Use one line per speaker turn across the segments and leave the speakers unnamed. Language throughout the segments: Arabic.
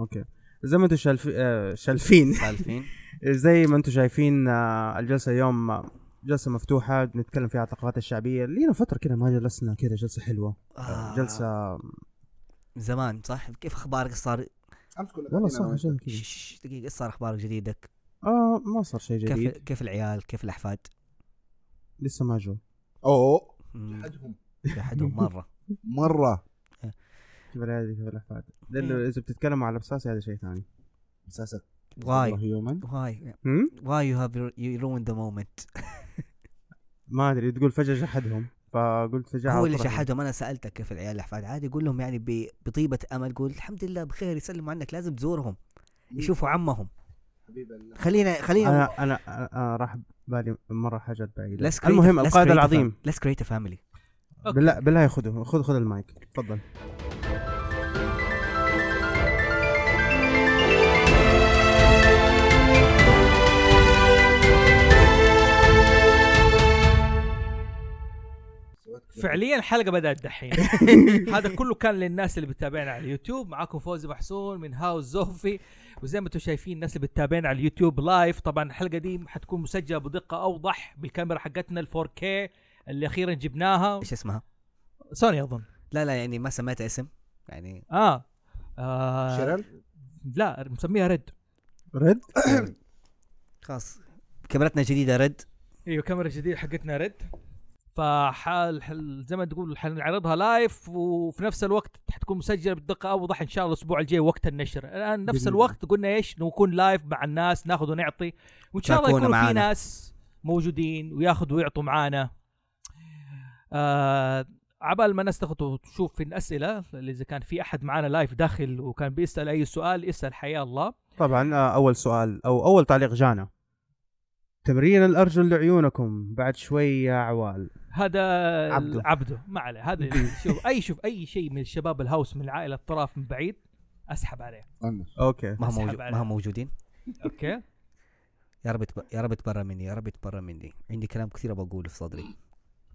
اوكي زي ما انتم شالف... آه، شالفين
سالفين
زي ما انتم شايفين آه، الجلسه اليوم آه، جلسه مفتوحه نتكلم فيها عن الثقافات الشعبيه لينا فتره كذا ما جلسنا كذا جلسه حلوه آه. جلسه
زمان صح كيف اخبارك إيش صار
امس كنا
والله
قاعدين أنا
صح
وأنت.
شيء كذا
ش- ش- ش- دقيقه ايش صار اخبارك جديدك
اه ما صار شيء
كيف
جديد
كيف العيال كيف الاحفاد
لسه ما جو
اوه
مم،
احدهم
جحدهم مره
مره
كيف العيال كيف الاحفاد
إيه.
لانه اذا بتتكلموا على بساسي هذا شيء ثاني
مسلسل
واي
هيومن
واي
هم؟
واي يو هاف يو روين ذا مومنت
ما ادري تقول فجاه جحدهم فقلت فجاه
هو اللي
أطرح.
شحدهم انا سالتك كيف العيال الاحفاد عادي يقول لهم يعني ب- بطيبه امل قول الحمد لله بخير يسلموا عنك لازم تزورهم
إيه.
يشوفوا عمهم
حبيب الله
خلينا خلينا
انا انا أنا- أنا راح بالي مره حاجات بعيده
أيوه. Let's create-
المهم
let's
القائد
create a
العظيم
fam- let's create a family
أوكي.
بالله بالله خذه خذ خذ المايك تفضل
فعليا الحلقه بدات دحين هذا كله كان للناس اللي بتتابعنا على اليوتيوب معاكم فوزي محسون من هاوس زوفي وزي ما انتم شايفين الناس اللي بتتابعنا على اليوتيوب لايف طبعا الحلقه دي حتكون مسجله بدقه اوضح بالكاميرا حقتنا ال 4K اللي اخيرا جبناها
ايش اسمها؟
سوني اظن
لا لا يعني ما سميتها اسم يعني
اه, آه
شيرل
لا مسميها ريد
رد
خلاص كاميرتنا جديده رد
ايوه كاميرا جديده حقتنا ريد فحال حل- زي ما تقول حنعرضها لايف وفي نفس الوقت حتكون مسجله بالدقه اوضح ان شاء الله الاسبوع الجاي وقت النشر الان نفس
بإذن
الوقت قلنا ايش نكون لايف مع الناس ناخذ ونعطي وان شاء الله
تكونوا
يكون في
معانا.
ناس موجودين وياخذوا ويعطوا معانا آه عبال ما نستخدم وتشوف في الاسئله اذا كان في احد معانا لايف داخل وكان بيسال اي سؤال اسال حيا الله
طبعا آه، اول سؤال او اول تعليق جانا تمرين الارجل لعيونكم بعد شوي يا عوال
هذا
عبده.
عبده عبده ما عليه هذا اللي- شوف اي شوف اي شيء من الشباب الهاوس من العائله الطرف من بعيد اسحب عليه
اوكي
ما هم
أسحب
موجو-
على-
ما هم موجودين
اوكي
يا رب يتب- يا رب تبرى مني يا رب تبرى مني عندي كلام كثير بقوله في صدري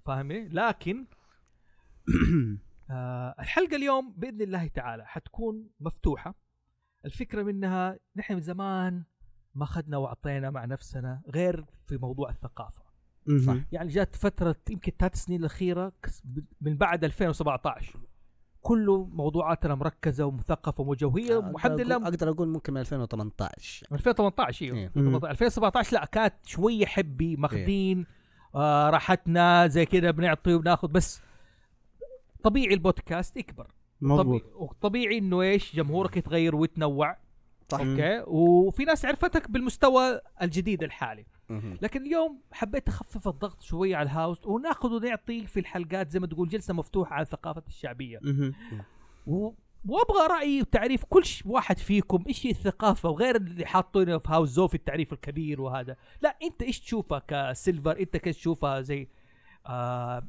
فاهمني لكن آه الحلقه اليوم باذن الله تعالى حتكون مفتوحه الفكره منها نحن من زمان ما اخذنا واعطينا مع نفسنا غير في موضوع الثقافه
مهم.
يعني جات فتره يمكن ثلاث سنين الاخيره كس- من بعد 2017 كله موضوعاتنا مركزه ومثقفه وموجوهيه
آه،
والحمد لله
اقدر اقول ممكن من 2018
من 2018 ايوه
إيه.
2018. 2017 لا كانت شويه حبي ماخذين آه راحتنا زي كذا بنعطي وبناخذ بس طبيعي البودكاست يكبر
مضبوط
طبيعي- وطبيعي انه ايش جمهورك يتغير ويتنوع
صح.
اوكي وفي ناس عرفتك بالمستوى الجديد الحالي
مهم.
لكن اليوم حبيت اخفف الضغط شويه على الهاوس وناخذ ونعطي في الحلقات زي ما تقول جلسه مفتوحه على الثقافه الشعبيه
مهم.
و... وابغى رايي وتعريف كل ش... واحد فيكم ايش هي الثقافه وغير اللي حاطينه في هاوس زو في التعريف الكبير وهذا لا انت ايش تشوفها كسيلفر انت كيف تشوفها زي آه...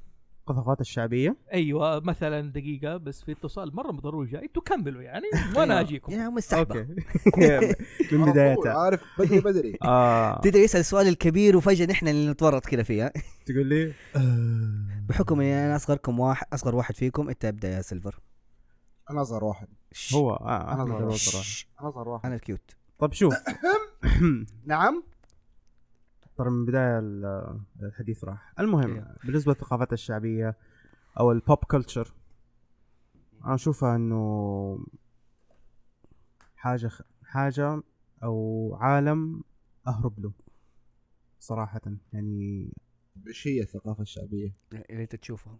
الثقافات الشعبيه
ايوه مثلا دقيقه بس في اتصال مره ضروري جاي انتوا كملوا يعني وانا اجيكم
يا مستحبه
اوكي من بدايتها
عارف بدري بدري
آه.
تدري يسال السؤال الكبير وفجاه نحن اللي نتورط كذا فيها
تقول لي
بحكم اني انا اصغركم واحد اصغر واحد فيكم انت ابدا يا سيلفر
انا اصغر واحد
شش.
هو آه
أنا
أحمد
ضروري.
الوزراء.
شش.
انا اصغر واحد
انا الكيوت
طب شوف
نعم
ترى من البدايه ال- الحديث راح المهم
إيه.
بالنسبه للثقافات الشعبيه او البوب كلتشر انا اشوفها انه حاجه خ... حاجه او عالم اهرب له صراحه يعني
ايش هي الثقافه الشعبيه؟
اللي انت تشوفه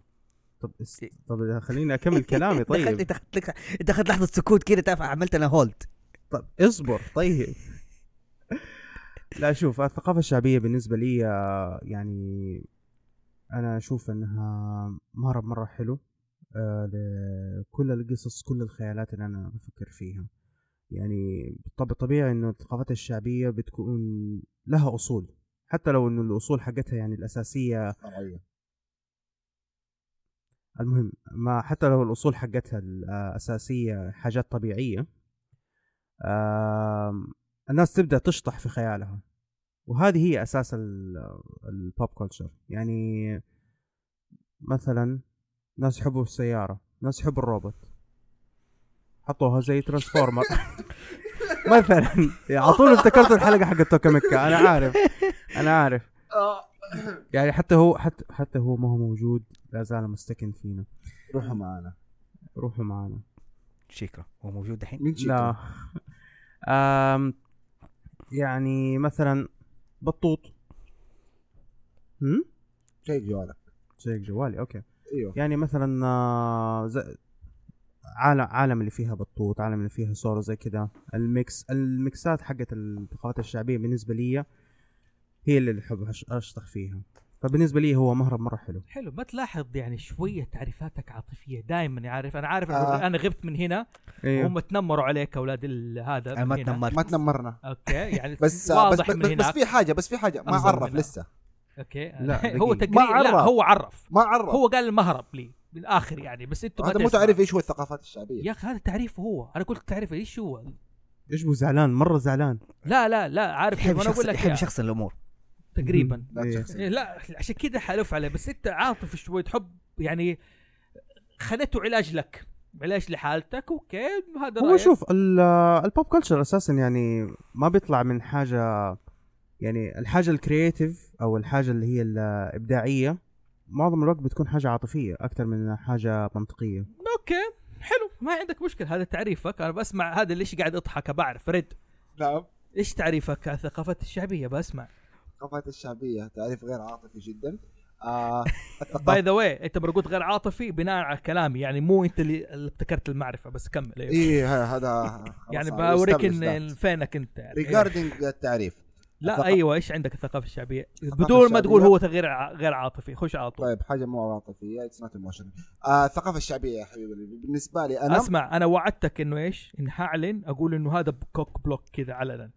طب است...
إيه.
طب خليني اكمل كلامي
دخلت
طيب
دخلت لك دخلت لحظه سكوت كذا تعرف عملت انا هولد
طب اصبر طيب لا شوف الثقافة الشعبية بالنسبة لي آه، يعني أنا أشوف أنها مهرب مرة حلو آه، لكل القصص كل الخيالات اللي أنا بفكر فيها يعني طب طبيعي إنه الثقافات الشعبية بتكون لها أصول حتى لو إنه الأصول حقتها يعني الأساسية
فرعيه
المهم ما حتى لو الاصول حقتها الاساسيه حاجات طبيعيه آم، الناس تبدا تشطح في خيالها وهذه هي اساس ال- البوب كلتشر يعني مثلا ناس يحبوا السياره ناس يحبوا الروبوت حطوها زي ترانسفورمر مثلا على طول افتكرت الحلقه حقت توكاميكا انا عارف انا عارف
آه.
يعني حتى هو حتى حتى هو ما هو موجود لا زال مستكن فينا
روحوا معانا
روحوا معنا
شيكرا هو موجود دحين
مين شيكو؟
لا أم يعني مثلا بطوط هم
شيك جوالك
شيك جوالي اوكي
ايوه
يعني مثلا آه، ز- عالم عالم اللي فيها بطوط عالم اللي فيها سورو زي كذا الميكس الميكسات حقت الثقافات الشعبيه بالنسبه لي هي اللي احب أش- اشطح فيها فبالنسبه لي هو مهرب مره حلو
حلو ما تلاحظ يعني شويه تعريفاتك عاطفيه دائما يعرف انا عارف
آه. إيه.
انا غبت من هنا
ايوه
وهم تنمروا عليك اولاد ال- هذا
انا
من
ما
هنا.
ما
تنمرت
تنمرنا
اوكي يعني
بس بس,
واضح
بس,
من
بس, بس
هناك
في حاجه بس في حاجه ما
أنظر
عرف
من هنا.
لسه
اوكي
لا، دقيقة.
هو تقريب
ما
لا
عرف.
هو عرف
ما عرف
هو قال المهرب لي بالاخر يعني بس انتم
هذا مو تعرف ايش هو الثقافات الشعبيه
يا اخي هذا تعريف هو انا قلت تعريف ايش هو
ايش بو زعلان مره زعلان
لا لا لا عارف كيف
يحب
انا اقول
شخص
لك
يحب
إياه.
شخص الامور
تقريبا
لا
إيه.
تشخصن.
إيه، لا عشان كذا حالف عليه بس انت عاطف شوي تحب يعني خليته علاج لك علاج لحالتك اوكي هذا
هو
رأيك.
شوف ال- البوب كلتشر اساسا يعني ما بيطلع من حاجه يعني الحاجه الكرييتيف او الحاجه اللي هي الابداعيه معظم الوقت بتكون حاجه عاطفيه اكثر من حاجه منطقيه
اوكي حلو ما عندك مشكله هذا تعريفك انا بسمع هذا ليش قاعد اضحك بعرف رد
نعم
ايش تعريفك على الثقافات الشعبيه بسمع
الثقافات الشعبيه تعريف غير عاطفي جدا آه
باي
الثقافه
ذا واي انت مرقوط غير عاطفي بناء على كلامي يعني مو انت اللي اللي ابتكرت المعرفه بس كمل أيوه.
ايه ه- هذا خلاص
يعني
أنا
بوريك
established
ان
that.
إن فينك انت يعني. أيوه.
ريجاردنج التعريف
لا
الثقافة-
ايوه ايش عندك الثقافه الشعبيه
الثقافة
بدون ما تقول
الشعبية-
هو غير ع- غير عاطفي خش على طول
طيب حاجه مو عاطفيه اتس نوت ايموشنال الثقافه الشعبيه آه، يا حبيبي بالنسبه لي انا
اسمع انا وعدتك انه ايش؟ ان حاعلن اقول انه هذا كوك بلوك كذا علنا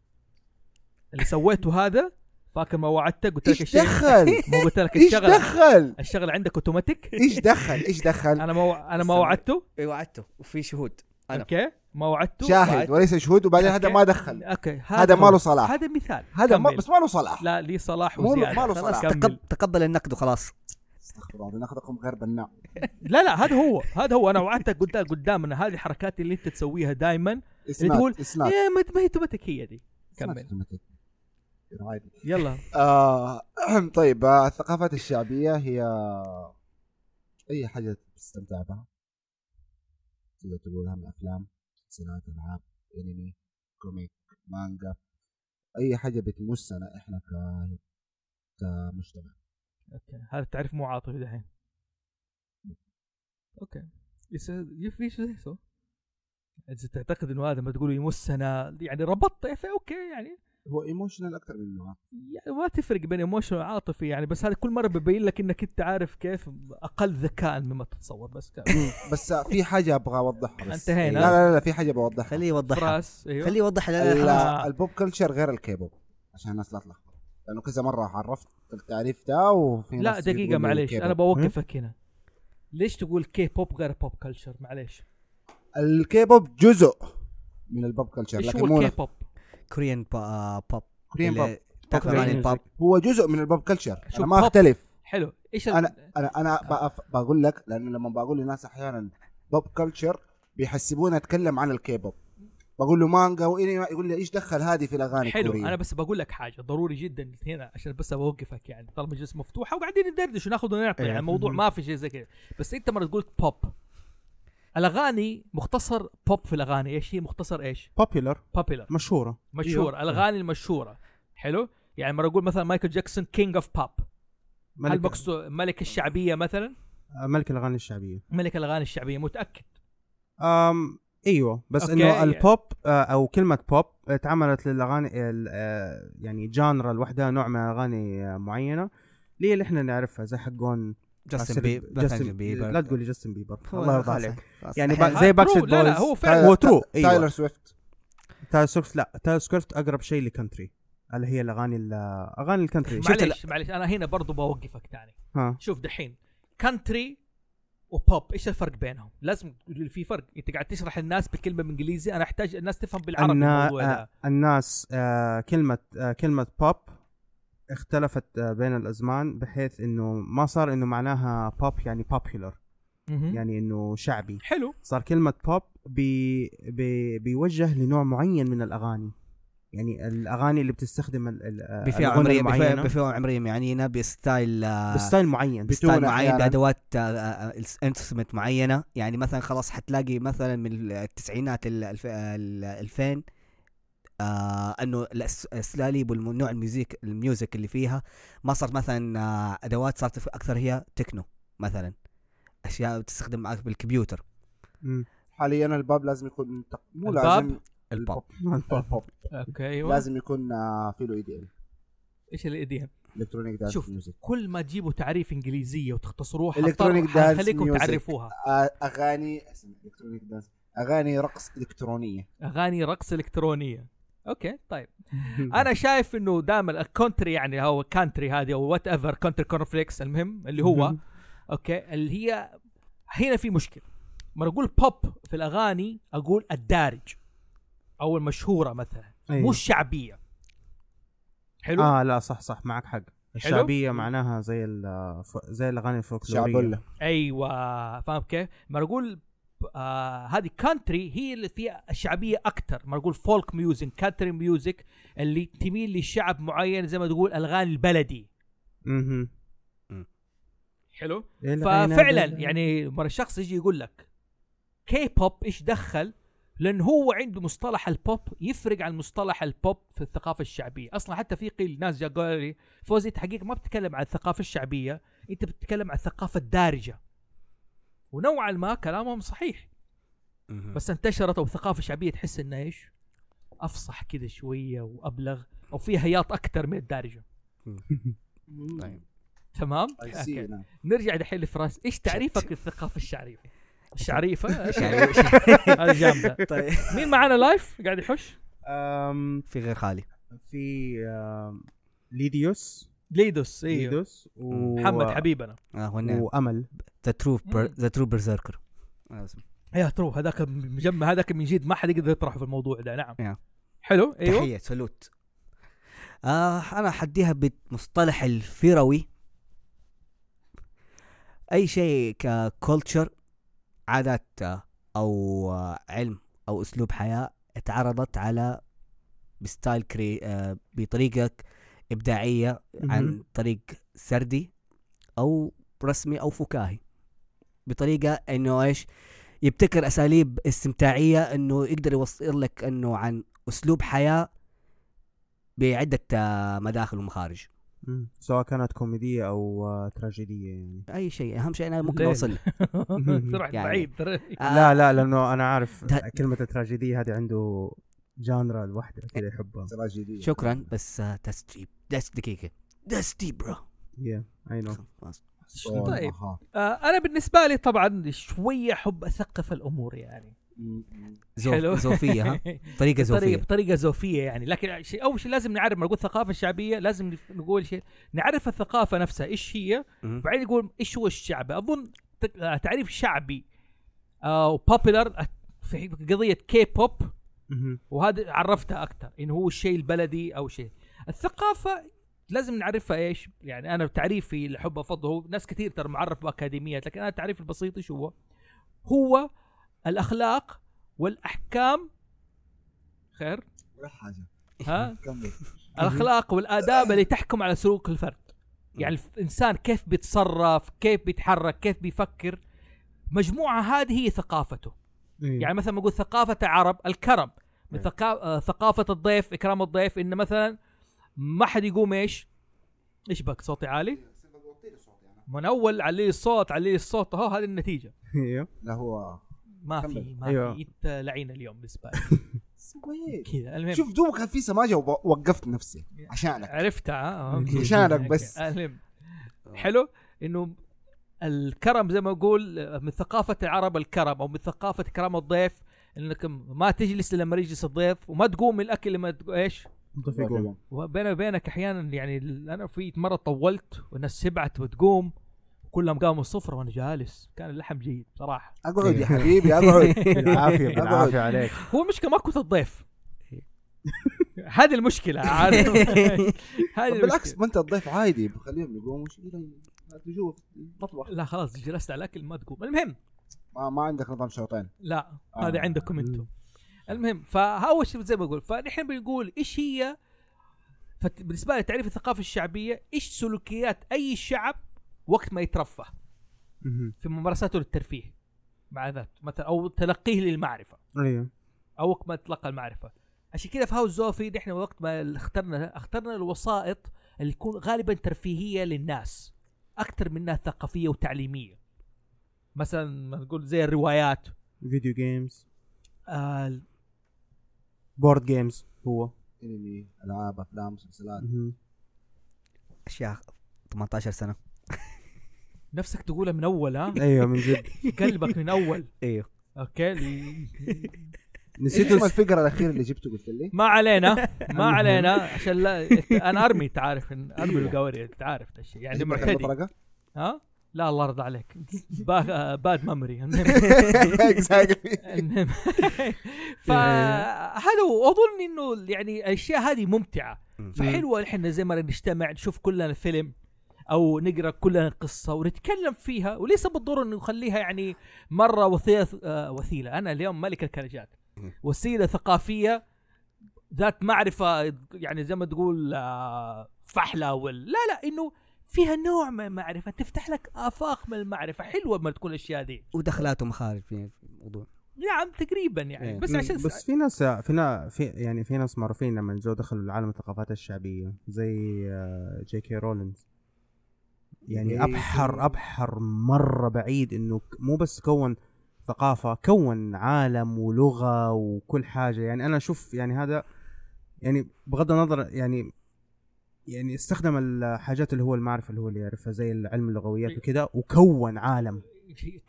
اللي سويته هذا فاكر ما وعدتك قلت لك
ايش
الشيء
دخل
مو قلت لك
ايش
الشغله
دخل
الشغله عندك اوتوماتيك
ايش دخل ايش دخل
انا ما وع- انا ما
استنى.
وعدته
إيه، وعدته وفي شهود أنا.
اوكي ما وعدته
شاهد وليس شهود وبعدين هذا
أوكي.
ما دخل
اوكي
هذا ما
هو.
له صلاح
هذا مثال
هذا ما
كمل.
بس ما له صلاح
لا لي صلاح
مو له-
وزياده
ما له
خلاص
صلاح.
كمل
تقب- تقبل النقد وخلاص
استغفر الله ناخذكم غير بناء
لا لا هذا هو هذا هو انا وعدتك قلت لك قدامنا هذه الحركات اللي انت تسويها دائما اللي تقول،
اسناد
يا ما ما هي تومتك هي دي كمل يلا
آه طيب آه، الثقافات الشعبية هي أي حاجة تستمتع بها تقدر تقولها من أفلام مسلسلات ألعاب أنمي كوميك مانجا أي حاجة بتمسنا إحنا ك كمجتمع
اوكي هذا التعريف مو عاطفي دحين اوكي يس- يف- ايش زي سو اذا تعتقد انه هذا ما تقوله يمسنا يعني ربطت يا أخي، اوكي يعني
هو ايموشنال أكثر من إنه
يعني ما تفرق بين ايموشنال وعاطفي يعني بس هذا كل مره بيبين لك انك انت عارف كيف اقل ذكاء مما تتصور بس كان
بس آه، في حاجة أبغى أوضحها بس
انتهينا.
لا لا لا في حاجة بوضحها
خليه يوضحها
فراس ايوه
خليه يوضحها لأن أنا
ال-
خلاص.
آه.
البوب كلتشر غير الكيبوب عشان الناس لا تلخبط لانه كذا مره عرفت التعريف ده وفي
لا
ناس
دقيقه
يقولوا
معليش
الكيبوب.
انا بوقفك هنا ليش تقول كي بوب غير بوب كلتشر معليش
الكيبوب جزء من البوب كلتشر
ايش
لكن
هو
مو
الكي
نفس-
بوب
كوريان با- آه، بوب
كوريان بوب
اللي تكلم عن
كوريان
البوب
هو جزء من البوب كلتشر
شوف
انا ما
بوب.
اختلف
حلو ايش ال-
انا انا انا بقف- بقول لك لانه لما بقول للناس احيانا بوب كلتشر بيحسبوني اتكلم عن الكيبوب بقول له مانجا وانمي يقول لي ايش دخل هذه في الاغاني
حلو
الكورية
انا بس بقول لك حاجه ضروري جدا هنا عشان بس اوقفك يعني طالما مجلس مفتوحه وقاعدين ندردش وناخذ ونعطي
إيه.
يعني الموضوع ما في شيء زي كذا بس انت مره تقول بوب الاغاني مختصر بوب في الاغاني ايش هي مختصر ايش؟
بوبيلر
بوبيلر
إيوه.
مشهوره
مشهور الاغاني المشهوره حلو يعني مره اقول مثلا مايكل جاكسون كينج اوف بوب هل
ملك,
مقصود ملك الشعبيه مثلا؟
ملك الاغاني الشعبيه
ملك الاغاني الشعبيه متاكد
أم ايوه بس
أوكي.
انه البوب آه، او كلمه بوب اتعملت للاغاني ال- آه، يعني جانرا لوحدها نوع من الاغاني آه، معينه ليه اللي احنا نعرفها زي حقون
جاستن
عسل-
بيبر
جاستن
جاستن
بيبر
بيبر
لا تقولي جاستن بيبر
هو-
الله يرضى
خلاص،
عليك
خلاص.
يعني
أحيانا-
زي
آه،
Backstreet
ترو، لا لا
Boys.
هو فعلا
طيب. هو ترو، أيوة.
تايلر سويفت
تايلر سويفت لا تايلر سويفت اقرب شيء لكنتري اللي هي الاغاني ال- اغاني الكنتري
شفت
معليش معليش انا هنا برضو بوقفك ثاني
ها
شوف دحين كانتري وبوب ايش الفرق بينهم؟ لازم تقول لي في فرق، انت قاعد تشرح الناس بالكلمه بالانجليزي انا احتاج الناس تفهم بالعربي
النا...
الموضوع ده.
آه، الناس آه، كلمة آه، كلمة بوب اختلفت آه، بين الأزمان بحيث إنه ما صار إنه معناها بوب يعني popular
مهم.
يعني انه شعبي
حلو
صار كلمة بوب بي بي بيوجه لنوع معين من الأغاني يعني الأغاني اللي بتستخدم ال- آه، ال-
بفئه
الأغنية
عمريه بفئه,
معينة
بفئة عمريه معينه بستايل آه،
بستايل معين
بتونة
بستايل معين
أحياناً.
بادوات آه، انسترومنت معينه يعني مثلا خلاص حتلاقي مثلا من التسعينات ال- الف- ال 2000 آه انه الأس- الاساليب والنوع الميوزيك الميوزك اللي فيها ما صارت مثلا آه ادوات صارت اكثر هي تكنو مثلا اشياء بتستخدم معك بالكمبيوتر
مم.
حاليا الباب لازم يكون منتق- مو
الباب؟
لازم
البوب
البوب
اوكي ايوه
لازم يكون آه، في له اي دي ال
ايش اللي ايديها
الكترونيك دانس
شوف.
ميوزك
كل ما تجيبوا تعريف انجليزيه وتختصروها
Electronic
حضطر-
dance
حخليكم
music. آه،
تعرفوها
اغاني اسم- الكترونيك دانس اغاني رقص الكترونيه
اغاني رقص الكترونيه اوكي طيب
أنا
انا شايف انه دائما الكونتري يعني هو كانتري هذه او وات ايفر كونتري كونفليكس المهم اللي هو
مهم.
اوكي اللي هي هنا في مشكله لما اقول بوب في الاغاني اقول الدارج او المشهوره مثلا
أيوة.
مو الشعبيه حلو
آه لا صح صح معك حق الشعبية معناها زي ال- ف- زي الأغاني الفولكلورية
شعبله
ايوه فاهم كيف؟ ما اقول آه هذه كانتري هي اللي فيها الشعبيه اكثر ما اقول فولك ميوزك كانتري ميوزك اللي تميل لشعب معين زي ما تقول الاغاني البلدي
مهم. إيه
حلو
العنب
ففعلا
ال-
يعني مره الشخص يجي يقول لك كي بوب ايش دخل لان هو عنده مصطلح البوب يفرق عن مصطلح البوب في الثقافه الشعبيه اصلا حتى في قيل ناس جا قالوا لي فوزي انت حقيقه ما بتتكلم عن الثقافه الشعبيه انت بتتكلم عن الثقافه الدارجه ونوعا ما كلامهم صحيح
بس
بس انتشرت او ثقافه شعبيه تحس انها ايش؟ افصح كذا شويه وابلغ او فيها هياط اكثر من الدارجه يعني
طيب.
تمام؟
I see
أوكي.
now.
نرجع دحين لفراس ايش تعريفك للثقافه الشعريه؟ الشعريفه يعني؟
يعني
هذه جامده
طيب
مين معانا لايف قاعد يحش؟
أم،
في غير خالي
في أم، ليديوس
ليدوس ايوه
ليديوس و...
محمد حبيبنا
اه هو النعم
وأمل
ذا ترو
مم.
ذا ترو برزيركر آه،
يا ترو هذاك مجمع هذاك من جد ما حد يقدر يطرحه في الموضوع ده نعم
يا.
حلو ايوه
تحية سلوت آه أنا حديها بمصطلح الفروي أي شيء ككولتشر عادات آه، أو آه، علم أو أسلوب حياة اتعرضت على بستايل كري آه، بطريقة إبداعية عن
مهم.
طريق سردي أو رسمي أو فكاهي بطريقة إنه إيش يبتكر أساليب استمتاعية إنه يقدر يوصل لك إنه عن أسلوب حياة بعدة آه، مداخل ومخارج
مم. سواء كانت كوميدية أو آه، تراجيدية يعني
أي شيء أهم شيء أنا ممكن
ليه؟
أوصل له.
تروح
يعني.
بعيد ترى.
آه،
لا لا لانه انا عارف
ده-
كلمه التراجيديه هذه عنده جانرا لوحده كذا
إيه.
يحبها
تراجيدية
شكرا بس تست ديب دست دقيقة دست ديب برو
يا اي نو
خلاص.
صوت
طيب
مخاط.
آه انا بالنسبه لي طبعا شويه احب اثقف الامور يعني
م-
زوف-
حلو.
زوفية ها طريقة
بطريقه
زوفية
بطريقه زوفيه يعني لكن شيء اول شيء لازم نعرف ما نقول الثقافه الشعبيه لازم نقول شيء نعرف الثقافه نفسها ايش هي
مم.
بعدين نقول ايش هو الشعب اظن ت- آه، تعريف شعبي او بوبيلر في قضيه كي بوب
مهم.
وهذا عرفتها اكثر انه هو الشيء البلدي او شيء الثقافه لازم نعرفها ايش يعني انا تعريفي اللي احب افضله هو ناس كثير ترى معرف باكاديميات لكن انا تعريفي البسيط ايش هو هو الاخلاق والاحكام خير
ولا حاجة
ها
كمل
الاخلاق والاداب اللي تحكم على سلوك الفرد يعني الانسان كيف بيتصرف كيف بيتحرك كيف بيفكر مجموعه هذه هي ثقافته
إيه.
يعني مثلا نقول ثقافة العرب الكرم من
نعم.
ثقا- آه، ثقافة الضيف إكرام الضيف إن مثلا ما حد يقوم إيش إيش بك صوتي عالي من أول علي لي الصوت علي لي الصوت أهو هذه النتيجة
إيه.
لا هو
ما في
كمل. أيوه.
ما
أيوة.
في أنت لعين اليوم بالنسبة لي
سويت.
كذا المهم
شوف دوبك كان في سماجة ووقفت نفسي عشانك
عرفتها آه، أوكي.
عشانك بس.
المهم حلو إنه الكرم زي ما أقول آه، من ثقافة العرب الكرم أو من ثقافة إكرام الضيف انك ما تجلس لما يجلس الضيف وما تقوم من الاكل لما تق- ايش
ضيف يقوم
وبيني وبينك احيانا يعني ال- انا في مره طولت والناس سبعت وتقوم كلهم قاموا الصفر وانا جالس كان اللحم جيد صراحه
اقعد يا حبيبي
أيوه.
اقعد
بالعافيه
أقعد.
بالعافيه عليك
هو المشكله ما كنت الضيف هذه المشكلة عارف هذه
بالعكس
بالعكس
ما انت الضيف عادي بخليهم يقوموا شو تجوع في المطبخ
لا خلاص جلست على الاكل ما تقوم المهم
ما, ما عندك نظام شوطين
لا
آه.
هذا عندكم انتم المهم فاول شيء زي ما بقول فنحن بنقول ايش هي فت- بالنسبه لتعريف الثقافه الشعبيه ايش سلوكيات اي شعب وقت ما يترفه
مهم.
في ممارساته للترفيه مع ذات مثلا او تلقيه للمعرفه
ايوه
او وقت ما تلقى المعرفه عشان كذا في هاوس زوفي نحن وقت ما اخترنا اخترنا الوسائط اللي تكون غالبا ترفيهيه للناس اكثر منها ثقافيه وتعليميه مثلا ما نقول زي الروايات
فيديو جيمز
آه
بورد جيمز هو
انمي العاب افلام مسلسلات
مهم.
اشياء 18 سنه
نفسك تقولها من اول ها
ايوه من جد
قلبك من اول
ايوه
اوكي ال-
ايش
نسيت
اسم
أس-
الفقره الاخيره اللي جبته قلت لي؟
ما علينا ما علينا عشان لا انا ارمي تعرف ارمي القواري تعرف هذا الشيء يعني
عجبك
معتدي
المطرقة؟
ها لا الله يرضى عليك با- باد ميموري المهم
Exactly.
المهم فهذا هو. اظن انه يعني الاشياء هذه ممتعه
مم.
فحلوه احنا زي ما نجتمع نشوف كلنا فيلم او نقرا كلنا قصه ونتكلم فيها وليس بالضروره انه نخليها يعني مره وثيله آه، وثيله انا اليوم ملك الكلجات
مم.
وسيله ثقافيه ذات معرفه يعني زي ما تقول آه، فحله وال... لا لا انه فيها نوع من المعرفه تفتح لك افاق من المعرفه حلوه لما تكون الاشياء دي
ودخلات ومخارج في في الموضوع
نعم تقريبا يعني
إيه.
بس عشان
بس في ناس في نا- في يعني في ناس معروفين لما جو دخلوا العالم الثقافات الشعبيه زي آه، جي كي رولينز يعني
جي كي.
ابحر ابحر مره بعيد انه ك- مو بس كون ثقافه كون عالم ولغه وكل حاجه يعني انا اشوف يعني هذا يعني بغض النظر يعني يعني استخدم الحاجات اللي هو المعرفه اللي هو اللي يعرفها زي علم اللغويات وكذا وكون عالم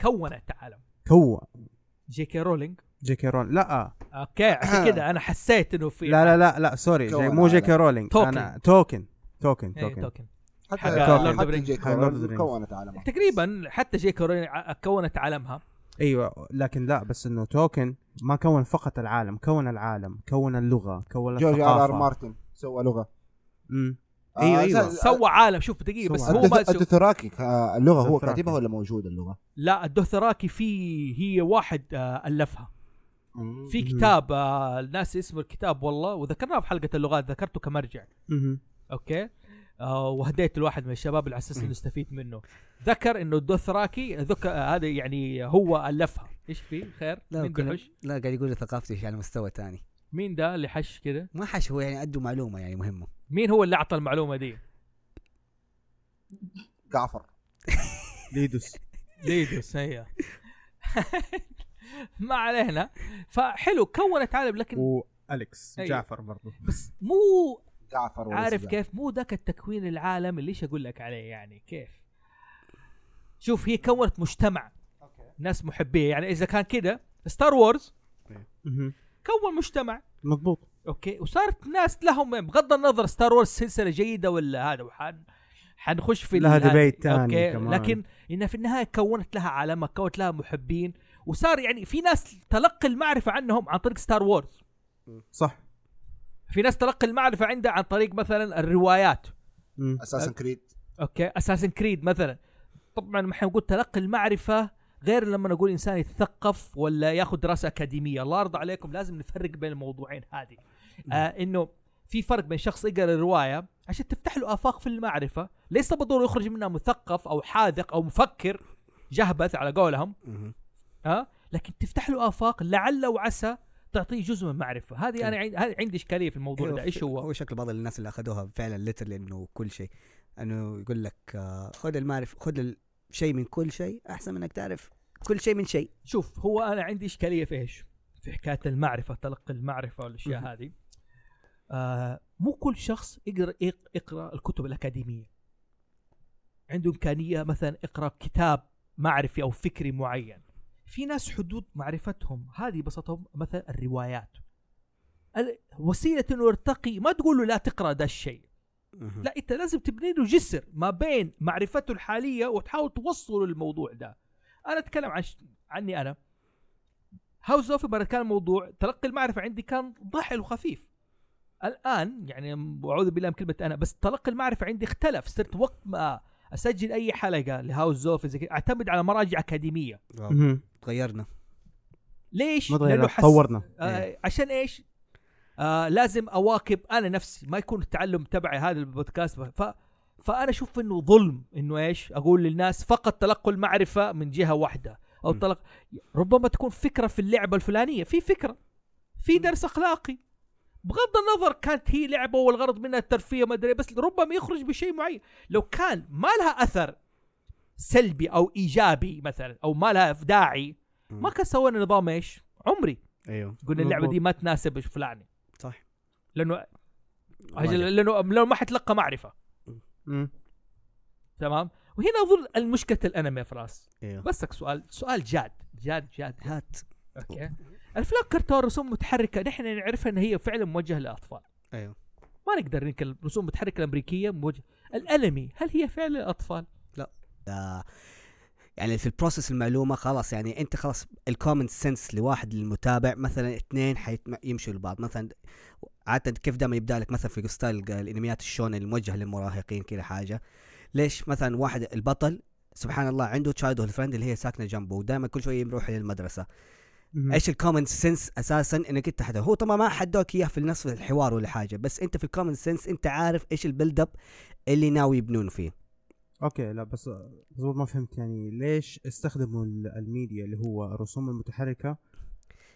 كونت عالم
كون
جي كي رولينج
جي كي رولينز لا
اوكي عشان كده انا حسيت انه في
لا لا لا لا سوري
كون
جاي مو جي كي
على-
رولينج
توكن.
انا توكن توكن
إيه،
توكن
توكن
حتى
حق
Lord of
حتى
the
Rings.
جي
حق Lord of the
كورن
Rings.
كونت عالمها
تقريبا حتى جي كي رولينج ع- كونت عالمها
ايوه لكن لا بس انه توكن ما كون فقط العالم كون العالم كون اللغه كون
جورج ار ار
الثقافه
مارتن سوى لغه
امم
آه،
ايوه ايوه
أساس-
أيوة، سوى عالم شوف دقيقه بس
سوى
هو ما
الدث-
شوف
الدثراكي آه، اللغه هو
الدثراكي.
كاتبها ولا موجوده اللغه؟
لا الدوثراكي في هي واحد آه الفها في
مم.
كتاب آه الناس اسمه الكتاب والله وذكرناه في حلقه اللغات ذكرته كمرجع
مهم.
اوكي آه وهديت لواحد من الشباب على اساس انه يستفيد منه ذكر انه الدوثراكي ذك... آه هذا يعني هو الفها ايش في خير
لا
مين
كلهم-
ده
لا قاعد يقول لي ثقافتي شيء على مستوى ثاني
مين ده اللي حش كده
ما حش هو يعني ادوا معلومه يعني مهمه
مين هو اللي اعطى المعلومه دي؟
جعفر
ليدوس
ليدوس هي ما علينا فحلو كونت عالم لكن
واليكس
أيوة.
جعفر برضو
بس مو
جعفر وليس
عارف
جعفر.
كيف مو ذاك التكوين العالم اللي ايش اقول لك عليه يعني كيف شوف هي كونت مجتمع ناس محبيه يعني اذا كان كده ستار وورز
مهم.
كون مجتمع
مضبوط
اوكي وصارت ناس لهم بغض النظر ستار وورز سلسله جيده ولا هذا وحن حنخش في
لها
ال- هذا-
debate تاني
أوكي،
كمان.
لكن انها في النهايه كونت لها عالمها كونت لها محبين وصار يعني في ناس تلقي المعرفه عنهم عن طريق ستار وورز
صح
في ناس تلقي المعرفه عندها عن طريق مثلا الروايات
مم.
اساسا كريد
اوكي اساسن كريد مثلا طبعا ما حنقول تلقي المعرفه غير لما نقول انسان يتثقف ولا ياخذ دراسه اكاديميه الله يرضى عليكم لازم نفرق بين الموضوعين هذه آه انه في فرق بين شخص يقرا روايه عشان تفتح له افاق في المعرفه ليس بالضروره يخرج منها مثقف او حاذق او مفكر جهبث على قولهم
مهم.
ها لكن تفتح له افاق لعل وعسى تعطيه جزء من المعرفه هذه انا عندي هذه عندي اشكاليه في الموضوع ده
أيوة،
ايش هو
هو شكل بعض الناس اللي اخذوها فعلا ليتر انه كل شيء انه يقول لك آه، خذ المعرف خذ الشيء من كل شيء احسن من انك تعرف كل شيء من شيء
شوف هو انا عندي اشكاليه في ايش؟ في حكايه المعرفه تلقي المعرفه والاشياء
مهم.
هذه. آه مو كل شخص يقرا يق- يقرا الكتب الاكاديميه. عنده امكانيه مثلا اقرا كتاب معرفي او فكري معين. في ناس حدود معرفتهم هذه بسطهم مثلا الروايات. ال- وسيله انه يرتقي ما تقول له لا تقرا ده الشيء،
مهم.
لا انت لازم تبني له جسر ما بين معرفته الحاليه وتحاول توصله للموضوع ده انا اتكلم عن ش... عني انا هاوس اوف مره كان الموضوع تلقي المعرفه عندي كان ضحل وخفيف الان يعني م- اعوذ بالله من كلمه انا بس تلقي المعرفه عندي اختلف صرت وقت ما اسجل اي حلقه لهاوس زوفي زي كذا اعتمد على مراجع اكاديميه
مهم.
تغيرنا
ليش؟
ما تغيرنا،
لانه حس...
تطورنا
آه عشان ايش؟ آه لازم اواكب انا نفسي ما يكون التعلم تبعي هذا البودكاست ف... فانا اشوف انه ظلم انه ايش؟ اقول للناس فقط تلقوا المعرفه من جهه واحده او
م.
تلق... ربما تكون فكره في اللعبه الفلانيه في فكره في درس اخلاقي بغض النظر كانت هي لعبه والغرض منها الترفيه ما ادري بس ربما يخرج بشيء معين لو كان ما لها اثر سلبي او ايجابي مثلا او ما لها داعي ما كان سوينا نظام ايش؟ عمري
ايوه
قلنا اللعبه
مظبوط.
دي ما تناسب فلان
صح
لانه أجل لانه لانه ما حتلقى معرفه
مم.
تمام وهنا اظن المشكله الانمي فراس
ايوه
بسك سؤال سؤال جاد جاد جاد
هات
اوكي الافلام كرتون رسوم متحركه نحن نعرفها ان هي فعلا موجهه للاطفال
ايوه
ما نقدر ننكر الرسوم المتحركه الامريكيه موجهه الانمي هل هي فعلا للاطفال؟
آه، يعني في البروسيس المعلومه خلاص يعني انت خلاص الكومن سنس لواحد للمتابع مثلا اثنين حيمشوا لبعض مثلا عاده كيف دائما يبدا لك مثلا في ستايل الانميات الشون الموجه للمراهقين كذا حاجه ليش مثلا واحد البطل سبحان الله عنده تشايلد فريند اللي هي ساكنه جنبه ودائما كل شويه يروح للمدرسه
مهم.
ايش الكومن سنس اساسا انك انت حتى هو طبعا ما حدوك اياه في نفس الحوار ولا حاجه بس انت في الكومن سنس انت عارف ايش البيلد اب اللي ناوي يبنون فيه
اوكي لا بس مظبوط ما فهمت يعني ليش استخدموا ال- الميديا اللي هو الرسوم المتحركه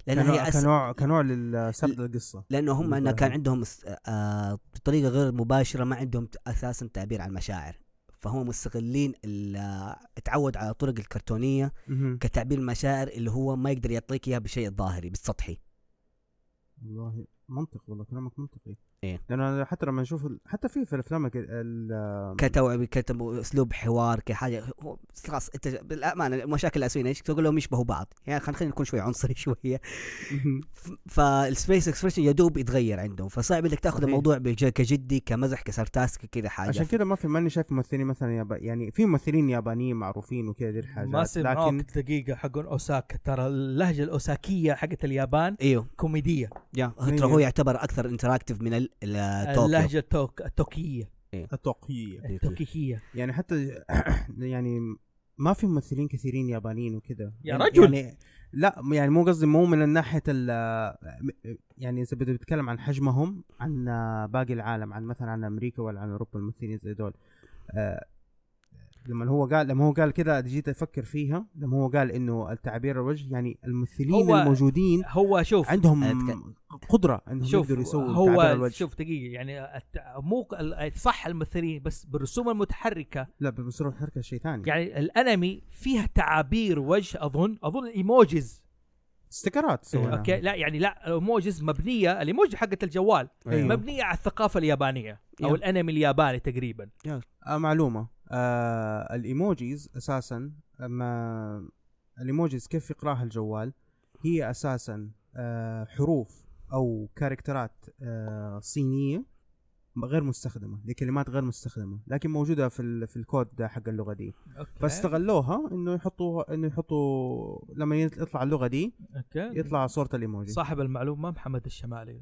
لان
كنوع
هي أس...
كنوع, كنوع للسرد القصه
لانه هم
بالنسبة
أنا كان
لهم.
عندهم است- آه بطريقه غير مباشره ما عندهم ت- اساسا تعبير عن المشاعر فهم مستغلين ال- آه، التعود على الطرق الكرتونيه
مهم.
كتعبير المشاعر اللي هو ما يقدر يعطيك اياها بشيء ظاهري بالسطحي
والله منطق والله كلامك منطقي
إيه.
لانه أنا حتى لما نشوف ال- حتى في في الافلام الك- ال-
كتوعي كتب اسلوب حوار كحاجه هو خلاص انت بالامانه المشاكل الاساسيه ايش تقول لهم يشبهوا بعض يعني خل- خلينا نكون شوي عنصري شويه
مهم.
ف- فالسبيس اكسبريشن يا دوب يتغير عندهم فصعب انك تاخذ
صحيح.
الموضوع بج- كجدي كمزح كسارتاسك كذا حاجه
عشان كذا ما في ماني شايف ممثلين مثلا يابا يعني في ممثلين يابانيين معروفين وكذا دي الحاجات
ما سمعوك
لكن
دقيقه حقون اوساكا ترى اللهجه الاوساكيه حقت اليابان
ايوه
كوميديه
يا
هي-
ترى هو يعتبر اكثر انتراكتيف من ال- ال- طوكيو
اللهجه التوك... التوكيه
التوقيع
التوكيكيه
يعني حتى يعني ما في ممثلين كثيرين يابانيين وكذا
يا
يعني-
رجل.
يعني لا يعني مو قصدي مو من ناحيه ال يعني اذا بدك تتكلم عن حجمهم عن باقي العالم عن مثلا عن امريكا ولا عن اوروبا الممثلين زي دول آه، لما هو قال لما هو قال كذا جيت افكر فيها لما هو قال انه التعبير الوجه يعني الممثلين
هو-
الموجودين
هو شوف
عندهم
أتك-
قدره انهم
شوف
يقدروا يسووا تعبير
هو
الوجه
شوف دقيقه يعني الت- مو ال- صح الممثلين بس بالرسوم المتحركه
لا بس روح الحركه شيء ثاني
يعني الانمي فيها تعابير وجه اظن اظن الايموجيز
استيكرات سويناها.
اوكي لا يعني لا ايموجيز مبنيه الايموجي حقت الجوال
أيوه.
مبنيه على الثقافه اليابانيه او
إيه.
يب.
الانمي الياباني تقريبا
آه معلومة آه الايموجيز اساسا ما الايموجيز كيف يقراها الجوال هي اساسا آه حروف او كاركترات آه صينية غير مستخدمة لكلمات غير مستخدمة لكن موجودة في ال- في الكود ده حق اللغة دي فاستغلوها انه يحطوها انه يحطوا لما يطلع اللغة دي
اوكي
يطلع صورة الايموجي صح.
صاحب المعلومه محمد الشمالي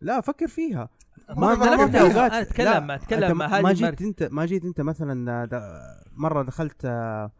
لا فكر فيها
ما- ما-
في
أنا
أوقات-
أتكلم-
لا،
أتكلم
أنت
مع
ما-
هذه
ما
الماركة.
جيت انت ما جيت انت مثلا د- مره دخلت آه،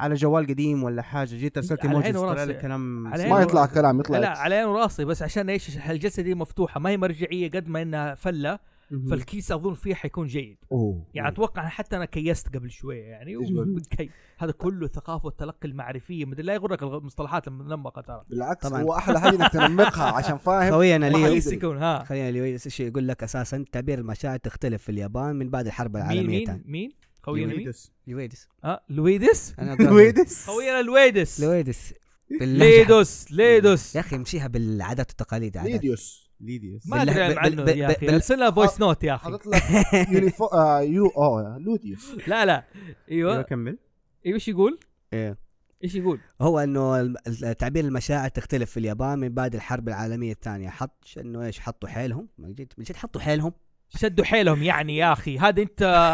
على جوال قديم ولا حاجه جيت ارسلت
على
ايموجي
عيني
طلع
وراسي.
لك كلام
على
سيء.
عيني
ما يطلع كلام يطلع
لا
إكس.
على عين وراسي بس عشان ايش الجلسه دي مفتوحه ما هي مرجعيه قد ما انها فله
مهم.
فالكيس اظن فيه حيكون جيد
أوه.
يعني اتوقع حتى انا كيست قبل شويه يعني وبالكي- هذا كله ثقافه والتلقي المعرفيه مدري لا يغرك المصطلحات المنمقه ترى
بالعكس
طبعاً.
هو احلى حاجه انك تنمقها عشان فاهم
خوينا
ما
ليو
حيس-
يس يكون ها
خلينا ليو يس- شيء يقول لك اساسا تعبير المشاعر تختلف في اليابان من بعد الحرب
مين
العالميه
مين
الثانيه
مين خوينا مين؟
يويدس.
لويدس
ها لويدس
انا
يويدس.
خوينا لويدس
لويدس باللهجة-
ليدوس ليدوس
يا اخي امشيها بالعادات والتقاليد
يعني.
عادات
ليديوس
ليديوس
ما ادري
بالله- بال-
عنه
بال-
يا
بال- آه،
اخي
بال-
ارسل لها فويس نوت يا اخي
حاطط لك يونيفو آه، يو او لوديوس
لا لا
ايوه
ايوه
كمل
ايوه ايش يقول؟
إيه.
ايش يقول؟
هو انه الم- ال- تعبير المشاعر تختلف في اليابان من بعد الحرب العالميه الثانيه حط ش- انه ايش حطوا حيلهم ما جيت من جد حطوا حيلهم
شدوا حيلهم يعني يا اخي هذا انت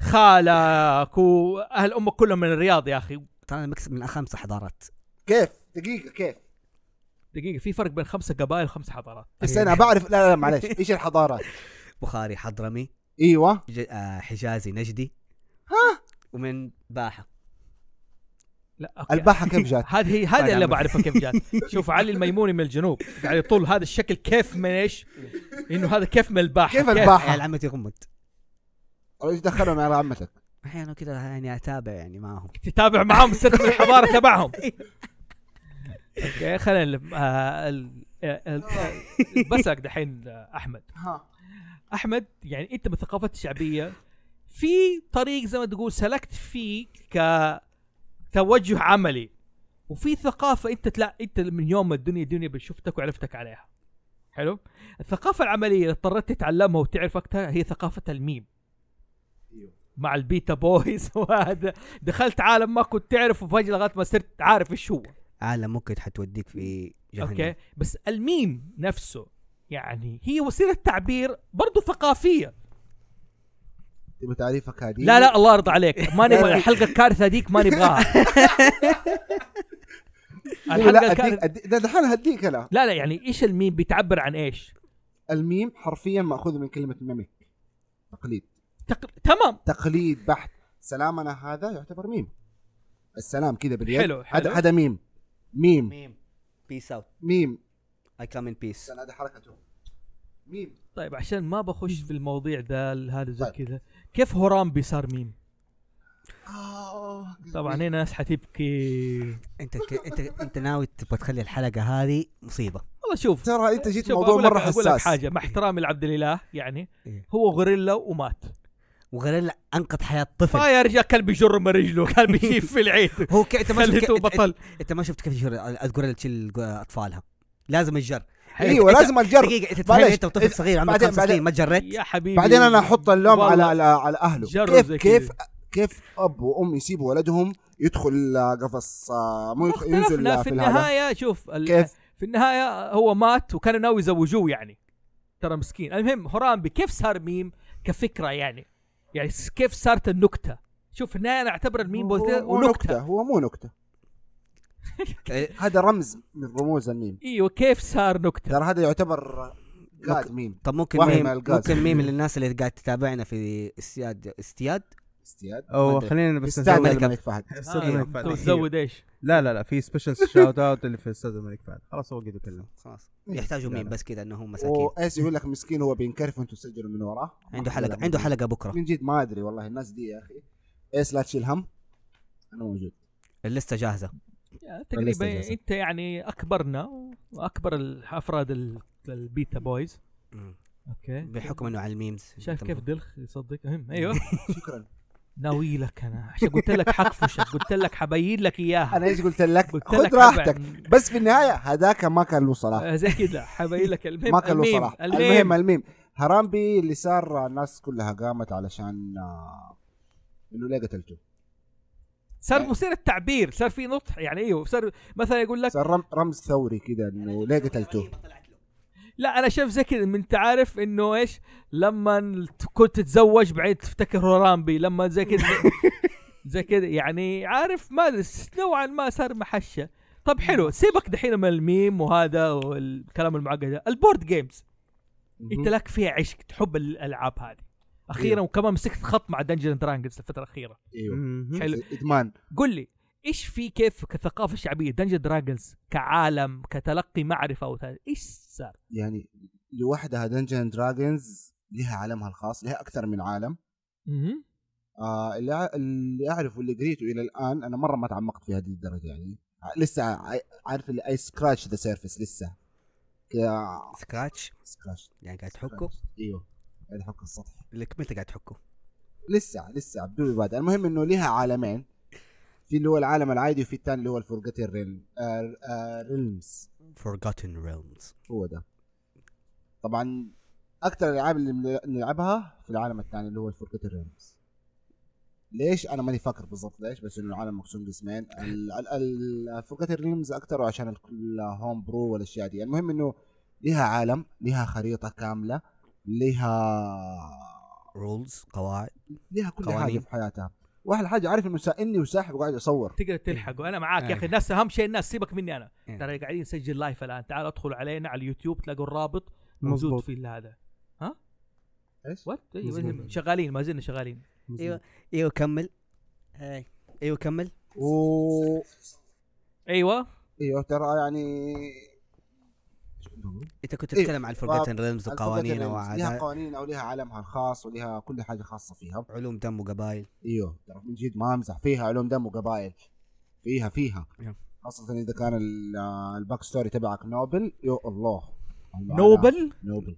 خالك واهل امك كلهم من الرياض يا اخي
ترى أنا مكس من خمس حضارات
كيف دقيقه كيف
أيوة. دقيقه في فرق بين خمسه قبائل وخمس حضارات
إيه، بس انا بعرف لا لا, لا معلش ايش الحضارات
بخاري حضرمي
ايوه
ج- آه، حجازي نجدي
ها
ومن باحه
لا أوكي.
الباحه كيف جات؟
هذه
طيب
هذه اللي
عمي.
بعرفها كيف جات شوف علي الميموني من الجنوب على طول هذا الشكل كيف من ايش انه هذا كيف من الباحه
كيف
عيال
الباحه؟
عمتي غمت
أو ايش دخلهم يا عمتك؟
احيانا كذا يعني اتابع يعني معاهم
تتابع معاهم سر من الحضاره تبعهم اوكي خلينا ال- آه، ال- آه، ال- آه، بسك دحين آه، احمد
ها
احمد يعني انت بالثقافات الشعبيه في طريق زي ما تقول سلكت فيه كتوجه عملي وفي ثقافه انت تلا انت من يوم ما الدنيا دنيا شفتك وعرفتك عليها حلو الثقافه العمليه اللي اضطريت تتعلمها وتعرف وقتها هي ثقافه الميم مع البيتا بويز وهذا دخلت عالم ما كنت تعرفه فجاه لغايه ما صرت عارف ايش هو
عالم ممكن حتوديك في جهنم
اوكي بس الميم نفسه يعني هي وسيله تعبير برضو ثقافيه
تبغى تعريفك هذه؟
لا لا الله يرضى عليك ما نبغى الحلقه الكارثه ديك ما نبغاها الحلقه
لا أديك-
الكارثه
أديك- ده دحين هديك انا
لا لا يعني ايش الميم بتعبر عن ايش؟
الميم حرفيا ماخوذ من كلمه ميمك تقليد
تق... تمام
تقليد بحت سلامنا هذا يعتبر ميم السلام كذا باليد
حلو، حلو.
هذا- هذا ميم ميم
ميم بيس اوت
ميم
اي كام ان بيس
هذا حركته ميم
طيب عشان ما بخش في المواضيع ده ال- هذا زي
طيب.
كذا كيف هورامبي صار ميم؟
آه.
طبعا هنا ناس حتبكي
انت ك... انت انت ناوي تبغى تخلي الحلقه هذه مصيبه
والله شوف
ترى انت جيت
شوف
موضوع
أقول لك-
مره
اقول لك
حساس
حاجه مع احترامي لعبد الاله يعني
إيه.
هو غوريلا ومات
وغير انقذ حياه
طيب.
طفل
ما يا رجال كان بيجر من رجله كان بيشيب في العيد
هو ك... انت ما شفت
خليته
ك... انت...
بطل
انت ما شفت كيف يشيل اذكر اللي تشيل اطفالها لازم الجر
ايوه
أنت-
لازم الجر
دقيقه انت تفهم
معلش.
انت وطفل صغير عمرك
بعدين-
خمس سنين
بعدين.
ما جريت
يا حبيبي
بعدين انا احط اللوم
والله.
على على, على اهله
جرب
كيف
زي
كيف
كذا.
كيف اب وام يسيبوا ولدهم يدخل آه، قفص آه، مو يدخل- ينزل
اختلفنا
آه،
في
في الهذا
النهايه شوف ال-
كيف
في النهايه هو مات وكانوا ناوي يزوجوه يعني ترى مسكين المهم هورامبي كيف صار ميم كفكره يعني يعني س- كيف صارت النكته شوف هنا انا اعتبر الميم
هو-
بوث-
هو
ونكته
هو مو نكته
إيه.
هذا رمز من رموز الميم
ايوه كيف صار نكته
ترى هذا يعتبر
مك-
قاد ميم
طب ممكن
وهم
ميم
القاز.
ممكن ميم للناس اللي قاعد تتابعنا في استياد استياد
استياد
او خلينا بس
استاذ
نزود
الملك فهد
استاذ
إيه.
آه،
الملك فهد
تزود ايش؟
لا لا لا في سبيشال شاوت اوت اللي في استاذ الملك فهد خلاص هو قد يتكلم
خلاص يحتاجوا
لا،
ميم
لا.
بس كذا انهم مساكين
وايس يقول لك مسكين هو بينكرف وانتم تسجلوا من وراه
عنده حلقه عنده حلقه بكره
من جد ما ادري والله الناس دي يا اخي ايس لا تشيل هم انا موجود
اللسته جاهزه
آه،
لسه
تقريبا
جالسة.
انت يعني اكبرنا واكبر ال- افراد ال- البيتا بويز اوكي
بحكم انه على الميمز
شايف كيف دلخ يصدق المهم ايوه
شكرا
ناوي لك انا عشان قلت لك حقفشك قلت لك حبين لك اياها
انا ايش قلت لك
قلت
خذ
لك
راحتك
حبا-
بس في النهايه هذاك ما كان له صلاح
آه، زي كذا حبين لك المهم
ما كان له
الميم-
صلاح
المهم
المهم الميم هرامبي اللي صار الناس كلها قامت علشان آه، انه ليه قتلته
صار مصير التعبير صار في نطح يعني ايوه صار مثلا يقول لك
صار رم- رمز ثوري كذا انه ليه قتلته
لا انا شايف زي كذا من انت عارف انه ايش لما كنت تتزوج بعدين تفتكر هورامبي لما زي كذا زي كذا يعني عارف ما أدري، نوعا ما صار محشه طب حلو سيبك دحين من الميم وهذا والكلام المعقد ده. البورد جيمز انت لك فيها عشق تحب الالعاب هذه اخيرا
إيه.
وكمان مسكت خط مع دنجن دراجونز الفتره الاخيره
ايوه
أيوة. مهم.
حلو.
ادمان
قل لي ايش في كيف كثقافه شعبيه دنجن دراجونز كعالم كتلقي معرفه او ثالث، ايش صار؟
يعني لوحدها دنجن دراجونز لها عالمها الخاص لها اكثر من عالم
مهم.
آه اللي أع- اللي اعرفه اللي قريته الى الان انا مره ما تعمقت في هذه الدرجه يعني ع- لسه ع- عارف اللي اي سكراتش ذا سيرفيس لسه كا-
سكراتش
سكراتش
يعني قاعد تحكه
ايوه قاعد احك السطح
اللي متى قاعد تحكه
لسه لسه بدون بادئ المهم انه لها عالمين في اللي هو العالم العادي وفي الثاني اللي هو الفورجاتن ريلم آه آه ريلمز
Forgotten Realms
هو ده طبعا اكثر الالعاب اللي بن- بنلعبها في العالم الثاني اللي هو الفورجاتن ريلمز ليش انا ماني فاكر بالضبط ليش بس انه العالم مقسوم قسمين الفورجاتن ريلمز اكثر عشان الهوم برو والاشياء دي المهم انه لها عالم لها خريطه كامله لها
رولز قواعد
ليها كل
قوانين.
حاجه في حياتها واحلى حاجه عارف انه سا- اني وساحب وقاعد اصور
تقدر تلحقه انا معاك يا اخي
أيوه.
الناس اهم شيء الناس سيبك مني انا
أيوه.
ترى قاعدين نسجل لايف الان تعال ادخل علينا على اليوتيوب تلاقوا الرابط موجود
مظبوط
في هذا
ايش؟
وات أيوه،
مظبوط.
شغالين ما زلنا شغالين
مظبوط.
ايوه ايوه كمل إيه. ايوه كمل
و
ايوه
ايوه ترى يعني إيش كنت بقول؟
انت كنت
إيه.
تتكلم عن الفورجيتن ريلمز وقوانينه
الفرقة لها
وعادات
قوانين او لها عالمها الخاص ولها كل حاجه خاصه فيها
علوم دم وقبائل
ايوه ترى من جد ما امزح فيها علوم دم وقبائل فيها فيها
يب.
خاصة اذا كان ال- آه، الباك ستوري تبعك نوبل يو الله
نوبل
نوبل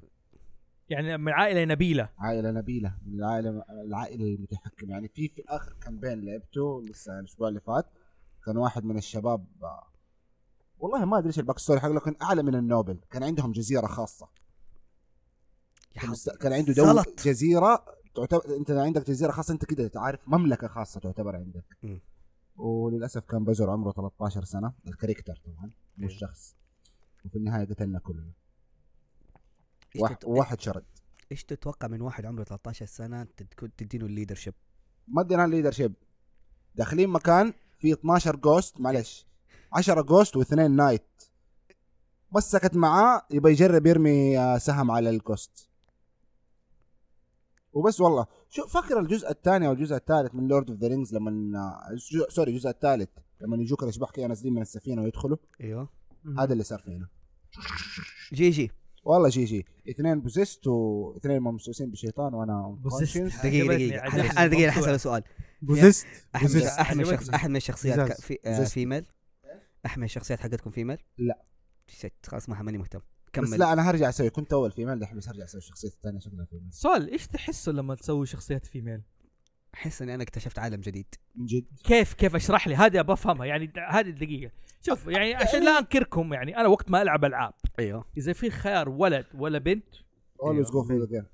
يعني من عائله نبيله
عائلة نبيلة من العائلة العائلة المتحكمة يعني في في اخر كامبين لعبته لسه الاسبوع اللي فات كان واحد من الشباب آه، والله ما ادري ايش الباك ستوري حقه لكن اعلى من النوبل كان عندهم جزيرة خاصة
يا حظ.
كان است- كان عنده دولة
يعني سلط.
جزيرة تعتبر انت عندك جزيرة خاصة انت كده تعرف مملكة خاصة تعتبر عندك
مم.
وللاسف كان بزر عمره 13 سنة الكاريكتر طبعا مو
مم.
الشخص وفي النهاية قتلنا كلنا
إيش
واحد,
تت-
واحد شرد
ايش تتوقع من واحد عمره 13 سنه تد- تدينه الليدر شيب
ما ادينا ليدر شيب داخلين مكان فيه 12 جوست معلش 10 جوست واثنين نايت بس سكت معاه يبى يجرب يرمي آه، سهم على الجوست وبس والله شو فاكر الجزء الثاني او الجزء الثالث من لورد اوف ذا رينجز لما آه، الجزء- سوري الجزء الثالث لما يجوك الاشباح كده نازلين من السفينه ويدخلوا
ايوه
هذا اللي صار فينا
جي جي
والله شي شي اثنين بوزيست واثنين ممسوسين بشيطان وانا unconscious.
دقيقه دقيقه أنا- انا دقيقه حسب سؤال
بوزست
يعني
احد من-
بوزست
احد من
عجبتني.
الشخص- احد من الشخصيات
بزاز.
ك- في آه،
بزاز.
فيميل احد من الشخصيات حقتكم فيميل
لا.
شت، خلاص ما ماني مهتم
بس
كمل
لا انا هرجع اسوي كنت اول فيميل دحين بس هرجع اسوي الشخصيه الثانيه شكلها فيميل
سؤال ايش تحسه لما تسوي شخصيات فيميل؟
احس اني انا اكتشفت عالم جديد
من جد
كيف كيف اشرح لي هذه ابغى افهمها يعني د- هذه الدقيقه شوف يعني عشان لا انكركم يعني انا وقت ما العب العاب
ايوه
اذا في خيار ولد ولا بنت
اولويز جو فور ذا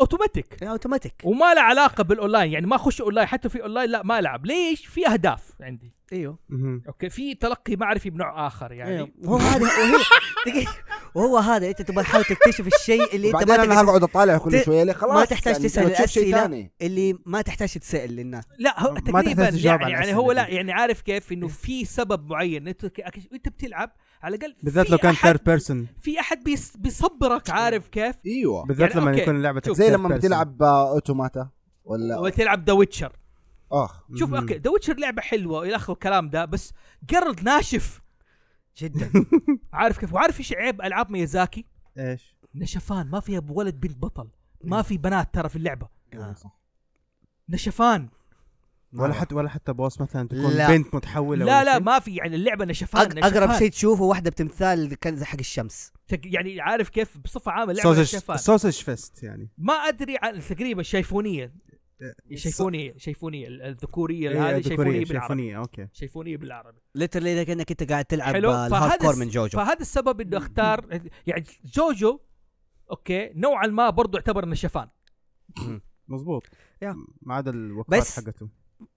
اوتوماتيك
يعني اوتوماتيك
وما له علاقه بالاونلاين يعني ما اخش اونلاين حتى في اونلاين لا ما العب ليش في اهداف عندي
ايوه
مهم.
اوكي في تلقي معرفي بنوع اخر
يعني
إيه.
يعني
وهو هذا وهي دقيقة وهو هذا انت تبغى تحاول تكتشف الشيء اللي انت
وبعدين
ما
انا
تقدر-
هقعد اطالع كل
ت-
شويه ليه خلاص
ما تحتاج
يعني
تسأل
لما تشوف شيء
الأسئلة.
ثاني
اللي ما تحتاج تسال للناس
لا هو
ما
تقريبا
تحتاج تجاوب
يعني,
على
يعني
الأسئلة
هو
دي. إيه.
لا يعني عارف كيف انه في سبب معين انت ك- وانت بتلعب على الاقل
بالذات
في
لو كان
أحد-
ثيرد بيرسون
في احد بيس- بيصبرك عارف كيف
إيه.
ايوه
بالذات
يعني
لما
أوكي.
يكون لعبتك
شوف،
زي
third
لما
person.
بتلعب آه، اوتوماتا ولا
وتلعب ذا ويتشر
اخ
شوف
مهم.
اوكي ذا ويتشر لعبه حلوه والى اخره الكلام ده بس جرد ناشف
جدا
عارف كيف وعارف ايش عيب العاب ميازاكي
ايش؟
نشفان ما فيها ولد بنت بطل
نعم.
ما في بنات ترى في اللعبه
آه.
نشفان
ولا حتى ولا حتى بوس مثلا تكون
لا.
بنت متحوله
لا
ولا
لا
شيء.
ما في يعني اللعبه نشفان
أق- اقرب
نشفان.
شيء تشوفه واحده بتمثال كنز حق الشمس
تق- يعني عارف كيف بصفه عامه اللعبه
سوسج
نشفان
سوسج فيست يعني
ما ادري عن تقريبا شيفونيه شيفونيه شيفونيه ال- الذكوريه
إيه،
هذه شيفونيه
ذكورية،
بالعربي
شيفونية اوكي
شيفونيه بالعربي
ليترلي كانك انت قاعد تلعب
حلو
آه، الهارد
فهذا
كور
الس-
من جوجو
فهذا السبب انه اختار يعني جوجو اوكي نوعا ما برضو يعتبر نشفان
مزبوط
يا.
ما عدا الوقفات
بس-
حقته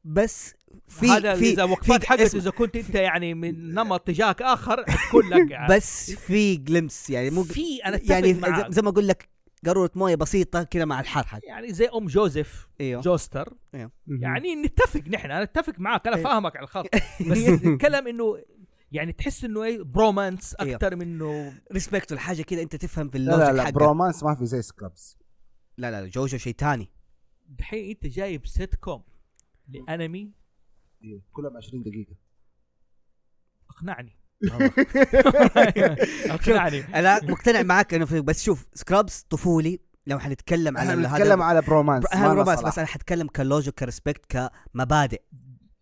بس في
هذا
في
اذا وقفات
في-
حقته
اسمع.
اذا كنت انت يعني من نمط تجاهك اخر حتكون لك يعني
بس في جلمس يعني مو
في انا اتفق
يعني
معاك.
ز- زي ما اقول لك قاروره مويه بسيطه كذا مع الحر حق
يعني زي ام جوزيف
ايوه
جوستر
مهم.
يعني نتفق نحن انا اتفق معك انا
أيوه.
فاهمك على الخط بس نتكلم انه يعني تحس انه ايه برومانس
أيوه.
اكثر منه
ريسبكت الحاجه كذا انت تفهم في
لا لا
اللوجيك
لا
حقه
برومانس ما في زي سكرابس
لا لا لا جوجو شيء ثاني
دحين انت جايب سيت كوم لانمي
إيوه، كلهم 20 دقيقه
اقنعني
والله.
اقنعني
انا مقتنع معك انه في- بس شوف سكرابس طفولي لو حنتكلم
احنا
على هذا-
بنتكلم على برومانس
بر-
ما
هذا
لنا
رومانس
صلاح.
بس انا حتكلم كلوجيك كريسبكت كمبادئ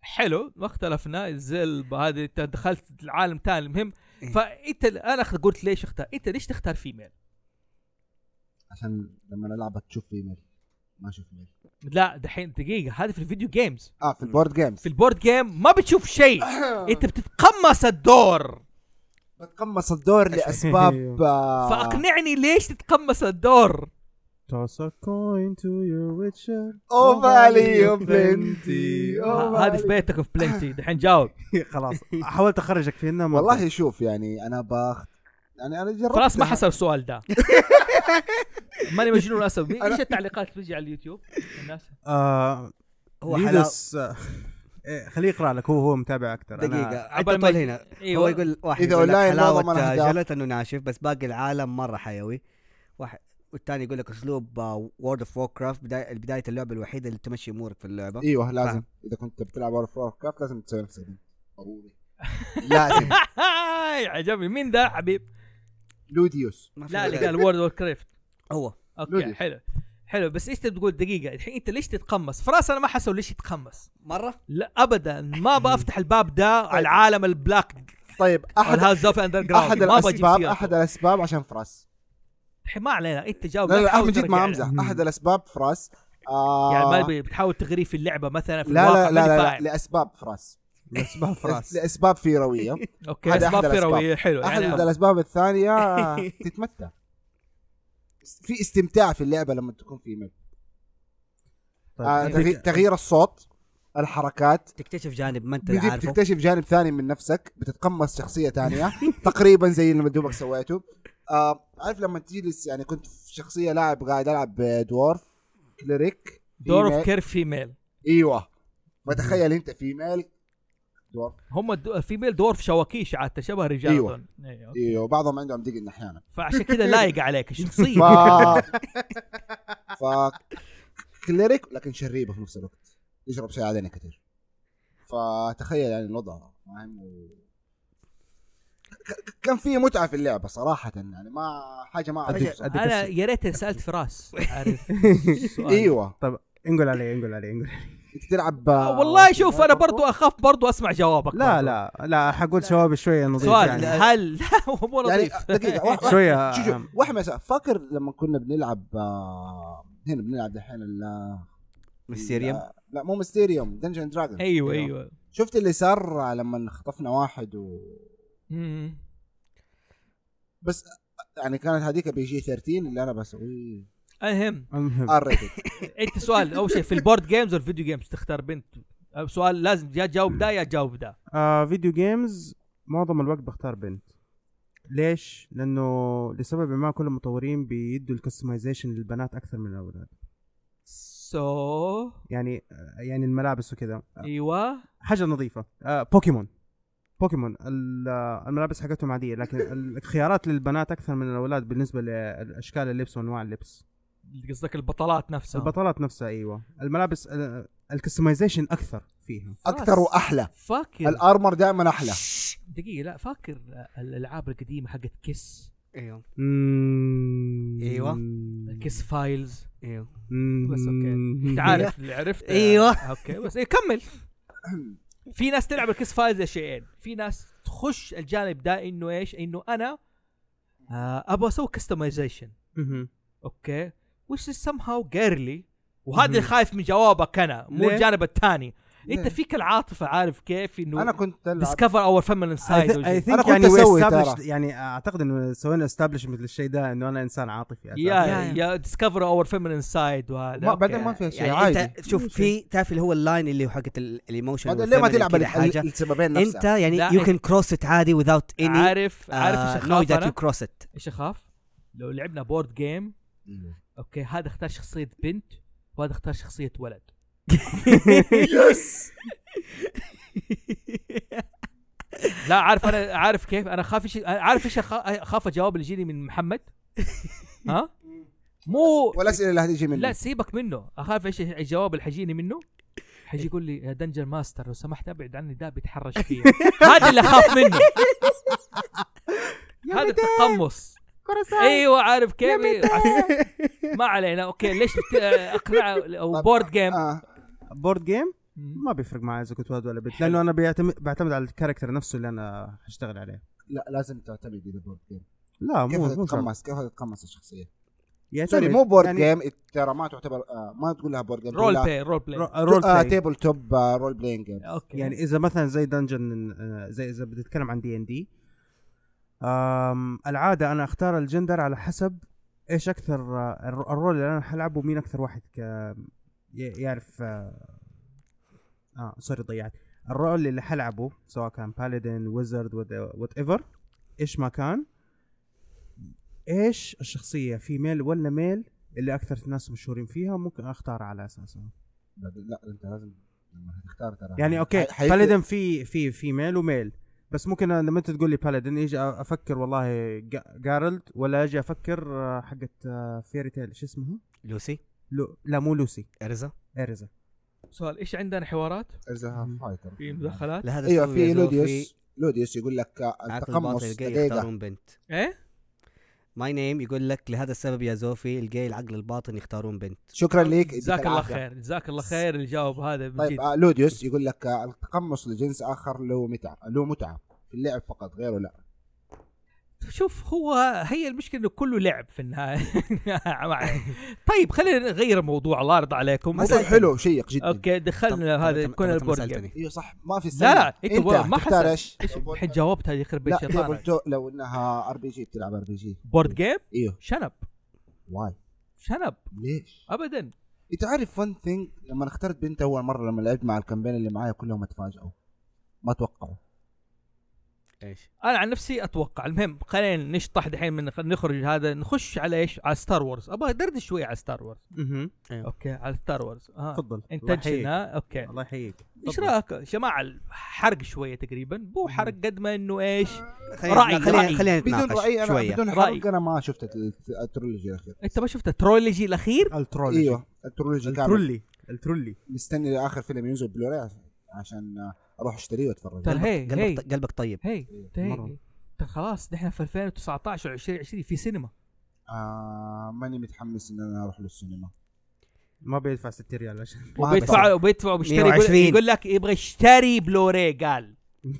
حلو ما اختلفنا زل هذه انت دخلت العالم تاني المهم
إيه.
فانت انا اخت- قلت ليش اختار انت ليش تختار فيميل
عشان لما نلعبها تشوف فيميل ما اشوف فيميل
لا دحين دقيقه هذا في الفيديو جيمز
اه في البورد جيمز
في البورد جيم ما بتشوف شيء انت بتتقمص الدور
بتقمص الدور لاسباب آه،
فاقنعني ليش تتقمص الدور
Toss a coin to your witcher
Oh, valley of plenty. Oh,
ه- هذه في بيتك في بلنتي دحين جاوب
خلاص حاولت اخرجك فينا ما
آه، والله شوف يعني انا باخت يعني انا جربت
خلاص ما حسب السؤال ده ماني مجنون اسف ايش التعليقات اللي بتجي على اليوتيوب الناس
آه هو
هو حلاوه
ليدس آه، إيه، خليه يقرا لك هو هو متابع اكثر أنا
دقيقة انت
عبال ما
طول
يجي-
هنا
إيوه.
هو يقول واحد
إذا
يقول لك
أونلاين معظم
حلاوة
الأهداف.
جلت انه ناشف بس باقي العالم مرة حيوي واحد والثاني يقول لك آه، اسلوب وورد اوف وور كرافت بدايه اللعبه الوحيده اللي تمشي امورك في اللعبه
ايوه لازم
فاهم.
اذا كنت بتلعب وورد اوف كرافت لازم تسوي نفس البنت. ضروري لازم
هاي عجبني مين ده حبيب
لوديوس
ما في
لا اللي
مشكلة.
قال وورد كريفت
هو
اوكي
لودي.
حلو حلو بس ايش تبي تقول دقيقه الحين انت ليش تتقمص فراس انا ما حسوا ليش يتقمص
مره
لا ابدا ما بفتح الباب ده
طيب.
على العالم البلاك
طيب احد
والهاوس اوف اندر جراوند
احد
ما بجيب
الاسباب
سيرته.
احد الاسباب عشان فراس
الحين ما علينا انت جاوب
لا لا
تحاول
احمد جد
ترجع
ما
لي.
امزح
لها.
احد الاسباب فراس آه
يعني ما يبي- بتحاول تغريه في اللعبه مثلا في
لا
الواقع
لا لا,
ماني
لا,
فاهم.
لاسباب فراس
الاسباب فراس
لاسباب فيرويه
اوكي
هذا
اسباب
أحد الأسباب.
فرويه حلو
احد
يعني
الاسباب الثانيه تتمتع في استمتاع في اللعبه لما تكون في مب.
طيب،
آه
عندك-
تغي- تغيير الصوت الحركات
تكتشف جانب ما انت
بيجيب
عارفه
تكتشف جانب ثاني من نفسك بتتقمص شخصيه ثانيه تقريبا زي اللي دوبك سويته آه عارف لما تجلس يعني كنت في شخصيه لاعب قاعد العب دورف كليريك
دور
فيميل.
اوف كير فيميل
ايوه فتخيل انت فيميل دورف
هم الدو... فيميل دورف شواكيش عاده شبه رجال
أيوة.
أظن. ايوه
ايوه بعضهم عندهم دقن احيانا
فعشان كذا لايق عليك
ف
الشخصيه
ف كليريك لكن شريبه في نفس الوقت يشرب شاي علينا كثير فتخيل يعني الوضع فاهم و... ك- ك- كان في متعه في اللعبه صراحه يعني ما حاجه ما
أديك-
أعرفها.
أديك
انا
السؤال.
يا ريت سالت فراس عارف السؤال.
ايوه
انقل علي انقل علي انقل علي.
انت تلعب
آه، والله شوف انا برضو اخاف برضو اسمع جوابك
لا
برضو.
لا لا حقول شباب شويه نظيف
سؤال
يعني
هل هو مو
يعني
نظيف
دقيقه واحد
شوية-
شو شو واحد مساء فاكر لما كنا بنلعب آه، هنا بنلعب دحين ال-
ميستيريوم
لا- لا مو ميستيريوم دنجن دراجون
ايوه
أيوة.
ايوه
شفت اللي صار لما خطفنا واحد و
مم.
بس يعني كانت هذيك بي جي 13 اللي انا بسويه آه،
المهم
المهم
ار ريتد
انت سؤال اول شيء في البورد جيمز والفيديو جيمز تختار بنت أو سؤال لازم يا تجاوب ده يا تجاوب ده
آه فيديو جيمز معظم الوقت بختار بنت ليش؟ لانه لسبب ما كل المطورين بيدوا الكستمايزيشن للبنات اكثر من الاولاد
سو
يعني آه، يعني الملابس وكذا
ايوه
حاجه نظيفه آه بوكيمون بوكيمون ال- آه، الملابس حقتهم عاديه لكن الخيارات للبنات اكثر من الاولاد بالنسبه لاشكال اللبس وانواع اللبس
قصدك البطلات نفسها
البطلات نفسها ايوه الملابس الكستمايزيشن اكثر فيها
اكثر واحلى
فاكر
الارمر دائما احلى
دقيقة لا فاكر الألعاب القديمة حقت كيس
ايوه
ايوه
أمم.
أيوة.
كيس فايلز
ايوه
بس أوكي. انت عارف اللي عرفت
أيوة.
أيوه.
اوكي بس إيه كمل في ناس تلعب الكيس فايلز يا شيئين في ناس تخش الجانب ده انه ايش انه انا آه ابغى اسوي كستمايزيشن
مهم.
اوكي وش سم هاو جيرلي وهذا اللي خايف من جوابك انا مو
ليه؟
الجانب الثاني
ليه؟
انت فيك العاطفه عارف كيف انه
انا كنت العب
ديسكفر اور فيمينين
اي
سايد
أنا
ثينك
كنت
يعني
أسوي
we
ترى.
established- يعني اعتقد انه سوينا استابلش مثل الشيء ده انه انا انسان عاطفي
يا
أساساً.
Yeah.
يا ديسكفر اور فيمينين سايد وهذا
ما- بعدين
أوكي.
ما فيها شيء
يعني
عادي
انت شوف في تعرف اللي هو اللاين اللي هو حقت ال- الايموشن
بعدين ليه ما
والfeminine
تلعب
كده
ال-
حاجه
ال- السببين
انت
نفسها
يعني
لا، إيه.
يو كان كروس ات عادي without any
عارف عارف
آه،
ايش
knowledge that
اخاف انا
you cross it
ايش اخاف لو لعبنا بورد جيم اوكي هذا اختار شخصيه بنت وهذا اختار شخصيه ولد
يس
لا عارف انا عارف كيف انا خاف ايش عارف ايش أخا- اخاف الجواب اللي يجيني من محمد ها مو
والاسئله اللي هتجي مني
لا سيبك منه اخاف ايش الجواب اللي حيجيني منه حيجي يقول لي يا دنجر ماستر لو سمحت ابعد عني ده بيتحرش فيه هذا اللي اخاف منه هذا التقمص ايوه عارف كيف عس- ما علينا اوكي ليش بت- اقنع او بورد جيم
آه.
بورد جيم ما بيفرق معي اذا كنت ولد ولا بنت لانه انا بيعتمد بعتمد على الكاركتر نفسه اللي انا هشتغل عليه
لا لازم تعتمد اذا بورد جيم
لا
كيف
مو مو شرط.
هتتقمص كيف هتتقمص الشخصيه
يعتمد.
سوري مو بورد
يعني
جيم ترى ما تعتبر آه ما تقول لها بورد جيم
رول بلاي رول بلاي
رو- رول بلاي
تيبل توب آه، رول بلاينج جيم
اوكي
يعني اذا مثلا زي دنجن آه، زي اذا بتتكلم عن دي ان دي العاده انا اختار الجندر على حسب ايش اكثر آه، الر- الرول اللي انا حلعبه مين اكثر واحد ك ي- يعرف اه آه، سوري ضيعت الرول اللي حلعبه سواء كان بالادين ويزرد وات ايفر ايش ما كان ايش الشخصيه فيميل ولا ميل اللي اكثر ناس مشهورين فيها ممكن اختار على اساسها
لا انت لازم لما هتختار ترى
يعني اوكي
حي- حيفرق.
بالادن في في في ميل وميل بس ممكن أنا لما انت تقول لي بالادين يجي افكر والله جا- جارلد ولا اجي افكر آه، حقت آه، فيري تيل شو اسمها؟
لوسي
لو لا مو لوسي
ارزا
اريزا
سؤال ايش عندنا حوارات
ارزها فايتر
في مداخلات
لا هذا
ايوه
سوي
في
يا زوفي.
لوديوس لوديوس يقول لك
عقل باطل
التقمص
الجاي
دقيقه
يختارون بنت
ايه
ماي نيم يقول لك لهذا السبب يا زوفي الجاي العقل الباطن يختارون بنت
شكرا ليك يديك
جزاك الله
العافية.
خير جزاك الله خير اللي جاوب هذا من
طيب
جد
آه، لوديوس يقول لك آه، التقمص لجنس اخر له متعه له متعه في اللعب فقط غيره لا
شوف هو هي المشكله انه كله لعب في النهايه ما عليك. طيب خلينا نغير الموضوع الله يرضى عليكم
موضوع
سألتني.
حلو شيق جدا
اوكي
طب-
دخلنا
طب-
هذا
طب-
كنا
طب- طب ما
البورد جيم.
سألتني.
ايوه صح ما في
لا لا
انت,
انت بقى- ما
تختار
حسب.
ايش؟
ايش الحين جاوبت هذه يخرب بيت
لا تبغى
شيطانك
تو- لو انها ار بي جي بتلعب ار بي جي
بورد جيم
ايوه
شنب
واي
شنب
ليش؟ إيه،
ابدا
انت عارف فن ثينج لما اخترت بنت اول مره لما لعبت مع الكامبين اللي معايا كلهم اتفاجئوا ما توقعوا
ايش
انا عن نفسي اتوقع المهم خلينا نشطح دحين من خلينا نخرج هذا نخش على ايش على ستار وورز ابغى دردش شويه على ستار وورز
اها
نعم.
اوكي على ستار وورز اه
تفضل الله
انتنشن
يحييك
ها اوكي
الله يحييك
ايش
تفضل.
رايك يا جماعه حرق شويه تقريبا مو حرق قد ما انه ايش
آه.
أيوة. خلينا
رأي،
خلينا
رأي.
خلينا
بدون راي
نتناقش
انا
شويه
بدون
رأي.
حرق انا ما شفت الت- الترولوجي الاخير
انت ما شفت الترولوجي الاخير
الترولوجي
ايوه الترولوجي كامل
أيوة، الترولي الترولي
مستني اخر فيلم ينزل بلوراي عشان- عشان آه، اروح اشتريه واتفرج
ترى طيب، هي هي
قلبك ط- قلبك طيب
هي
مرة.
هي ترى خلاص نحن في 2019 و 2020 في سينما
آه ماني متحمس ان انا اروح للسينما
ما بيدفع 60 ريال عشان
ما
وبيدفع وبيدفع وبيشتري يقول,
120.
يقول لك يبغى يشتري بلوري قال
بس-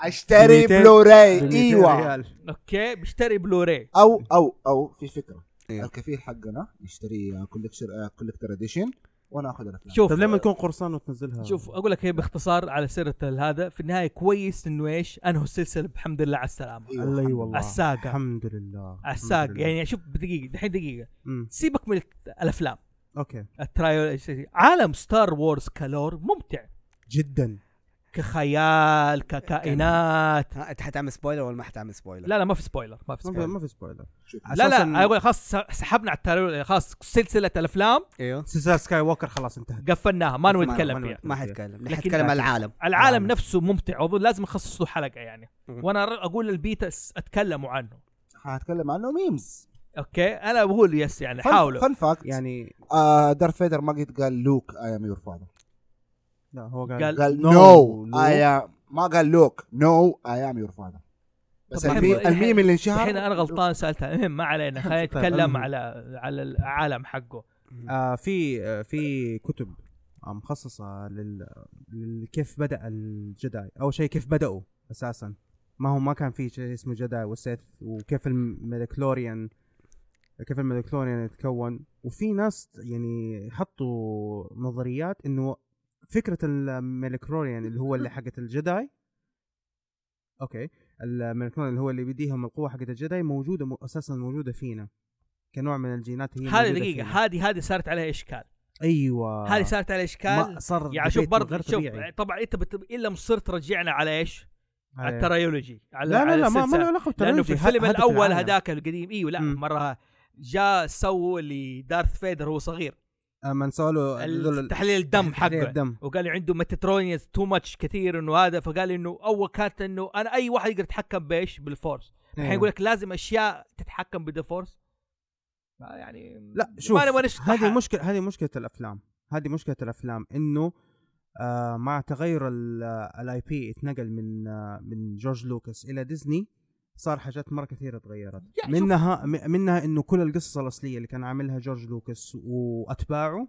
اشتري
200
بلوراي
200
ايوه
ريال.
اوكي بيشتري بلوري
او او او في فكره
إيه.
الكفيل حقنا يشتري آه، كولكتر كولكتر اديشن وانا اخذ الافلام
شوف
طب طيب، لما تكون قرصان وتنزلها
شوف اقول لك هي باختصار على سيره هذا في النهايه كويس انه ايش انهوا السلسله بحمد الله على السلامه
إيوه.
الله أي والله
الساقة.
الحمد لله
على الساق
الحمد لله.
يعني شوف دقيقه دحين دقيقه
أمم.
سيبك من الت- الافلام
اوكي
الترايل عالم ستار وورز كلور ممتع
جدا
كخيال ككائنات
ها انت حتعمل سبويلر ولا ما حتعمل سبويلر؟
لا لا ما في سبويلر ما في
ما
سبويلر
في- ما في سبويلر
شوف.
لا لا
أساساً
أنا اقول خلاص س- سحبنا على الترايل خلاص سلسله الافلام
ايوه
سلسله سكاي ووكر خلاص انتهت
قفلناها
ما-
ما نبغى نتكلم
ما-
فيها
ما حتكلم
لكن-
حتكلم على العالم
العالم نفسه ممتع واظن لازم نخصص له حلقه يعني
مم.
وانا ر- اقول البيتا س- اتكلموا عنه
هتكلم عنه ميمز
اوكي انا بقول يس يعني حاولوا
فن فاكت يعني
يعني
آه دارث فيدر ما قد قال لوك اي ام يور فاذر
لا هو
قال-
قال
قال
No,
نو
Luke.
اي ام ما قال لوك نو اي ام يور فاذر بس
طب
المي-
الحين-
الميم اللي انشهر
الحين انا غلطان سالتها المهم ما علينا خلينا
طيب، المهم.
نتكلم على على العالم حقه
آه في آه في كتب آه، مخصصه لل... لل كيف بدا الجداي اول شيء كيف بداوا اساسا ما هو ما كان في شيء اسمه جداي وسيث وكيف الميدكلوريان كيف الميدكلوريان يتكون وفي ناس يعني حطوا نظريات انه فكره الميدكلوريان اللي هو اللي حقت الجداي اوكي الميدكلوريان اللي هو اللي بيديهم القوه حقت الجداي موجوده م... اساسا موجوده فينا كنوع من الجينات هي
هذه
موجودة
دقيقه
فينا.
هذه هذه صارت عليها اشكال
ايوه
هذه صارت عليها اشكال
ما صار
يعني شوف
debate
برضه
غير
شوف
طبيعي
طبعا انت بت... الا مصرت رجعنا على ايش؟ على
لا
الترايولوجي على
إيه. لا
على
لا ما ما
السلسلة.
له علاقه
لانه
بالترولوجي،
في الفيلم
هدف
الاول
العالم.
هذاك القديم ايوه لا
مم.
مره جاء سووا لدارث فيدر وهو صغير
اما سالوا آه، هذول ال-
تحليل الدم
تحليل
حقه
الدم
وقال لي عنده ميتاترونيز تو ماتش كثير انه هذا فقال انه اول كانت انه انا اي واحد يقدر يتحكم بايش؟ بالفورس الحين
إيه.
يقول لك لازم اشياء تتحكم بذا فورس يعني
لا شوف
ما نبغى نشطح.
هذه مشكله هذه مشكله الافلام هذه مشكله الافلام انه آه مع تغير الاي بي اتنقل من آه من جورج لوكاس الى ديزني صار حاجات مره كثيره تغيرت
يا شوف.
منها م- منها انه كل القصص الاصليه اللي كان عاملها جورج لوكاس واتباعه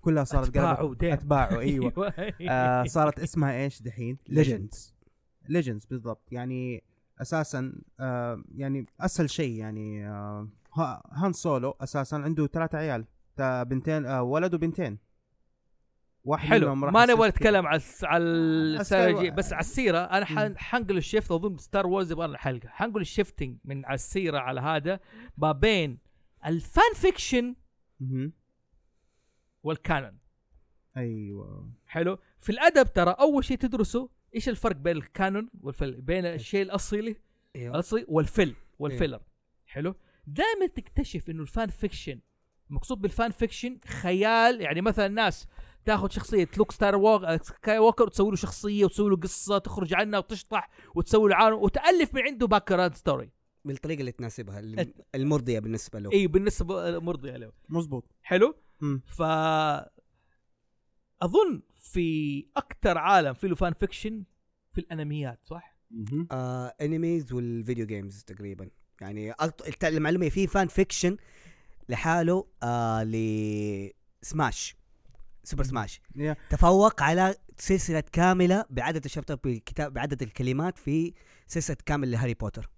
كلها صارت قلبت-
أتباعه، إيوه. damn.
اتباعه ايوه آه صارت اسمها ايش دحين؟
Legends.
ليجندز بالضبط يعني اساسا آه يعني اسهل شيء يعني آه ها- هان سولو اساسا عنده ثلاثة عيال تا- بنتين آه ولد وبنتين واحد
حلو
منهم راح
ما
يصير
نبغى
كذا.
نتكلم على الس- على السيرجي
و-
بس على السيره انا
مم.
حن- حنقل الشيفت اظن ستار وورز يبغى لنا حلقه حنقل الشيفتنج من على السيره على هذا ما بين الفان فيكشن
مهم.
والكانون
ايوه
حلو في الادب ترى اول شيء تدرسه ايش الفرق بين الكانون والفيلم بين الشيء الاصيلي
ايوه
الاصلي والفيل والفيلر حلو دائما تكتشف انه الفان فيكشن مقصود بالفان فيكشن خيال يعني مثلا ناس تاخذ شخصيه لوك ستار ووك سكاي ووكر وتسوي له شخصيه وتسوي له قصه تخرج عنها وتشطح وتسوي له عالم وتالف من عنده باكراند ستوري
بالطريقه اللي تناسبها الم- المرضيه بالنسبه له
اي بالنسبه مرضيه له
مزبوط
حلو
مم.
ف اظن في اكثر عالم فيه له فان فيكشن في الانميات صح؟
مهم.
آه انميز والفيديو جيمز تقريبا يعني أط- الت- المعلومه في فان فيكشن لحاله آه لسماش سوبر سماش
يا.
تفوق على سلسله كامله بعدد الشابتر بالكتاب بعدد الكلمات في سلسله كامل لهاري بوتر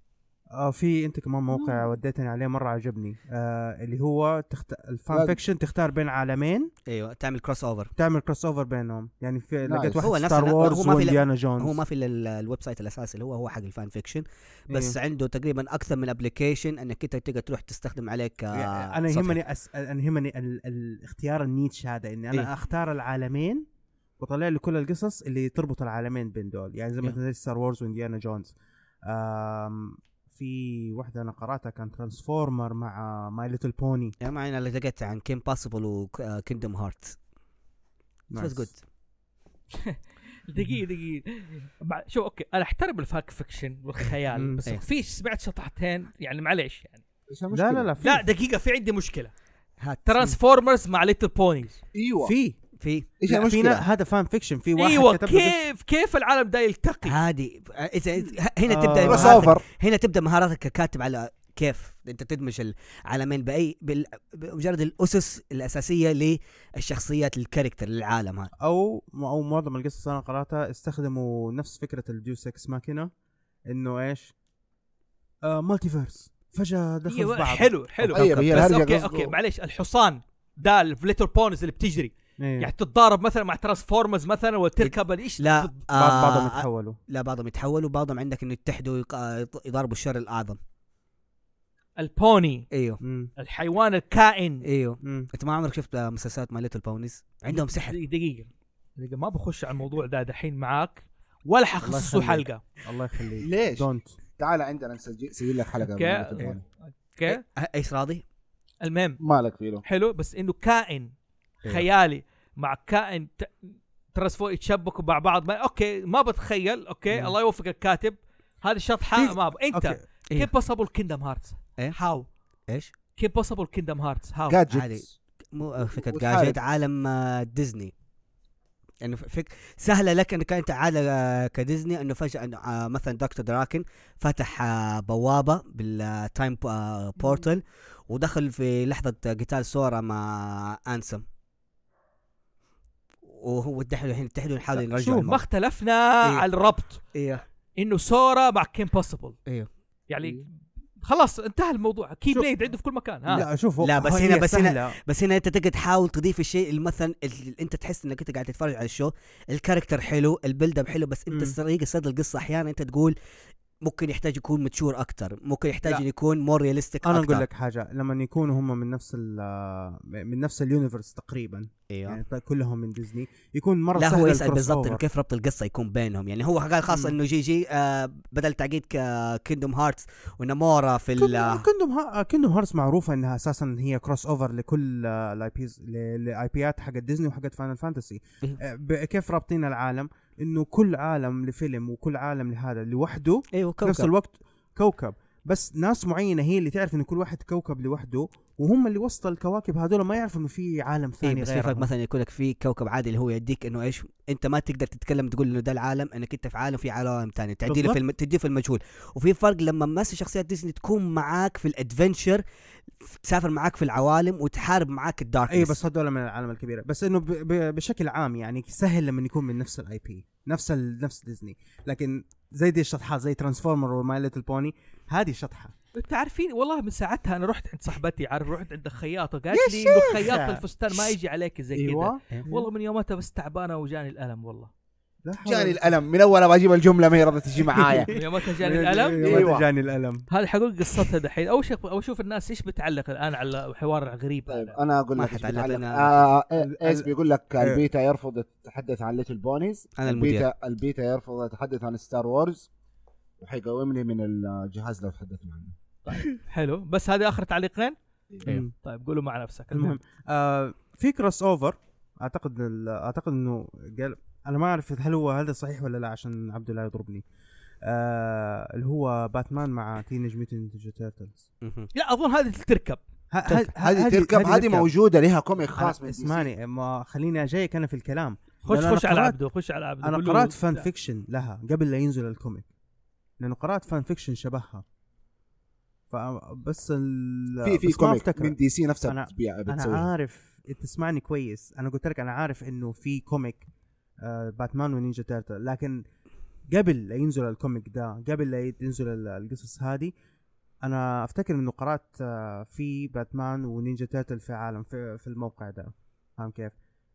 آه في انت كمان موقع
آه.
وديتني عليه مره عجبني آه اللي هو تخت... الفان
لا.
فيكشن تختار بين عالمين
ايوه تعمل كروس اوفر
تعمل كروس اوفر بينهم يعني في
نايس.
لقيت
هو
واحد
نفس-
ستار
هو
وورز
ما في-
وانديانا جونز
هو ما في الا ال- الويب سايت الاساسي اللي هو هو حق الفان فيكشن بس
إيه.
عنده تقريبا اكثر من ابلكيشن انك انت تقدر تروح تستخدم عليك آه،
يعني انا يهمني أس... انا يهمني ال... الاختيار النيتش هذا اني انا
إيه.
اختار العالمين وطلع لي كل القصص اللي تربط العالمين بين دول يعني زي
إيه.
مثلا ستار وورز وانديانا جونز آم... في واحده انا قراتها كان ترانسفورمر مع ماي ليتل بوني
يا معين انا يعني لقيت عن كيم باسبل وكيندم هارت بس جود
دقيقه دقيقه مع- شو اوكي انا احترم الفاك فيكشن والخيال
مم. أيوه.
بس
إيه.
في سمعت شطحتين يعني معليش يعني
إيش المشكلة؟
لا لا لا في
لا دقيقه في عندي مشكله
هات
ترانسفورمرز مع ليتل بونيز
أيوة.
ايوه
في
في
ايش
لا، في نا-
المشكله؟
هذا فان فيكشن في واحد
ايوه
كتب له قصة.
كيف كيف العالم ده يلتقي
عادي إذا- إذا- هنا
آه.
تبدا
بس
مهارتك
اوفر
هنا تبدا مهاراتك ككاتب على كيف انت تدمج العالمين باي بال- بمجرد الاسس الاساسيه للشخصيات الكاركتر للعالم هذا
او او معظم القصص انا قراتها استخدموا نفس فكره الديوس اكس ماكينه انه ايش؟ آه مالتيفيرس فجاه دخلوا
أيوة،
في بعض
حلو حلو
طيب، هي
بس
الهرجة
اوكي
قصده.
اوكي معليش الحصان ده ليتل بونيز اللي بتجري
إيه.
يعني تتضارب مثلا مع ترانسفورمرز مثلا وتركب الايش
لا
بعض بعضهم
آه،
يتحولوا
لا بعضهم يتحولوا بعضهم عندك انه يتحدوا يق- آه، يط- يضاربوا الشر الاعظم
البوني
ايوه
مم.
الحيوان
إيه،
الكائن
ايوه
مم.
انت ما عمرك شفت آه، مسلسلات مال ليتل بونيز عندهم سحر
دقيقة- دقيقه دقيقه ما بخش على الموضوع ده دحين معاك ولا حخصصه
يخليك.
حلقه
الله يخليك
ليش؟
دونت
تعال عندنا نسجل سجل لك حلقه
اوكي.
من التليفون.
إيه،
اوكي
أ- ايش إيه، راضي؟
المهم
مالك فيلو
حلو بس انه كائن
إيه.
خيالي مع كائن ت... ترسفوا يتشبكوا مع بعض ما... اوكي ما بتخيل اوكي
مم.
الله يوفق الكاتب هذه الشطحه
في-
ما ب... انت
اوكي
إيه.
كيف بصبوا الكيندم هارتس
إيه.
هاو
ايش؟
كيف بصبوا الكيندم هارتس هاو
عادي.
جادجتس
مو آه، فكره
وتحارب.
جاجيت عالم آه، ديزني يعني ف- فك سهله لك انك انت عالم آه، كديزني انه فجاه انه آه، مثلا دكتور دراكن فتح آه، بوابه بالتايم آه، بورتل ودخل في لحظه آه، قتال سورا مع انسم وهو الدحين الحين التحدوا يحاولوا يرجعوا
شوف ما
الموضوع.
اختلفنا
إيه.
على الربط
ايوه
انه سورا مع كيم بوسيبل
ايوه.
يعني خلاص انتهى الموضوع كي
شوف.
بليد عنده في كل مكان ها
لا شوف هو-
لا، بس
هي
هنا- بس هنا-
سهلة.
بس هنا انت تقعد تحاول تضيف الشيء اللي مثلا اللي انت تحس انك انت قاعد تتفرج على الشو الكاركتر حلو البيلد اب حلو بس
مم.
انت طريقه سرد القصه احيانا انت تقول ممكن يحتاج يكون متشور اكثر ممكن يحتاج
لا.
إن يكون مور رياليستيك
انا
اكثر
اقول لك حاجه لما يكونوا هم من نفس ال من نفس اليونيفرس تقريبا
ايوه
يعني كلهم من ديزني يكون مره
لا
سهل
هو يسال
الكروس
بالضبط
أوفر.
إنه كيف ربط القصه يكون بينهم يعني هو قال خاص
مم.
انه جي جي آه بدل تعقيد كيندوم هارتس ونمورا في ال
كندوم ها... كندوم هارتس معروفه انها اساسا هي كروس اوفر لكل الاي بيز الاي بيات حقت ديزني وحقت فاينل فانتسي
إيه.
آه، ب- كيف رابطين العالم انه كل عالم لفيلم وكل عالم لهذا لوحده
ايوه
في نفس
كوكب
الوقت كوكب بس ناس معينه هي اللي تعرف ان كل واحد كوكب لوحده وهم اللي وسط الكواكب هذول ما يعرفوا انه في عالم
إيه
يعني
ثاني
بس في فرق
غيرهم
مثلا يكون لك في كوكب عادي اللي هو يديك انه ايش انت ما تقدر تتكلم تقول انه ده العالم انك انت في عالم في عالم ثاني تعديله في الم... تديه في المجهول وفي فرق لما مثلا شخصيات ديزني تكون معاك في الادفنشر تسافر معاك في العوالم وتحارب معاك الدارك
إيه،
اي إيه، بس هذول من العالم الكبيره بس انه ب... ب... بشكل عام يعني سهل لما يكون من نفس الاي بي نفس ال... نفس ديزني لكن زي دي الشطحات زي ترانسفورمر وماي ليتل بوني هذه شطحه
انت عارفين والله من ساعتها انا رحت عند صاحبتي عارف رحت عند خياطه قالت لي انه خياط الفستان ما يجي عليك زي كذا
ايوه
إيه؟
والله من يومتها بس تعبانه وجاني الالم والله
لا حول
جاني الالم من اول ما اجيب الجمله ما هي راضيه تجي معايا
من يومتها جاني
ولا-
الالم
يوم ما
أيوة.
جاني الالم
هذه حقول قصتها دحين اول شيء اول اشوف الناس ايش بتعلق الان على حوار غريب
طيب
هذا
انا اقول
ما
لك إيش
حتعلق
بيتعلق.
لنا.
آه، إيه- ايس
ال-
بيقول لك
إيه.
البيتا يرفض يتحدث عن ليتل بونيز
أنا المدير.
البيتا, البيتا يرفض يتحدث عن ستار وورز وحيقومني من الجهاز لو تحدثنا عنه
حلو بس هذه اخر تعليقين
أيوة.
طيب قولوا مع نفسك
المهم آه في كروس اوفر اعتقد ال- اعتقد انه قال انا ما اعرف هل هو هذا صحيح ولا لا عشان عبد الله يضربني آه اللي هو باتمان مع تينج ميوتن نينجا تيرتلز
مهم.
لا اظن هذه تركب
طيب، هذه تركب هذه موجوده لها كوميك خاص من اسمها
اسمعني ما خليني جايك انا في الكلام
خش
لأن أنا
خش على
قرأت-
عبده خش على عبده قول
انا
له
قرات فان
لا.
فيكشن لها قبل لا ينزل الكوميك لانه قرات فان فيكشن شبهها فبس ال
في في
بس ما
كوميك
أفتكر.
من دي سي نفسها
أنا- آه.
بتبيع
انا
بتسويها
عارف انت تسمعني كويس انا قلت لك انا عارف انه في كوميك آه، باتمان ونينجا تيرتل لكن قبل لا ينزل الكوميك ده قبل لا ينزل ال- القصص هذه انا افتكر انه قرات آه، في باتمان ونينجا تيرتل في عالم في, في الموقع ده فاهم كيف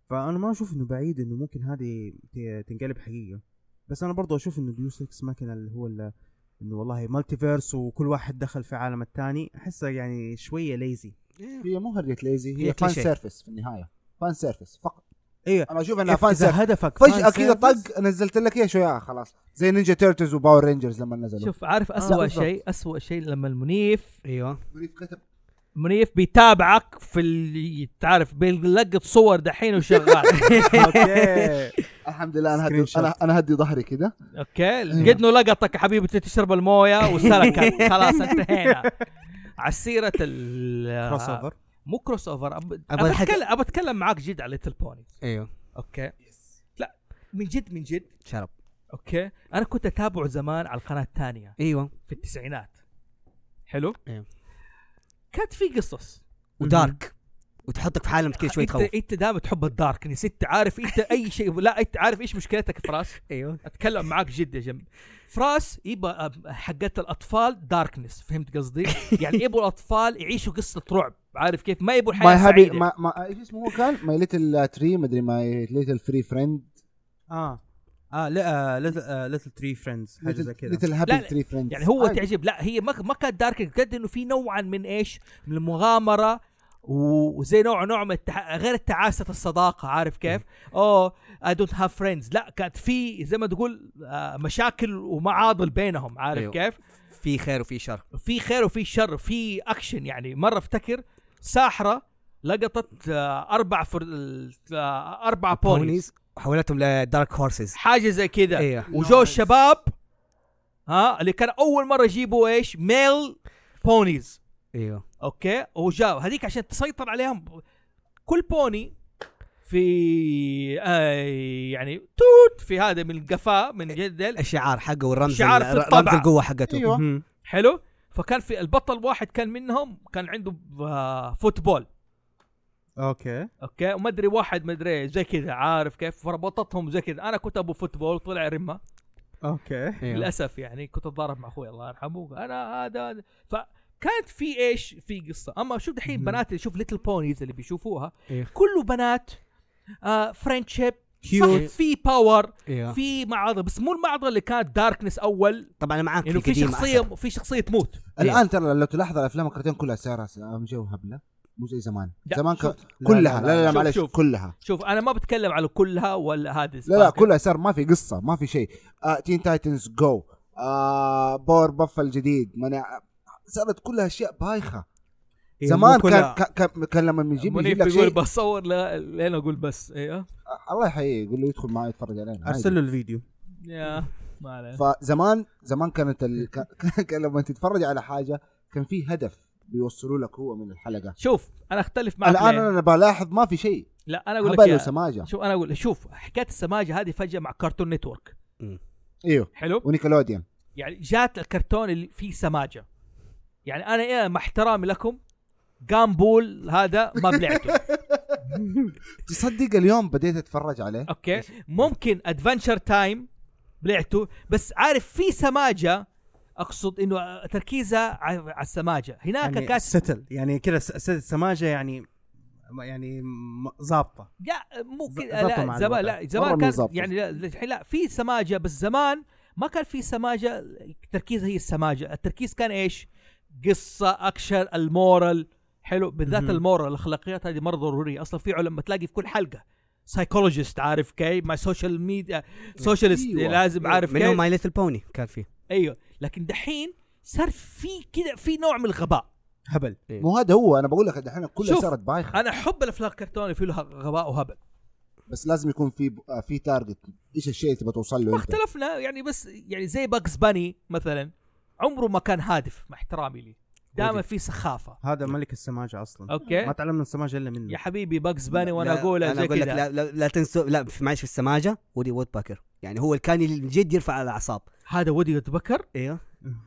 فانا ما اشوف انه بعيد انه ممكن هذه ت- تنقلب حقيقه بس انا برضو اشوف انه ديوس اكس ماكينه اللي هو ال- انه والله مالتيفيرس وكل واحد دخل في عالم الثاني احسها يعني شويه ليزي
هي مو هرجة ليزي
هي
هي فان
كليشيه.
سيرفيس في النهايه فان سيرفيس فقط
إيه.
انا اشوف انها فان
اذا
سيرفيس
هدفك
فجاه
fan
كذا
service-
طق نزلت لك اياه شويه خلاص زي نينجا تيرتلز وباور رينجرز لما نزلوا
شوف عارف اسوء
آه، بالضبط.
شيء اسوء شيء لما المنيف
ايوه
منيف بيتابعك في ال- تعرف بيلقط صور دحين وشغال
اوكي
الحمد لله انا
Screen
هدي
shot.
انا انا هدي ظهري كذا
اوكي
أيوة.
قد انه لقطك يا حبيبي أنت تشرب المويه وسلكت خلاص انتهينا على سيرة ال
كروس اوفر
مو كروس اوفر أب-
أبغى
ابى
الحق-
اتكلم ابى اتكلم معاك جد على ليتل بوني
ايوه
اوكي لا من جد من جد
شرب
اوكي انا كنت اتابعه زمان على القناه الثانيه
ايوه
في التسعينات حلو
إيه.
كانت في قصص
ودارك وتحطك في عالم كذا شوي تخوف
انت انت دائما تحب الدارك نسيت عارف انت اي شيء لا انت عارف ايش مشكلتك فراس
ايوه
اتكلم معاك جد يا جم فراس يبغى حقت الاطفال داركنس فهمت قصدي يعني يبغوا الاطفال يعيشوا قصه رعب عارف كيف ما يبغوا
ماي
حياه
هابي
سعيده
ما ما ايش اسمه هو كان ماي ليتل تري مدري ماي ليتل فري فريند
اه اه لا ليتل تري فريندز حاجه زي كذا
ليتل
لا،
هابي
لا.
تري فريند
يعني هو تعجب لا هي ما ما كانت دارك قد انه في نوعا من ايش من المغامره و- وزي نوع نوع من التح... غير التعاسه الصداقه عارف كيف؟ اوه اي دونت هاف فريندز لا كانت في زي ما تقول آه، مشاكل ومعاضل بينهم عارف
أيوه.
أيوه. كيف؟
في خير وفي شر
في خير وفي شر في اكشن يعني مره افتكر ساحره لقطت آه، اربع فر... آه، اربع بونيز
حولتهم لدارك هورسز
حاجه زي كذا
ايوه
وجو الشباب ها اللي كان اول مره يجيبوا ايش ميل بونيز إيوه.
ايوه
اوكي وجاب هذيك عشان تسيطر عليهم كل بوني في آه يعني توت في هذا من القفاه من جدل
الشعار حقه والرمز
شعار في إيوه.
ال- رمز
الطبعة.
القوه حقته
ايوه
مهم.
حلو فكان في البطل واحد كان منهم كان عنده آه فوتبول
اوكي
اوكي وما ادري واحد ما ادري زي كذا عارف كيف فربطتهم زي كذا انا كنت ابو فوتبول طلع رمه
اوكي
أيوه.
ايوه
للاسف يعني كنت اتضارب مع اخوي الله يرحمه انا هذا هذا. فكانت في ايش في قصه اما شوف دحين
مم.
بنات اللي شوف ليتل بونيز اللي بيشوفوها
إيه.
كله بنات آه فريندشيب صح
كيوت.
في باور
ايوه
في معضله بس مو المعضله اللي كانت داركنس اول
طبعا انا معاك
انه في
القديم
شخصيه
أحسن.
في شخصيه تموت إيه.
الان ترى لو تلاحظ الافلام الكرتون كلها سعرها س- جو هبله مو زي زمان
لا،
زمان
شوف.
كان كلها لا لا, لا
شوف،
معلش
شوف.
كلها
شوف انا ما بتكلم على كلها ولا هذا
لا لا كلها سعر ما في قصه ما في شيء آه تين تايتنز جو آه باور بف الجديد منع صارت كلها اشياء بايخه
إيه،
زمان
مو كل-
كان كان- كان كان لما يجيب
منيف
يجيب لك
بيقول
شيء
بصور لا- لين اقول بس ايوه
آه، الله يحييه يقول له يدخل معي يتفرج علينا عادي.
ارسل له الفيديو
يا ما عليه
فزمان زمان كانت ال... كان- كان لما تتفرج على حاجه كان في هدف بيوصلوا لك هو من الحلقه
شوف انا اختلف معك
الان
ليه.
انا بلاحظ ما في شيء
لا انا اقول لك
هبل
يا-
وسماجه
شوف انا اقول شوف حكايه السماجه هذه فجاه مع كرتون نتورك
ايوه
حلو
ونيكلوديان
يعني جات الكرتون اللي فيه سماجه يعني انا إيه مع احترامي لكم جامبول هذا ما بلعته
تصدق اليوم بديت اتفرج عليه
اوكي ممكن ادفنشر تايم بلعته بس عارف في سماجه اقصد انه تركيزها على على السماجه هناك
يعني
كانت
ستل يعني كذا س- س- سماجه يعني يعني م- ظابطه
لا مو
ز-
كده
ظبطوا مع
لا زمان
الوضع.
لا
مرة
زمان
مو
كان
ظابطة.
يعني لا الحين لا في سماجه بس زمان ما كان في سماجه التركيز هي السماجه التركيز كان ايش؟ قصه اكشن المورال حلو بالذات
مهم.
المورال الاخلاقيات هذه مره ضروريه اصلا في علم تلاقي في كل حلقه سايكولوجيست عارف كيف مع سوشيال ميديا سوشيالست
أيوة.
لازم عارف
منهم
كيف
ماي ليتل بوني كان فيه
ايوه لكن دحين صار في كذا في نوع من الغباء
هبل
مو هذا هو انا بقول لك دحين كلها
شوف.
صارت بايخه
انا احب الافلام الكرتون اللي فيها غباء وهبل
بس لازم يكون في ب... آه، في تارجت ايش الشيء اللي تبغى توصل له
ما
انت
اختلفنا يعني بس يعني زي باكس باني مثلا عمره ما كان هادف مع احترامي لي دائما
ودي.
في سخافه
هذا ملك السماجه اصلا
اوكي
ما تعلمنا السماجه الا منه
يا حبيبي باكس باني
لا،
وانا اقولها
انا
زي
اقول لك
كذا
لا لا, لا تنسوا لا في- معلش في السماجه ودي وود باكر يعني هو اللي كان جد يرفع على الاعصاب
هذا ودي يتبكر
ايوه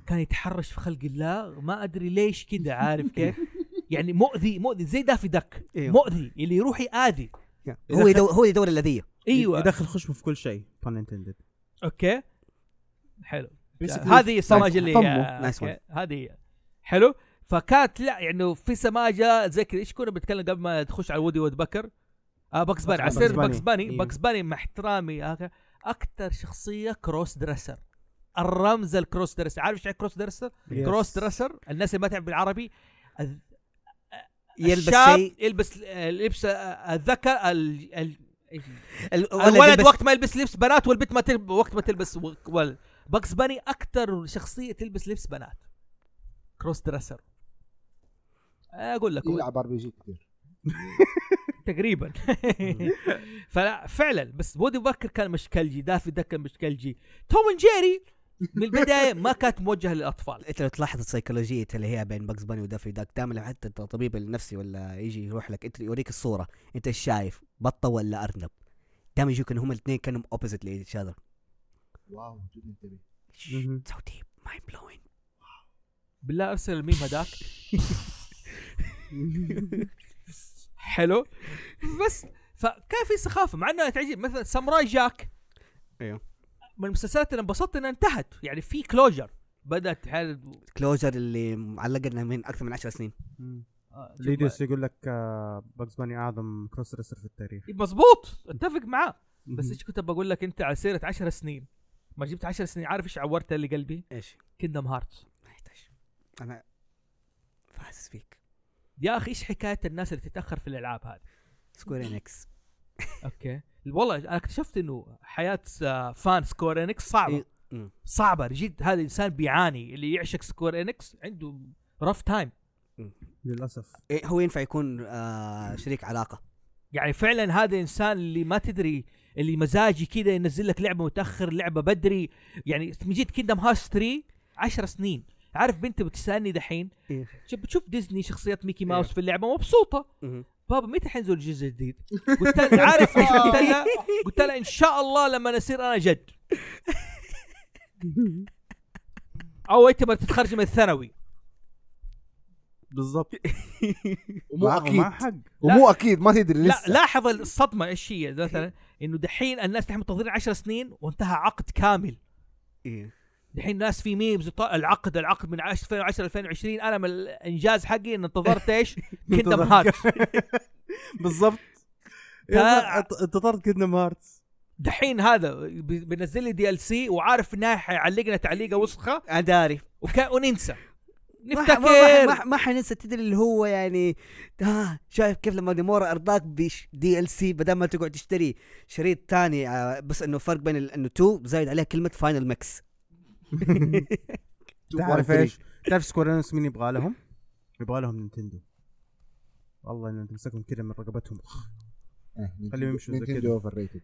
كان يتحرش في خلق الله ما ادري ليش كذا عارف كيف
إيه.
يعني مؤذي مؤذي زي دافي دك
إيوه.
مؤذي اللي يروح ياذي
هو يدور هو يدور الذيه
ايوه
يدخل خشمه في كل شيء فن انتندد
اوكي حلو
Basically-
يعني هذه السماجه اللي
فمه. Nice
آه، أوكي. هذه هي. حلو فكانت لا يعني في سماجه زي كذا ايش كنا بنتكلم قبل ما تخش على وودي وتبكر آه باكس باني على
باكس
سير
باني.
باكس باني
إيه.
باكس باني مع احترامي اكثر شخصيه كروس دريسر الرمز الكروس دريسر عارف ايش يعني كروس دريسر؟ كروس دريسر الناس اللي ما تعرف بالعربي الذ-
يلبس
الشاب
شيء
يلبس آه، لبس آه، الذكر ال- ال- إيش؟
ال-
الولد
يلبس-
وقت ما يلبس لبس بنات والبنت ما تلب... وقت ما تلبس و- ولد باكس باني اكثر شخصيه تلبس لبس بنات كروس دريسر اقول لك هو
يلعب ار بي جي كثير
تقريبا فلا فعلا بس بودي باركر كان مشكلجي دافي ده كان مشكلجي توم إند جيري من البدايه ما كانت موجهه للاطفال
انت لو تلاحظ السيكولوجيه اللي هي بين باكس باني ودافي داك دائما لما حتى الطبيب النفسي ولا يجي يروح لك انت يوريك الصوره انت ايش شايف بطه ولا ارنب دائما يجوك ان هم الاثنين كانوا اوبوزيت لايتش اذر
واو جد انتبه
مهم.
سو ديب مايند بلوين
بالله ارسل الميم هذاك حلو بس فكان في سخافه مع انها تعجب مثلا ساموراي جاك
ايوه.
من المسلسلات اللي انبسطت انها انتهت يعني في كلوجر بدات حال
كلوجر اللي معلق لنا من اكثر من 10 سنين
مم.
آه،
ليديوس يقول لك باكس باني اعظم كروس ريسر في التاريخ
مزبوط إيه، اتفق معاه بس
مهم.
ايش كنت بقول لك انت على سيره 10 سنين ما جبت 10 سنين عارف ايش عورت اللي قلبي
ايش؟
كيندم هارت
ما يحتاج انا فاحس فيك
يا اخي ايش حكايه الناس اللي تتاخر في الالعاب هذه
سكوير انكس
اوكي والله انا اكتشفت انه حياه آه، فان سكور انكس صعبه
إيه. مم.
صعبه جد هذا الانسان بيعاني اللي يعشق سكوير انكس عنده رف تايم
للاسف
إيه هو ينفع يكون آه شريك علاقه
يعني فعلا هذا انسان اللي ما تدري اللي مزاجي كذا ينزل لك لعبه متاخر لعبه بدري يعني من جد كيندم هارت 3 10 سنين عارف بنتي بتسالني دحين
إيه.
شوف بتشوف ديزني شخصيات ميكي
إيه.
ماوس في اللعبه مبسوطه
مهم.
بابا متى حينزل الجزء الجديد؟ قلت لها عارف ايش قلت لها؟ قلت لها ان شاء الله لما اصير انا جد او انت ما تتخرج من الثانوي
بالضبط
ومو
مع-
اكيد
مع حق
ومو اكيد ما تدري
لا
لسه
لاحظ الصدمه ايش هي مثلا انه دحين الناس دحين منتظرين 10 سنين وانتهى عقد كامل
إيه.
دحين ناس في ميمز وط- العقد العقد من 2010 2020 انا من الانجاز حقي ان انتظرت ايش؟ كيندم هارت
بالضبط يلا، ات- انتظرت كيندم هارتس
دحين هذا بي- بينزل لي دي ال سي وعارف انه حيعلقنا تعليقه وسخه
انا داري
وكا- وننسى
ما ح- ما- ما-
نفتكر
ما- ما حننسى تدري اللي هو يعني آه شايف كيف لما نمورا ارضاك بش دي ال سي بدل ما تقعد تشتري شريط تاني آه بس انه فرق بين ال- انه 2 زايد عليها كلمه فاينل ميكس
تعرف ايش؟ تعرف سكوير انكس مين يبغى لهم؟ يبغى لهم نينتندو والله انه تمسكهم كذا من رقبتهم خليهم يمشوا زي كده.
إيه، نينتندو اوفر ريتد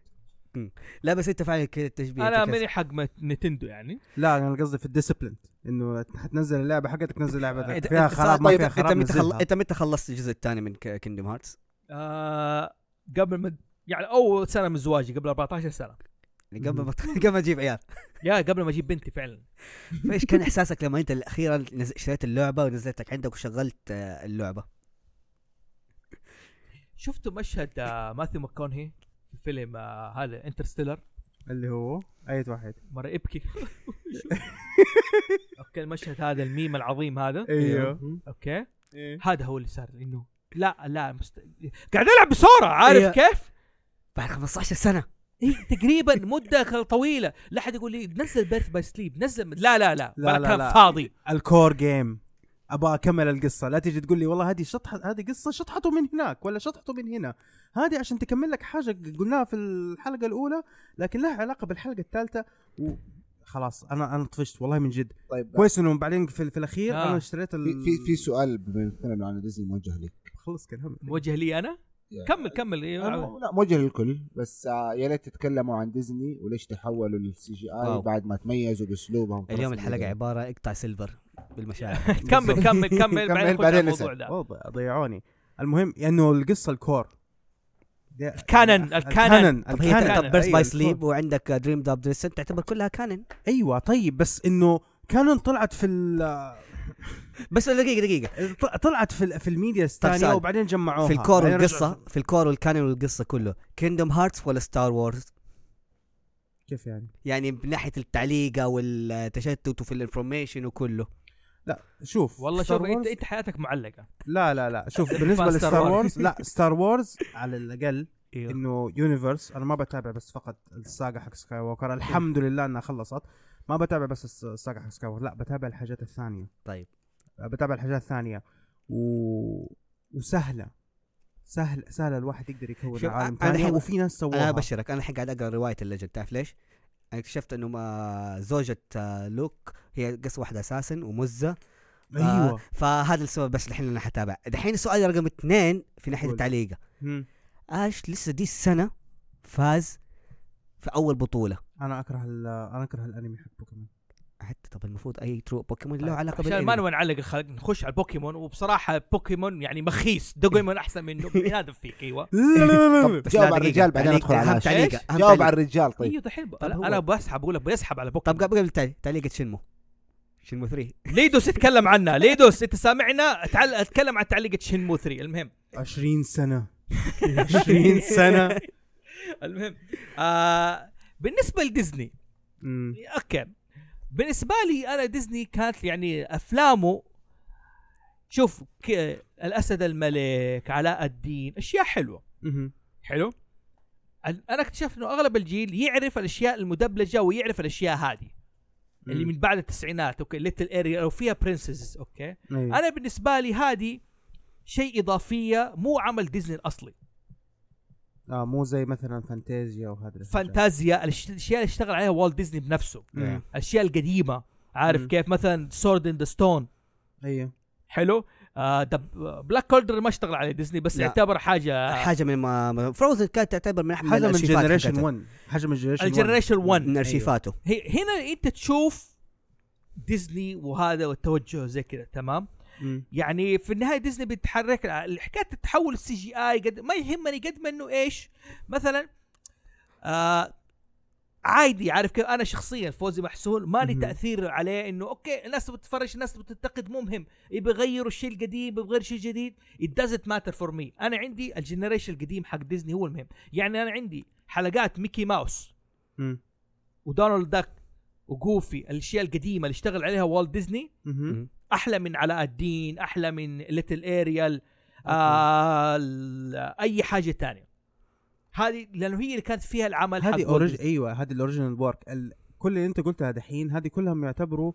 لا بس انت فعلا كذا التشبيه
انا
أنت
ماني حق مت- نتندو يعني
لا انا قصدي في الديسبلين انه حتنزل اللعبه حقتك تنزل لعبتك
أنت-
فيها
أنت-
خراب ما
طيب،
فيها خراب
انت متى خل-
نزلها.
انت متى خلصت الجزء الثاني من كيندم هارتس؟
آه قبل ما يعني اول سنه من زواجي قبل 14 سنه
قبل ما قبل ما تجيب عيال
يا قبل ما اجيب بنتي فعلا
فايش كان احساسك لما انت اخيرا نز- اشتريت اللعبه ونزلتك عندك وشغلت آه، اللعبه؟
شفتوا مشهد آه، ماثيو ماكونهي في فيلم آه، هذا انترستيلر
اللي هو اي واحد
مره ابكي اوكي المشهد هذا الميم العظيم هذا
ايوه
اوكي
إيه.
هذا هو اللي صار انه لا لا مست... قاعد العب بسرعه عارف
إيه.
كيف؟
بعد 15 سنه
إيه تقريبا مده طويله لا احد يقول لي نزل بيرث باي سليب نزل لا لا لا,
لا،
لا,
لا،
كان
لا.
فاضي
الكور جيم ابغى اكمل القصه لا تجي تقول لي والله هذه شطحه هذه قصه شطحته من هناك ولا شطحته من هنا هذه عشان تكمل لك حاجه قلناها في الحلقه الاولى لكن لها علاقه بالحلقه الثالثه و... خلاص انا انا طفشت والله من جد
طيب
كويس انه بعدين في, في الاخير
آه.
انا اشتريت ال...
في في في سؤال بنتكلم عن ديزني موجه لي
خلص كلام
موجه لي انا كمل كمل إيه،
أنا- لا موجه للكل بس آه، يا ريت تتكلموا عن ديزني وليش تحولوا للسي جي اي
واو.
بعد ما تميزوا باسلوبهم في
اليوم
رسم
الحلقه
الفيديو.
عباره اقطع سيلفر بالمشاعر
كمل كمل
كمل،
كمل بعدين نخش على
بعدين
الموضوع
نسأل.
ده
أوه، ضيعوني المهم انه القصه الكور ده-
الكانن، الكانن.
طب هي
الكانن،
طب بيرس
أيوة،
باي
الكور.
سليب وعندك دريم داب دريسن تعتبر كلها كانن
ايوه طيب بس انه كانون طلعت في ال-
بس دقيقه دقيقه
ط- طلعت في ال- في الميديا الثانيه
سؤال.
وبعدين جمعوها
في الكور
بعدين
والقصه
رجعوا-
في الكور والكانون والقصه كله كيندوم هارتس ولا ستار وورز
كيف يعني؟
يعني من ناحيه التعليقه والتشتت وفي الانفورميشن وكله
لا شوف
والله
Star
شوف انت
Wars-
انت حياتك معلقه
لا لا لا شوف بالنسبه
فان Star
لستار
Wars.
وورز لا ستار وورز على الاقل انه يونيفرس انا ما بتابع بس فقط الساقه حق سكاي ووكر الحمد لله انها خلصت ما بتابع بس الس- الساقه حق سكاي ووكر لا بتابع الحاجات الثانيه
طيب
بتابع الحاجات الثانيه و... وسهله سهل سهل الواحد يقدر يكون
شوف،
عالم
أ- أنا
ثاني
الحين-
وفي ناس
انا
سووها
ابشرك انا الحين قاعد اقرا روايه الليجند تعرف ليش؟ انا اكتشفت انه ما زوجة آه، لوك هي قصة واحدة اساسا ومزة آه،
ايوه
فهذا السبب بس الحين انا حتابع دحين السؤال رقم اثنين في ناحية
قول.
التعليقة
مم.
اش لسه دي السنة فاز في اول بطولة
انا اكره ال- انا اكره الانمي حق بوكيمون
حتى طب المفروض اي ترو بوكيمون له
طيب،
علاقة
عشان ما
بالانمي
نبغى نعلق الخلق نخش على البوكيمون وبصراحه بوكيمون يعني مخيس دوغيمون احسن منه ينادف فيك ايوه
طب
بس لا
جاوب
دقيقة،
على الرجال بعدين
تعليق-
ندخل على
أهم
هاشم.
تعليقة، أهم
جاوب
تعليقة.
على الرجال طيب
ايوه دحين ب-
طب هو-
انا بسحب بقول لك بيسحب على بوكيمون
طب قبل التعليق- تعليقة شنمو شنمو 3
ليدوس اتكلم عنها ليدوس انت سامعنا تعال اتكلم عن تعليقه شنمو 3 المهم
20 سنه 20 سنه
المهم آه بالنسبه لديزني
مم.
اوكي بالنسبه لي انا ديزني كانت يعني افلامه شوف ك... الاسد الملك علاء الدين اشياء حلوه
مهم.
حلو ال- انا اكتشفت انه اغلب الجيل يعرف الاشياء المدبلجه ويعرف الاشياء هذه اللي
مم.
من بعد التسعينات اوكي ليتل اريا او فيها برنسز اوكي
أيوة.
انا بالنسبه لي هذه شيء اضافيه مو عمل ديزني الاصلي
اه مو زي مثلا فانتازيا وهذا الحاجات.
فانتازيا الأش- الاشياء اللي اشتغل عليها والت ديزني بنفسه
مم.
الاشياء القديمه عارف
مم.
كيف مثلا سورد ان ذا ستون
ايوه
حلو آه بلاك كولدر ما اشتغل عليه ديزني بس
لا.
يعتبر حاجه
حاجة من ما فروزن كانت تعتبر من احد
حاجه من
الأرشيفات
جنريشن
حقتها.
1 حاجه من جنريشن 1
الجنريشن 1
من ارشيفاته
هي هنا انت تشوف ديزني وهذا والتوجه زي كذا تمام
مم.
يعني في النهايه ديزني بتحرك حكايه التحول السي جي اي قد ما يهمني قد ما انه ايش مثلا آه عادي عارف كيف انا شخصيا فوزي محسون مالي
مهم.
تاثير عليه انه اوكي الناس بتتفرج الناس بتنتقد مو مهم يبغى يغيروا الشيء القديم يبغى يغير شيء جديد it doesn't matter for me انا عندي الجنريشن القديم حق ديزني هو المهم يعني انا عندي حلقات ميكي ماوس
مم.
ودونالد داك وجوفي الاشياء القديمه اللي اشتغل عليها والت ديزني
مهم.
مم.
احلى من علاء الدين احلى من ليتل اريال اي حاجه آه، تانية هذه لانه هي اللي كانت فيها العمل حق
هذه
Walt
اوريج
Disney.
ايوه هذه الاوريجينال وورك ال... كل اللي انت قلتها دحين هذه كلهم يعتبروا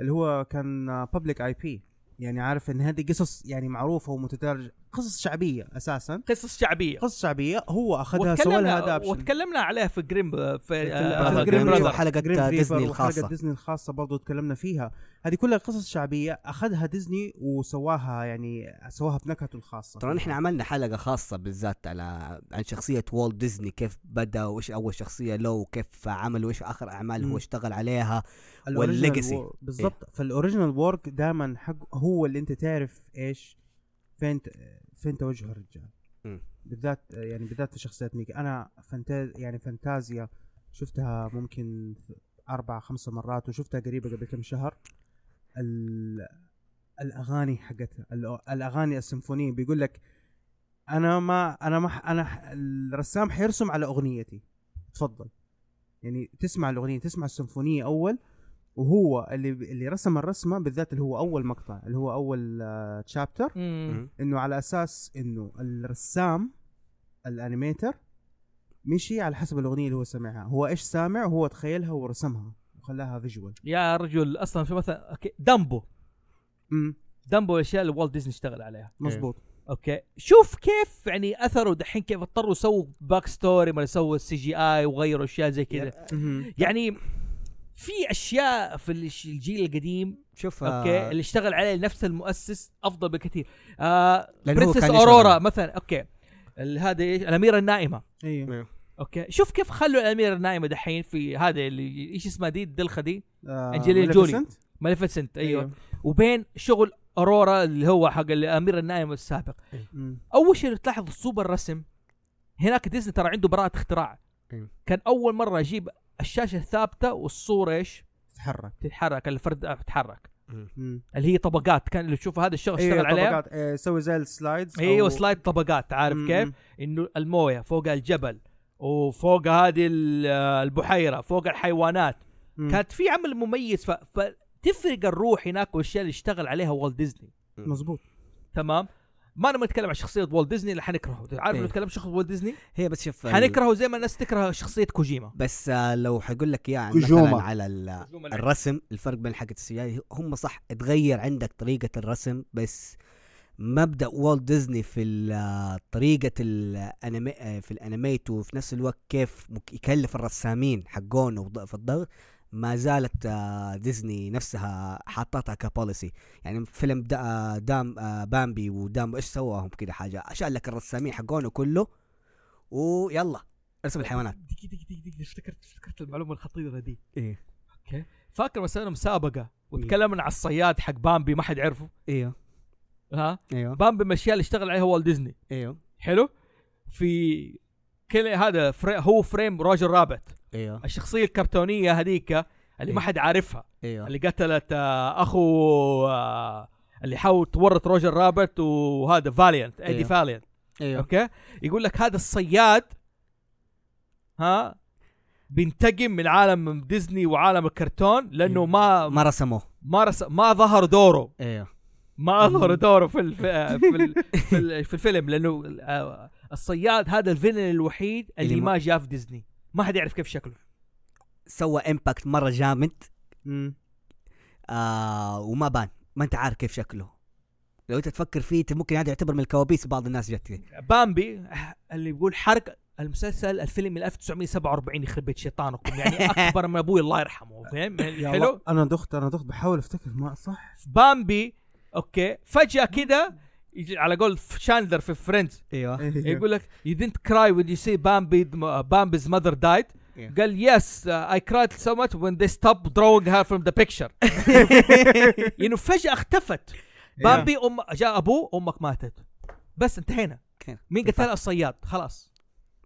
اللي هو كان بابليك اي بي يعني عارف ان هذه قصص يعني معروفه ومتدرجه قصص شعبيه اساسا
قصص شعبيه
قصص شعبيه هو اخذها سوى لها
وتكلمنا
ادابشن
وتكلمنا عليها في جريم في, في,
في
آه
Grim
جريم
Reaper
براذر
وحلقة ديزني الخاصة.
حلقه ديزني الخاصه برضو تكلمنا فيها هذه كلها قصص شعبيه اخذها ديزني وسواها يعني سواها بنكهته الخاصه
طبعا احنا عملنا حلقه خاصه بالذات على عن شخصيه والت ديزني كيف بدا وايش اول شخصيه له وكيف عمل وايش اخر اعمال هو
مم.
اشتغل عليها
الأوريجينال
والlegacy. إيه.
وور- بالضبط فالاوريجينال وورك دائما حق هو اللي انت تعرف ايش فين ت- فين توجه الرجال
مم.
بالذات يعني بالذات في شخصيات ميكي انا فانتاز يعني فانتازيا شفتها ممكن اربع خمس مرات وشفتها قريبه قبل كم شهر ال... الاغاني حقتها ال- الاغاني السيمفونيه بيقول لك انا ما انا ما ح- انا ح- الرسام حيرسم على اغنيتي تفضل يعني تسمع الاغنيه تسمع السيمفونيه اول وهو اللي اللي رسم الرسمه بالذات اللي هو اول مقطع اللي هو اول تشابتر
مم.
مم.
انه على اساس انه الرسام الانيميتر مشي على حسب الاغنيه اللي هو سمعها هو ايش سامع هو تخيلها ورسمها وخلاها فيجوال
يا رجل اصلا في مثلا اوكي دامبو
امم
دامبو الاشياء اللي والت ديزني اشتغل عليها
مزبوط
اوكي شوف كيف يعني اثروا دحين كيف اضطروا يسووا باك ستوري ما يسووا السي جي اي وغيروا اشياء زي كذا
مهم.
يعني في اشياء في الش- الجيل القديم
شوف
اوكي
اوكي
اللي اشتغل عليه نفس المؤسس افضل بكثير آه
لأنه هو
برنسس
كان يشتغل
اورورا
عليه.
مثلا اوكي ال- هذا ايش الاميره النائمه
ايوه
اوكي شوف كيف خلوا الاميره النائمه دحين في هذا اللي ايش اسمها دي الدلخه دي
آه، إيه،
أنجلينا جولي.
Maleficent؟
ماليفيسنت ايوه
أيوة.
وبين شغل اورورا اللي هو حق الامير النائم السابق
مم.
اول شيء تلاحظ اسلوب الرسم هناك ديزني ترى عنده براءه اختراع
أيوه.
كان اول مره يجيب الشاشه ثابته والصوره ايش
تتحرك
تتحرك الفرد تتحرك
مم.
اللي هي طبقات كان اللي تشوفه هذا الشغل
أيوة،
اشتغل
ايوه
عليها
طبقات آه، سوي زي السلايدز
ايوه
أو-
سلايد طبقات عارف
مم.
كيف انه المويه فوق الجبل وفوق هذه ال- البحيره فوق الحيوانات
مم.
كانت في عمل مميز ف... فتفرق الروح هناك والاشياء اللي اشتغل عليها والت ديزني
مزبوط
تمام ما نبغى نتكلم عن شخصيه والت ديزني اللي حنكرهه عارف
إيه.
لو نتكلم شخصيه والت ديزني
هي بس
طيب.
شوف ال-
حنكرهه زي ما الناس تكره شخصيه كوجيما
بس آه، لو حقول لك اياها
كوجوما.
مثلا على ال-
آه،
الرسم الفرق بين حقت السيارة هم صح تغير عندك طريقة الرسم بس مبدأ والت ديزني في ال- طريقة الانمي في الانيميت وفي نفس الوقت كيف مك- يكلف الرسامين حقون وض- في الضغط ما زالت آه، ديزني نفسها حاطتها كبوليسي يعني فيلم دا آه، دام آه، بامبي ودام ايش سواهم كده حاجة شال لك الرسامين حقونه كله ويلا ارسم الحيوانات
دقيقة دقيقة دقيقة افتكرت افتكرت المعلومة الخطيرة دي
إيه.
ايه
فاكر لما سوينا مسابقة وتكلمنا عن الصياد حق بامبي ما حد عرفه
ايوه
ها
ايوه
بامبي من الاشياء اللي اشتغل عليها والت ديزني
ايوه
حلو في كل هذا فري هو فريم روجر رابت
ايوه
الشخصية الكرتونية هذيك اللي ما
إيه.
حد عارفها
ايوه
اللي قتلت آه، اخو آه، اللي حاول تورط روجر رابرت وهذا فاليانت ايدي
أيوه.
فاليانت
ايوه
اوكي يقول لك هذا الصياد ها بينتقم من عالم ديزني وعالم الكرتون لانه
إيه.
ما
ما رسموه
ما رس ما ظهر دوره
ايوه
ما اظهر دوره في الف... في ال... في, ال... في الفيلم لانه آه، الصياد هذا الفيلن الوحيد اللي,
اللي ما-
ما جاء في ديزني ما حد يعرف كيف شكله
سوى امباكت مره جامد
مم.
آه وما بان ما انت عارف كيف شكله لو انت تفكر فيه أنت ممكن هذا يعتبر من الكوابيس بعض الناس جت فيه
بامبي اللي بيقول حرق المسلسل الفيلم من 1947 يخرب بيت شيطانكم يعني اكبر من ابوي الله يرحمه فاهم
يا
حلو
الله انا دخت انا دخت بحاول افتكر ما صح
بامبي اوكي فجاه كده يجي على قول شاندلر في فريندز
أيوة.
ايوه
إيه.
يقول لك يو دينت كراي when you see بامبي بامبي's mother died
Yeah.
قال يس اي كرايد سو ماتش when they stopped drawing her from the picture يعني فجاه اختفت
إيه.
بامبي ام جاء ابوه امك ماتت بس انتهينا
كان.
مين قتل الصياد خلاص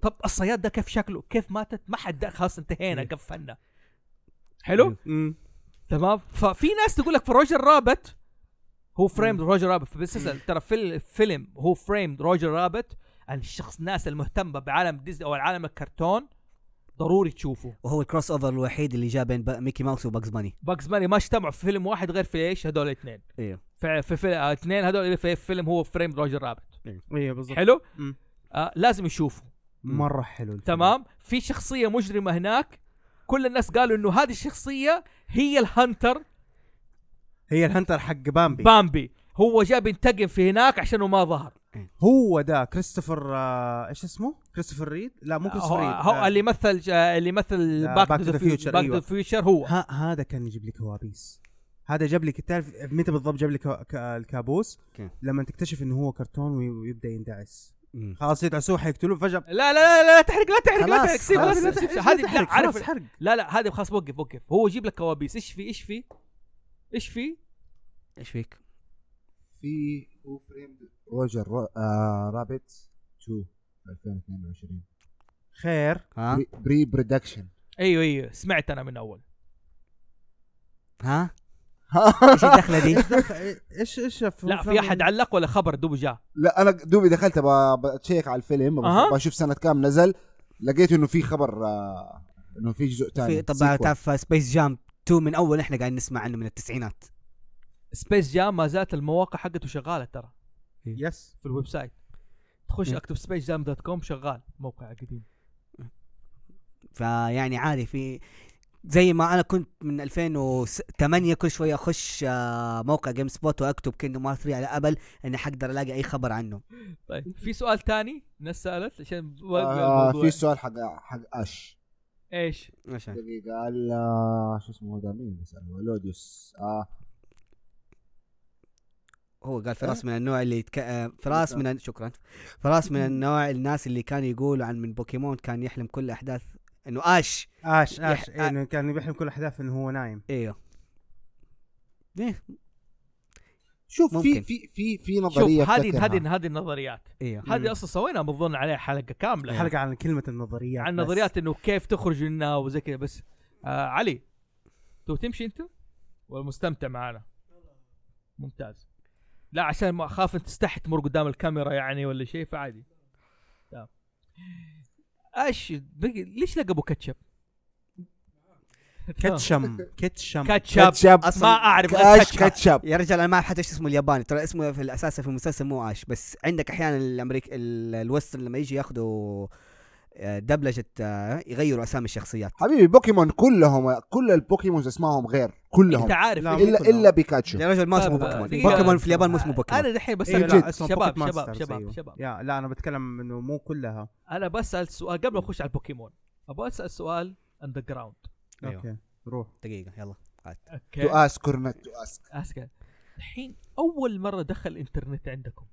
طب الصياد ده كيف شكله كيف ماتت ما حد خلاص انتهينا
Yeah.
قفلنا حلو
مم.
تمام ففي ناس تقول لك في روجر رابت هو فريم روجر رابت في المسلسل ترى في الفيلم هو فريم روجر رابت الشخص الناس المهتمه بعالم ديزني او العالم الكرتون ضروري تشوفه
وهو الكروس اوفر الوحيد اللي جاء بين با- ميكي ماوس وباكس باني
باكس ماني ما اجتمعوا في فيلم واحد غير في ايش هذول الاثنين
إيه.
ايوه
في في في- آه، اثنين هذول اللي في فيلم هو فريم روجر رابت
ايوه بالضبط
حلو
مم.
آه لازم يشوفه
مره حلو الفيلم.
تمام في شخصيه مجرمه هناك كل الناس قالوا انه هذه الشخصيه هي الهانتر
هي الهنتر حق بامبي
بامبي هو جاء بينتقم في هناك عشانه ما ظهر
هو ده كريستوفر آه، ايش اسمه؟ كريستوفر ريد؟ لا مو كريستوفر
هو,
ريد
هو
آه،
اللي مثل جا- اللي مثل
آه،
باك
Back
تو
to
ذا
the Future،
فيوتشر باك تو
أيوة.
ذا فيوتشر هو
ها هذا كان يجيب لك كوابيس هذا جاب لك تعرف متى بالضبط جاب لك كو- ك- الكابوس
كيف؟
لما تكتشف انه هو كرتون وي- ويبدا يندعس خلاص يدعسوه حيقتلوه فجاه
لا لا لا لا, لا تحرق لا تحرق لا
خلاص،
تحرق سيب لا
خلاص،
تحرق سيب-
إيش
هذه
تحرق؟
لا عارف
خلاص حرق
لا لا هذه خلاص وقف وقف هو يجيب لك كوابيس ايش في ايش في ايش في
ايش فيك؟
في هو فريم روجر رو... آه رابت 2 2022
خير
ها؟
بري- بري برودكشن
ايوه ايوه سمعت انا من اول
ها؟ ايش الدخله دي؟
ايش دخل ايش ايش
لا في احد علق ولا خبر دوب جاء
لا انا دوبي دخلت ب- بتشيك على الفيلم
أها.
أه. بشوف سنه كام نزل لقيت انه في خبر آه انه في جزء
في
ثاني
طبعا تعرف سبيس جام 2 من اول احنا قاعدين نسمع عنه من التسعينات
سبيس جام ما زالت المواقع حقته شغاله ترى
إيه. يس
في الويب سايت تخش
إيه.
اكتب سبيس جام دوت كوم شغال موقع قديم
فيعني عادي في زي ما انا كنت من 2008 كل شويه اخش آه، موقع جيم سبوت واكتب كيندوم هارت 3 على ابل اني حقدر الاقي اي خبر عنه
طيب في سؤال تاني الناس سالت عشان
آه
الموضوع
في سؤال حق حق اش
ايش
عشان
دقيقه قال آه شو اسمه هذا مين اللي سأله؟ لوديوس آه
هو قال فراس من النوع اللي يتك... آه، فراس من شكرا فراس من النوع الناس اللي كانوا يقولوا عن من بوكيمون كان يحلم كل احداث انه اش
اش اش
يح-
إيه إنه كان بيحلم كل الاحداث انه هو نايم
ايوه ايه
شوف
ممكن.
في في في في نظريه
شوف هذه
أفتكرها.
هذه هذه النظريات
ايوه
مم.
هذه اصلا سوينا بظن عليها حلقه كامله
حلقه عن كلمه النظريات
عن
بس.
نظريات انه كيف تخرج منها وزي كذا بس آه علي تو تمشي انت ولا مستمتع معانا ممتاز لا عشان ما اخاف انت تستحي تمر قدام الكاميرا يعني ولا شيء فعادي تمام ايش بقي- ليش لقبوا كاتشب؟
كاتشم كاتشم
كاتشب
كاتشب
ما اعرف غير
كاش
كاتشب
كاتشب
يا رجال انا ما اعرف حتى ايش اسمه الياباني ترى اسمه في الاساس في المسلسل مو اش بس عندك احيانا الامريك ال- الوسترن لما يجي ياخذوا آه، دبلجه آه، يغيروا اسامي الشخصيات
حبيبي بوكيمون كلهم كل البوكيمونز اسمائهم غير كلهم
انت عارف
لا،
إيه؟
الا
كلهم.
الا بيكاتشو
يا رجل ما اسمه
طيب،
بوكيمون
دقيقة.
بوكيمون في اليابان مو
آه،
اسمه بوكيمون
انا دحين
إيه
بسال
لا
شباب
اسمه
شباب
بوكيت ماسترز،
شباب شباب
أيوه.
شباب
يا لا انا بتكلم انه مو كلها
انا بسال سؤال قبل ما اخش على البوكيمون ابغى اسال سؤال اندر جراوند
أيوه.
اوكي روح
دقيقه يلا قاعد.
اوكي
تو اسك اور نوت تو اسك
اسكت الحين اول مره دخل الانترنت عندكم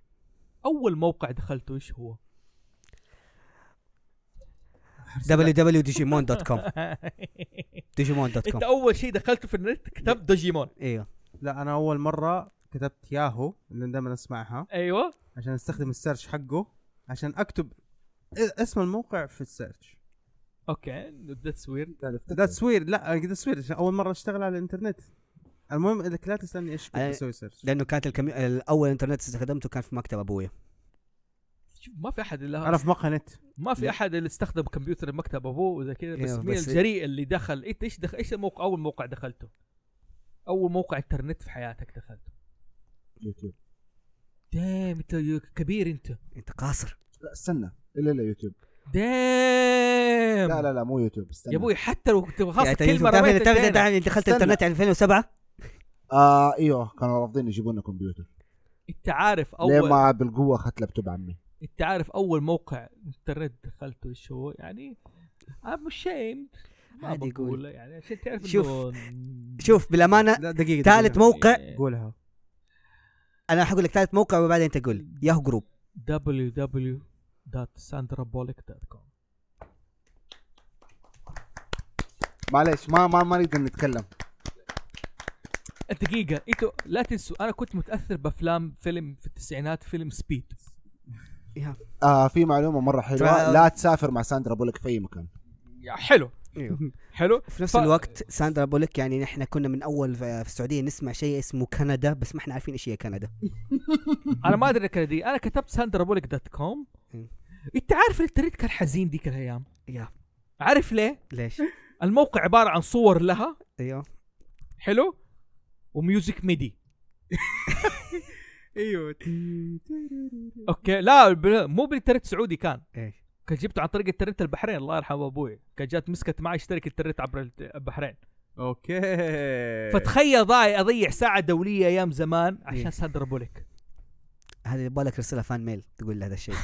اول موقع دخلته ايش هو؟
www.digimon.com
انت
digimon.com
اول شيء دخلته في النت كتبت دوجيمون
ايوه
لا انا اول مره كتبت ياهو اللي دائما اسمعها
أيوة.
ايوه
عشان استخدم السيرش حقه عشان اكتب إ- اسم الموقع في السيرش
اوكي ذاتس ويرد
ذاتس ويرد لا ذاتس ويرد عشان اول مره اشتغل على الانترنت المهم انك لا تسالني ايش كنت
أنا-
بسوي سيرش
لانه كانت الكمي... الاول انترنت استخدمته كان في مكتب ابويا
شوف ما في احد الا
انا في مقهى نت
ما في احد اللي استخدم كمبيوتر مكتب ابوه وزي كذا بس
أيوة،
إيوه،
مين
بس-
الجريء اللي دخل انت ايش دخل ايش الموقع اول موقع دخلته؟ اول موقع انترنت في حياتك دخلته
يوتيوب
دام انت كبير انت
انت قاصر
لا استنى الا لا يوتيوب
دام
لا لا لا مو يوتيوب استنى
يا ابوي حتى لو كنت خلاص
يعني أنت
كلمه
تعرف-
رميت
تعرف-
الدنيا.
تعرف انت دخلت
استنى.
الانترنت يعني 2007
اه ايوه كانوا رافضين يجيبوا لنا كمبيوتر
انت عارف
ليه
اول
ما بالقوه اخذت لابتوب عمي
انت عارف اول موقع انترنت دخلته ايش هو يعني I'm ashamed ما
عادي قول.
بقول يعني عشان تعرف
شوف-
إنه-
شوف بالامانه
لا دقيقه
ثالث
دقيقة.
موقع
قولها
انا حقول لك ثالث موقع وبعدين تقول ياهو جروب
www.sandrabolic.com
معلش ما ما ما نقدر نتكلم
دقيقة انتوا لا تنسوا انا كنت متاثر بافلام فيلم في التسعينات فيلم سبيد
يا-
آه في معلومه مره حلوه
ترى-
لا تسافر مع ساندرا بولك في اي مكان
يا حلو
إيوه.
ايوه
حلو
في نفس
ف-
الوقت ساندرا بولك يعني نحن كنا من اول ف- في السعوديه نسمع شيء اسمه كندا بس ما احنا عارفين ايش هي كندا
انا ما ادري كده دي انا كتبت ساندرابوليك دوت كوم
مم.
انت عارف الانترنت كان حزين ديك الايام
يا
عارف ليه؟
ليش
الموقع عبارة عن صور لها
أيوه.
ايوه
حلو وميوزك ميدي
ايوه
اوكي لا بل- مو بالانترنت سعودي كان
ايش
كان جبته عن طريق انترنت البحرين الله يرحم ابوي كان جات مسكت معي اشترك انترنت عبر الت- البحرين
اوكي إيه.
فتخيل ضايع اضيع ساعه دوليه ايام زمان عشان
إيه.
ساندرا بوليك
هذا يبغى لك رساله فان ميل تقول له هذا الشيء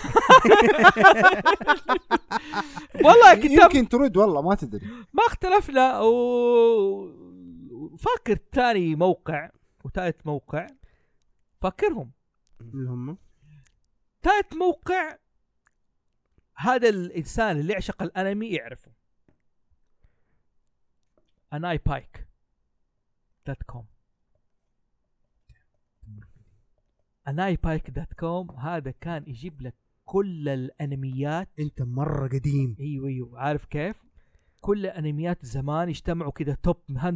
والله كتاب
يمكن ترد والله ما تدري
ما اختلفنا و... فاكر ثاني موقع وثالث موقع فاكرهم
اللي هم
ثالث موقع هذا الانسان اللي يعشق الانمي يعرفه اناي بايك دوت كوم اناي بايك دوت كوم هذا كان يجيب لك كل الانميات
انت مره قديم
ايوه ايوه عارف كيف؟ كل انميات زمان يجتمعوا كذا توب 100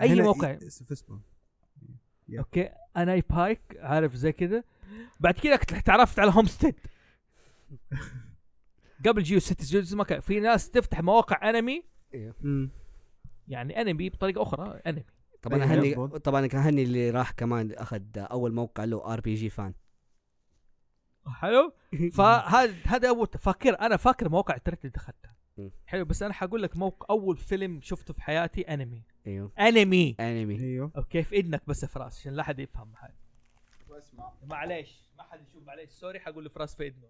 أي
هنا
موقع.
ي- في اسمه Yeah.
اوكي اناي بايك عارف زي كذا بعد كذا كنت تعرفت على هومستيد قبل جيو سيتيز ما كان في ناس تفتح مواقع انمي
مم.
يعني انمي بطريقه اخرى انمي
طبعا
إيه،
أيوة،
اهني
مظبوط.
طبعا اهني اللي راح كمان اخذ اول موقع له ار بي جي فان
حلو فهذا هذا اول فاكر انا فاكر مواقع الترك اللي دخلتها
مم.
حلو بس انا حقول لك موقع اول فيلم شفته في حياتي انمي
أيوه.
ايوه
انمي
انمي
ايوه
اوكي في اذنك بس يا فراس عشان لا حد يفهم هذا معليش ما حد يشوف معليش سوري حقول لفراس في اذنه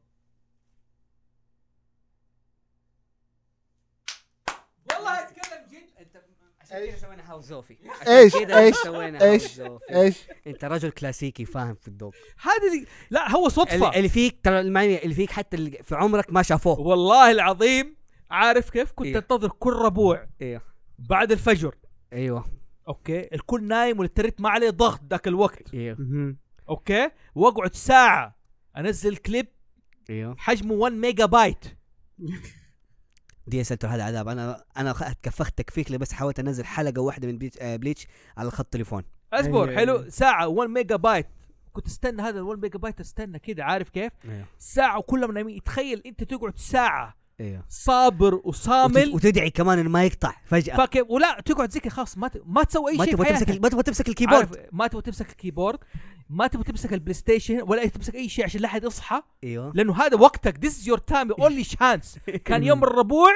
والله اتكلم جد انت
عشان كذا سوينا هاوس زوفي
إيش؟
عشان كذا
إيش؟
سوينا
إيش؟
هاوس زوفي
ايش
انت رجل كلاسيكي فاهم في الذوق
هذه اللي- لا هو
ال-
صدفه
اللي فيك ترى المعني اللي فيك حتى اللي في عمرك ما شافوه
والله العظيم عارف كيف كنت
إيه.
انتظر كل ربوع
ايوه
بعد الفجر
ايوه
اوكي الكل نايم والتريت ما عليه ضغط ذاك الوقت
ايوه
مهم.
اوكي واقعد ساعه انزل كليب
ايوه
حجمه 1 ميجا بايت
دي اس هذا عذاب انا انا خ- اتكفخت تكفيك لي بس حاولت انزل حلقه واحده من بليتش, آه بليتش على خط تليفون
اصبر
أيوه،
حلو
أيوه.
ساعه 1 ميجا بايت كنت استنى هذا ال 1 ميجا بايت استنى كده عارف كيف
ايوه
ساعه وكلهم نايمين تخيل انت تقعد ساعه
ايوه
صابر
وتد-
وصامل
وتدعي كمان انه ما يقطع فجاه
فاكر ولا تقعد زي كده خلاص ما ت... ما تسوي اي
ما
شيء
تبغى
في
تمسك
حياتك.
ال- ما تبغى تمسك
عارف،
الكيبورد
ما تبغى تمسك الكيبورد ما تبغى تمسك البلاي ستيشن ولا تمسك اي شيء عشان لا احد يصحى
ايوه
لانه هذا وقتك ذيس از يور تايم اونلي شانس كان يوم الربوع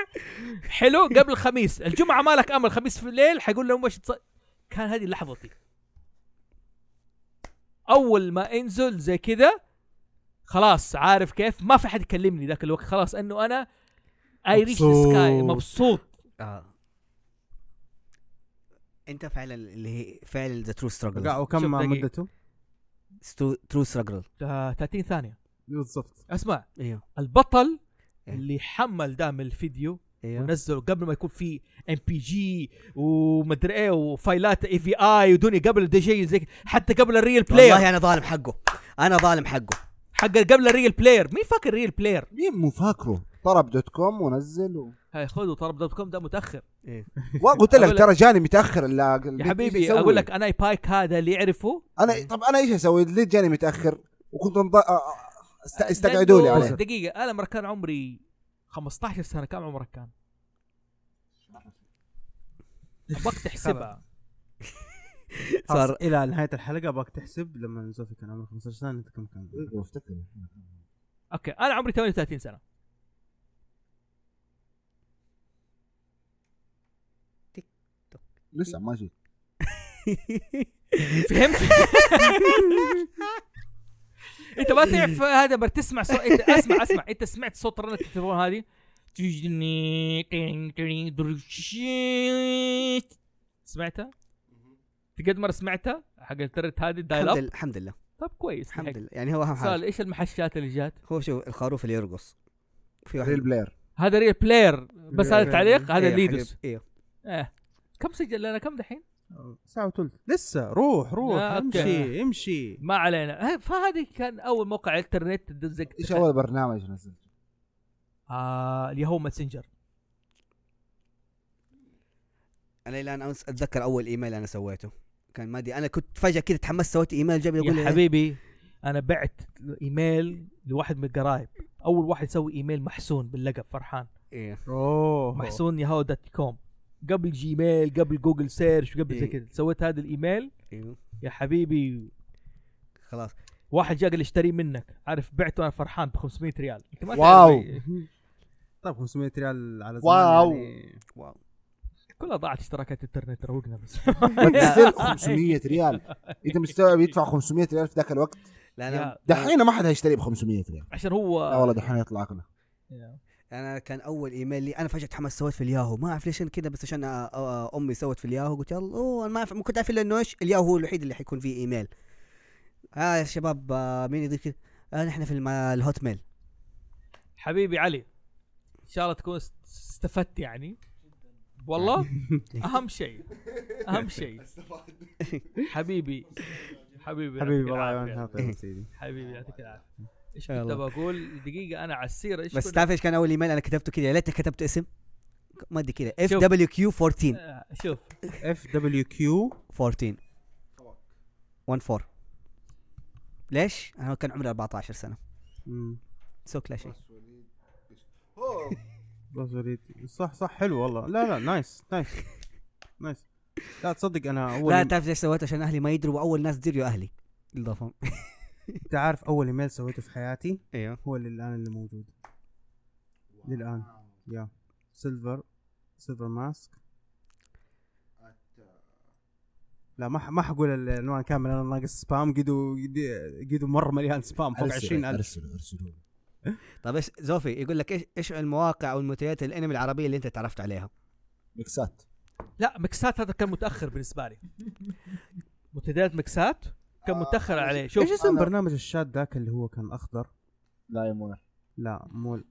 حلو قبل الخميس الجمعه مالك امل الخميس في الليل حيقول لهم وش تص... كان هذه لحظتي اول ما انزل زي كذا خلاص عارف كيف ما في حد يكلمني ذاك الوقت خلاص انه انا اي ريش سكاي
مبسوط.
مبسوط
آه. انت فعلا اللي هي فعلا ذا ترو
وقع-
ستراجل
وكم
شوف دقيقة.
مدته؟
ترو ستراجل
آه، 30 ثانيه
بالضبط
اسمع
ايوه
البطل
إيه.
اللي حمل دام الفيديو
ايوه
ونزلوا قبل ما يكون في ام بي جي ومدري ايه وفايلات اي في اي ودوني قبل دي جي زي حتى قبل الريل بلاير
والله انا ظالم حقه انا ظالم حقه
حق قبل الريل بلاير مين فاكر الريل بلاير؟
مين مو فاكره طرب دوت كوم ونزل و...
هاي خذوا طرب دوت كوم ده متاخر
وقلت
أقول
لك
لك-
ترى جاني متاخر اللا-
يا
إيش
حبيبي
أسوي؟
اقول لك انا اي بايك هذا اللي يعرفه
انا طب انا ايش اسوي ليه جاني متاخر وكنت انض... أ- أ-
آه،
است... استقعدوا لي
لأنه-
عليه
دقيقه انا مرة كان عمري 15 سنه كم عمرك كان؟ ابغاك تحسبها
صار
صار-
الى نهايه الحلقه باك تحسب لما زوفي كان عمره 15 سنه انت كم كان؟
افتكر
اوكي انا عمري 38 سنه
لسه ما جيت
فهمت؟ انت ما تعرف هذا بس تسمع صوت انت اسمع اسمع انت سمعت صوت رنة التليفون هذه تجني تين تين درشيت. سمعتها؟ تقد مرة سمعتها حق الترت هذه الدايل
الحمد
اب
لله الحمد لله
طب كويس
الحمد
الحمد
لله يعني هو اهم
سؤال
حاجه
ايش المحشات اللي جات؟
هو شوف الخروف اللي يرقص في واحد
ريل بلاير
هذا ريل بلاير بس هذا تعليق هذا
إيه،
ليدوس
حق- ايوه
اه كم سجل لنا كم دحين؟
ساعه وثلث لسه روح روح
آه، أوكي.
امشي امشي
ما علينا ها، فهذه كان اول موقع انترنت تدزك
ايش اول برنامج نزل
آه اليهو ماسنجر
انا الان امس اتذكر اول ايميل انا سويته كان ما ادري انا كنت فجاه كذا تحمست سويت ايميل جاب لي يقول
إيه؟
يا
لي
حبيبي انا بعت ايميل لواحد من القرايب اول واحد يسوي ايميل محسون باللقب فرحان
إيه.
اوه
محسون ياهو دوت كوم قبل جيميل قبل جوجل سيرش قبل زي
إيه.
كذا سويت هذا الايميل
ايوه
يا حبيبي
خلاص
واحد جاء قال لي اشتري منك عارف بعته انا فرحان ب 500 ريال انت ما تعرف
واو.
إيه.
طيب 500 ريال على زمان
واو.
يعني
واو
كلها ضاعت اشتراكات الانترنت روقنا بس
بس still 500 ريال انت مستوعب يدفع 500 ريال في ذاك الوقت
لا انا
يا-
دحين ما حد هيشتريه ب 500 ريال
عشان هو
لا والله دحين يطلع عقله
يا.
انا كان اول ايميل لي انا فجاه تحمست سويت في الياهو ما اعرف ليش أنا كذا بس عشان أ- أ- امي سوت في الياهو قلت يلا اوه انا ما اعرف ما كنت عارف الا انه ايش الياهو هو الوحيد اللي حيكون فيه ايميل ها يا شباب آه، مين يدري كذا آه، نحن في الم- الهوت ميل
حبيبي علي ان شاء الله تكون است- استفدت يعني والله اهم شيء اهم شيء حبيبي حبيبي
حبيبي
يعطيك
والله
العافية.
يعطيك العافية سيدي
حبيبي يعطيك العافيه ايش
يلا.
كنت بقول دقيقه انا على السيره ايش
بس
كنت-
تعرف ايش كان اول ايميل انا كتبته كذا يا ريتني كتبت اسم ما ادري كذا اف
شوف.
دبليو كيو 14
آه، شوف
اف دبليو كيو
14 1 4 ليش؟ انا كان عمري 14 سنه سوك لا شيء
صح صح حلو والله لا لا نايس نايس نايس لا تصدق انا اول
لا تعرف ليش سويت عشان اهلي ما يدروا واول ناس تدري اهلي اضافه
انت عارف اول ايميل سويته في حياتي
ايوه
هو اللي الان اللي موجود للان يا سيلفر سيلفر ماسك لا ما ح- ما حقول العنوان كامل انا ناقص سبام قدو قد- قدو مره مليان سبام فوق 20000
ارسلوا ارسلوا
طيب ايش زوفي يقول لك ايش ايش المواقع او المنتديات الانمي العربيه اللي انت تعرفت عليها؟
ميكسات
لا مكسات هذا كان متاخر بالنسبه لي منتديات مكسات كان
آه،
متاخر
أنا-
عليه شوف
ايش اسم
أنا-
برنامج الشات ذاك اللي هو كان اخضر؟
لا يا منى
لا مول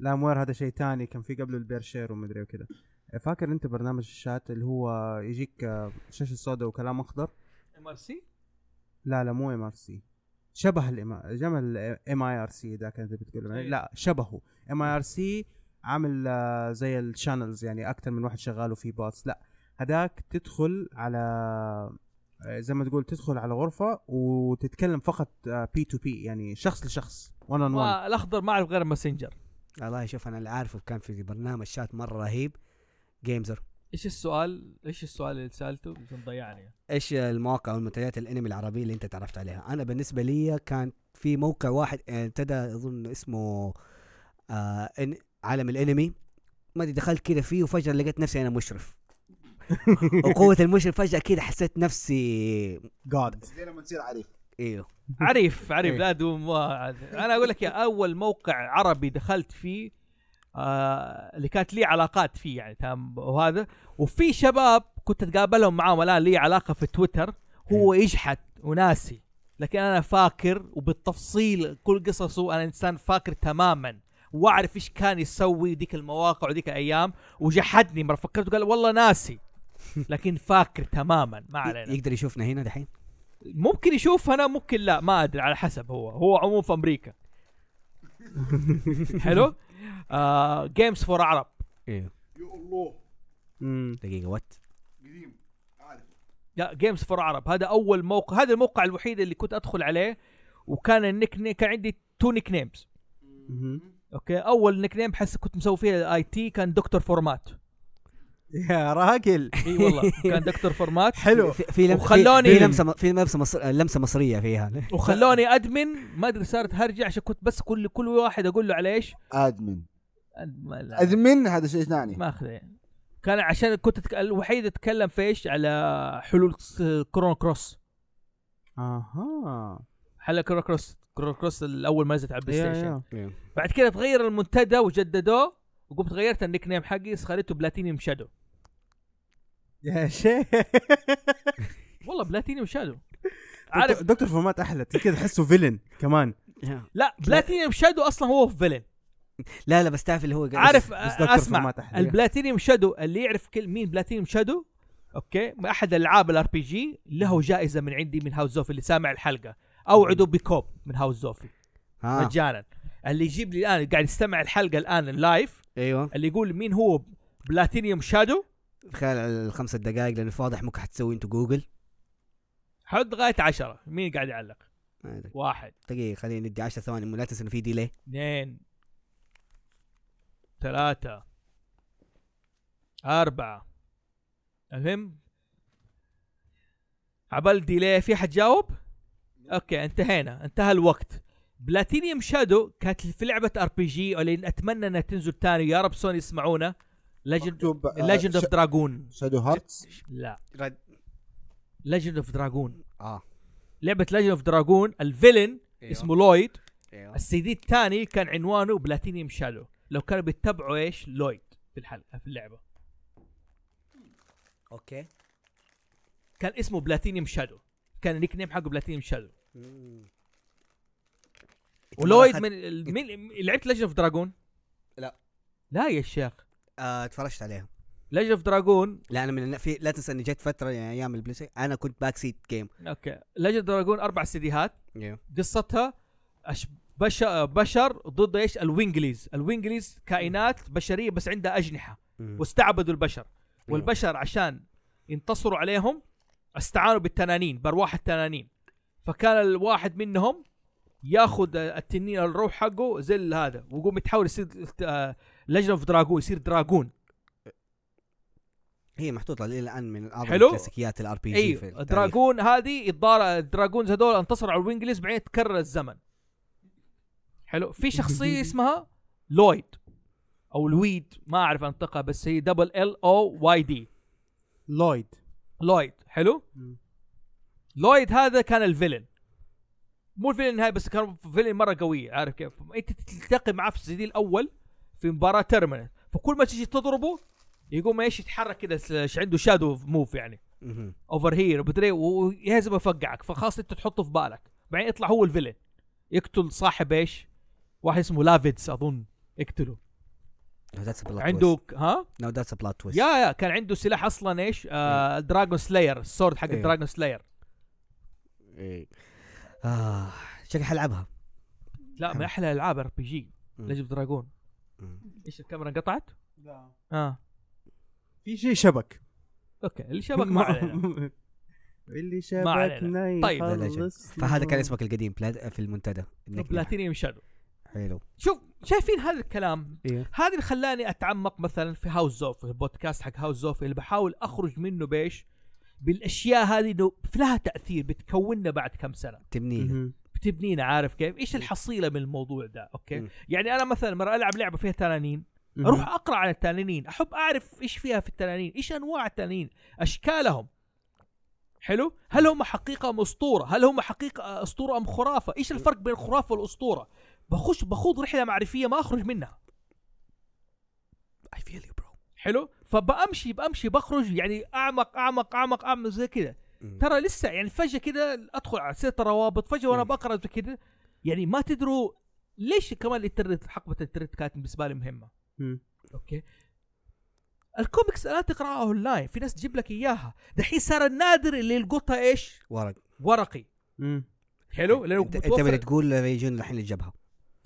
لا موير هذا شيء تاني كان في قبله البيرشير ومدري وكذا فاكر انت برنامج الشات اللي هو يجيك آه، شاشه سوداء وكلام اخضر
ام ار سي
لا لا مو ام ار سي شبه الام جمع الام اي ار سي ذاك اللي بتقول
إيه.
لا شبهه ام اي ار سي عامل آه، زي الشانلز يعني اكثر من واحد شغال وفيه بوتس لا هداك تدخل على آه، زي ما تقول تدخل على غرفه وتتكلم فقط بي تو بي يعني شخص لشخص 1 اون 1
الاخضر ما اعرف غير ماسنجر
والله شوف انا اللي عارفه كان في برنامج شات مره رهيب جيمزر
ايش السؤال ايش السؤال اللي سالته يمكن ضيعني
ايش المواقع والمنتديات الانمي العربيه اللي انت تعرفت عليها انا بالنسبه لي كان في موقع واحد آه، ابتدى اظن اسمه آه إن عالم الانمي ما ادري دخلت كذا فيه وفجاه لقيت نفسي انا مشرف وقوه المشرف فجاه كذا حسيت نفسي
جاد
زي لما تصير عريف
ايوه
عريف عريف
إيه.
لا دوم انا اقول لك يا اول موقع عربي دخلت فيه آه اللي كانت لي علاقات فيه يعني تمام وهذا وفي شباب كنت اتقابلهم معاهم الان لي علاقه في تويتر هو يجحد وناسي لكن انا فاكر وبالتفصيل كل قصصه انا انسان فاكر تماما واعرف ايش كان يسوي ذيك المواقع وذيك الايام وجحدني مره فكرت وقال والله ناسي لكن فاكر تماما ما علينا
يقدر يشوفنا هنا دحين
ممكن يشوف هنا ممكن لا ما ادري على حسب هو هو عموما في امريكا حلو آه جيمز فور عرب
ايوه
يا الله
دقيقه وات
قديم عارف
لا جيمز فور عرب هذا اول موقع هذا الموقع الوحيد اللي كنت ادخل عليه وكان النيك نيم كان عندي تو نيك نيمز اوكي اول نيك نيم حس كنت مسوي فيه الاي تي كان دكتور فورمات
يا راجل
اي والله كان دكتور فورمات
حلو
في, في لم-
وخلوني-
في, في لمسه في لمسه مصر... لمسه مصريه فيها
وخلوني ادمن ما ادري صارت هرجع عشان كنت بس كل كل واحد اقول له على ايش
ادمن
ما- لا.
ادمن هذا شيء ثاني
ما اخذه يعني. كان عشان كنت أتك... الوحيد اتكلم في ايش على حلول س- كورونا كروس
اها
حلقه كورونا كروس كورونا كروس الاول ما نزلت على البلاي
يا-
ستيشن
يا.
بعد كده تغير المنتدى وجددوه وقمت غيرت النيك نيم حقي خليته بلاتينيوم شادو
يا شيخ
والله بلاتينيوم شادو
عارف
عارف
دكتور فورمات احلى كذا تحسه فيلن كمان
لا بلاتينيوم شادو اصلا هو فيلن
لا لا بس تعرف اللي هو قاعد-
عارف
بس دكتور
اسمع
فورمات أحلى.
البلاتينيوم شادو اللي يعرف كل مين بلاتينيوم شادو اوكي من احد العاب الار بي جي له جائزه من عندي من هاوس زوفي اللي سامع الحلقه اوعده بكوب من هاوس زوفي
آه.
ها
مجانا اللي يجيب لي الان قاعد يستمع الحلقه الان اللايف
ايوه
اللي يقول مين هو بلاتينيوم شادو
خلال الخمس دقائق لانه في واضح ممكن حتسوي انتوا جوجل
حط لغايه عشرة مين قاعد يعلق
ما أدري.
واحد
دقيقه خلينا ندي 10 ثواني مو لا تنسى انه في ديلي
اثنين ثلاثة أربعة المهم عبال ديلي في حد جاوب؟ اوكي انتهينا انتهى الوقت بلاتينيوم شادو كانت في لعبة ار بي جي اللي اتمنى انها تنزل تاني يا رب سوني يسمعونا ليجند
مكتوب، آه،
ليجند اوف
ش-
دراجون
شادو هارتس
لا
رد
ليجند اوف دراجون
اه
لعبه ليجند اوف دراجون الفيلن
أيوه.
اسمه لويد
ايوه
السي دي الثاني كان عنوانه بلاتينيوم شالو لو كانوا بيتبعوا ايش لويد في الحلقه في اللعبه
اوكي
كان اسمه بلاتينيوم شادو كان النيك نيم حقه بلاتينيوم شادو ولويد من من لعبت ليجند اوف دراجون
لا.
لا يا شيخ
آه اتفرجت عليها
ليجند اوف دراجون
لا انا من في لا تنسى اني جت فتره يعني ايام البلاي ستيشن انا كنت باك سيت جيم
اوكي ليجند اوف دراجون اربع سيديهات
ايوه
قصتها أش- بش- بشر ضد ايش الوينجليز الوينجليز كائنات بشريه بس عندها اجنحه واستعبدوا البشر والبشر عشان ينتصروا عليهم استعانوا بالتنانين برواح التنانين فكان الواحد منهم ياخذ التنين الروح حقه زي ال- هذا ويقوم يتحول يصير آه، لجنه في دراجون يصير دراجون
هي محطوطه لي الان من اعظم
حلو.
كلاسيكيات الار بي جي
ايوه دراجون هذه الدار الدراجونز هذول انتصروا على الوينجليز بعدين تكرر الزمن حلو في شخصيه اسمها لويد او لويد ما اعرف انطقها بس هي دبل ال او واي دي
لويد
لويد حلو
مم.
لويد هذا كان الفيلن مو الفيلن النهائي بس كان فيلن مره قوي عارف كيف انت تلتقي معاه في السي دي الاول في مباراه ترمينال فكل ما تجي تضربه يقوم ايش يتحرك كذا س- عنده شادو موف يعني
مهم.
اوفر هير وبدري ايه، ويهزم يفقعك فخلاص انت تحطه في بالك بعدين يطلع هو الفيلن يقتل صاحب ايش؟ واحد اسمه لافيتس اظن يقتله
Now that's a plot
عنده
twist.
ها
Now that's a plot twist.
يا يا كان عنده سلاح اصلا ايش؟ آه دراجون سلاير السورد حق
إيه.
الدراجون سلاير
إيه. آه شكلي حلعبها
لا من احلى العاب ار بي جي
مم.
ليج اوف دراجون
مم.
ايش الكاميرا انقطعت؟ اه
في شيء شبك
اوكي اللي شبك ما علينا
اللي
ما علينا.
شبكنا
طيب.
ذا ليجند.
يخلص
فهذا كان
له.
اسمك القديم بلاد في المنتدى النكنة.
بلاتينيوم شادو
حلو
شوف شايفين هذا الكلام
إيه.
هذا اللي خلاني اتعمق مثلا في هاوس زوف البودكاست حق هاوس زوف اللي بحاول اخرج منه بايش بالاشياء هذه انه لها تاثير بتكوننا بعد كم سنه
تبنيه
مهم.
بتبنينا عارف كيف ايش الحصيله من الموضوع ده اوكي
مم.
يعني انا مثلا مرة العب لعبه فيها تنانين
مهم.
اروح اقرا عن التنانين احب اعرف ايش فيها في التنانين ايش انواع التنانين اشكالهم حلو هل هم حقيقه ام اسطوره هل هم حقيقه اسطوره ام خرافه ايش الفرق بين الخرافه والاسطوره بخش بخوض رحله معرفيه ما اخرج منها
I feel you bro.
حلو فبامشي بامشي بخرج يعني اعمق اعمق اعمق اعمق زي كذا
مم.
ترى لسه يعني فجاه كذا ادخل على سيره الروابط فجاه وانا
مم.
بقرا زي كذا يعني ما تدروا ليش كمان الانترنت حقبه الانترنت كانت بالنسبه لي مهمه
مهم.
اوكي الكوميكس الان تقراها اونلاين في ناس تجيب لك اياها دحين صار النادر اللي يلقطها ايش
ورق
ورقي
مهم.
حلو لانه
انت انت
متوفر
بدك تقول ريجون الحين اللي جابها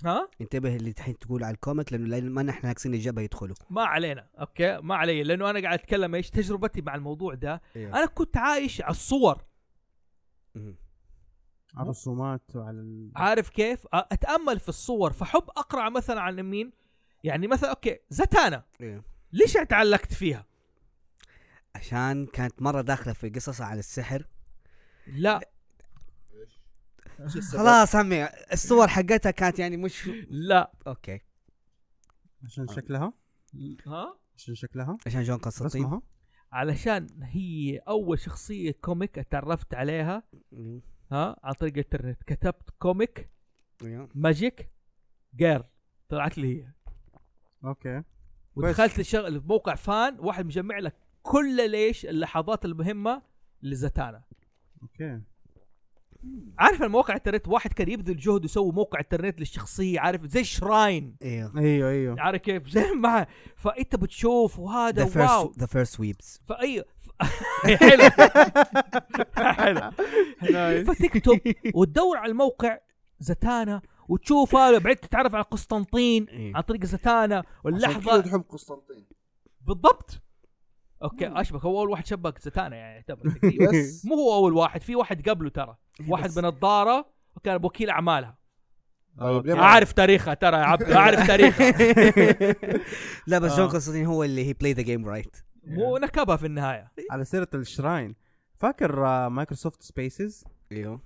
ها
انتبه اللي الحين تقول على الكوميك لانه لأن ما نحن ناقصين الجبهه يدخلوا
ما علينا اوكي ما علي لانه انا قاعد اتكلم ايش تجربتي مع الموضوع ده
إيه.
انا كنت عايش على الصور
مم.
على الرسومات وعلى ال-
عارف كيف أ- اتامل في الصور فحب اقرا مثلا عن مين يعني مثلا اوكي زتانا
إيه.
ليش اتعلقت فيها
عشان كانت مره داخله في قصصها على السحر
لا
خلاص عمي الصور حقتها كانت يعني مش
لا
اوكي
عشان شكلها
ها
عشان شكلها
عشان جون قسطين
رسمها
علشان هي اول شخصيه كوميك اتعرفت عليها
مم.
ها عن طريق الانترنت كتبت كوميك
أيوه.
ماجيك جير طلعت لي هي
اوكي
ودخلت الشغل في موقع فان واحد مجمع لك كل ليش اللحظات المهمه لزتانا
اوكي
عارف المواقع الانترنت واحد كان يبذل جهد يسوي موقع انترنت للشخصيه عارف زي شراين
ايوه
ايوه ايوه
عارف كيف زي ما فانت بتشوف
ذا
وهذا واو
فيرست ذا فيرست ويبس
فاي ف- حلو حلو فتكتب وتدور على الموقع زتانا وتشوف هذا بعدين تتعرف على قسطنطين
إيه.
عن طريق زتانا
اللحظه
واللحظه
تحب قسطنطين
بالضبط اوكي اشبك هو اول واحد شبك زتانا يعني يعتبر تقريباً.
بس
مو هو اول واحد في واحد قبله ترى واحد
بس.
بنضاره وكان وكيل اعمالها
طيب ليه ما-
اعرف تاريخها ترى يا عبد اعرف تاريخها
لا بس
آه.
جون قسطين هو اللي هي بلاي ذا جيم رايت
مو نكبها في النهايه
على سيره الشراين فاكر آه، مايكروسوفت سبيسز
ايوه
أيوه.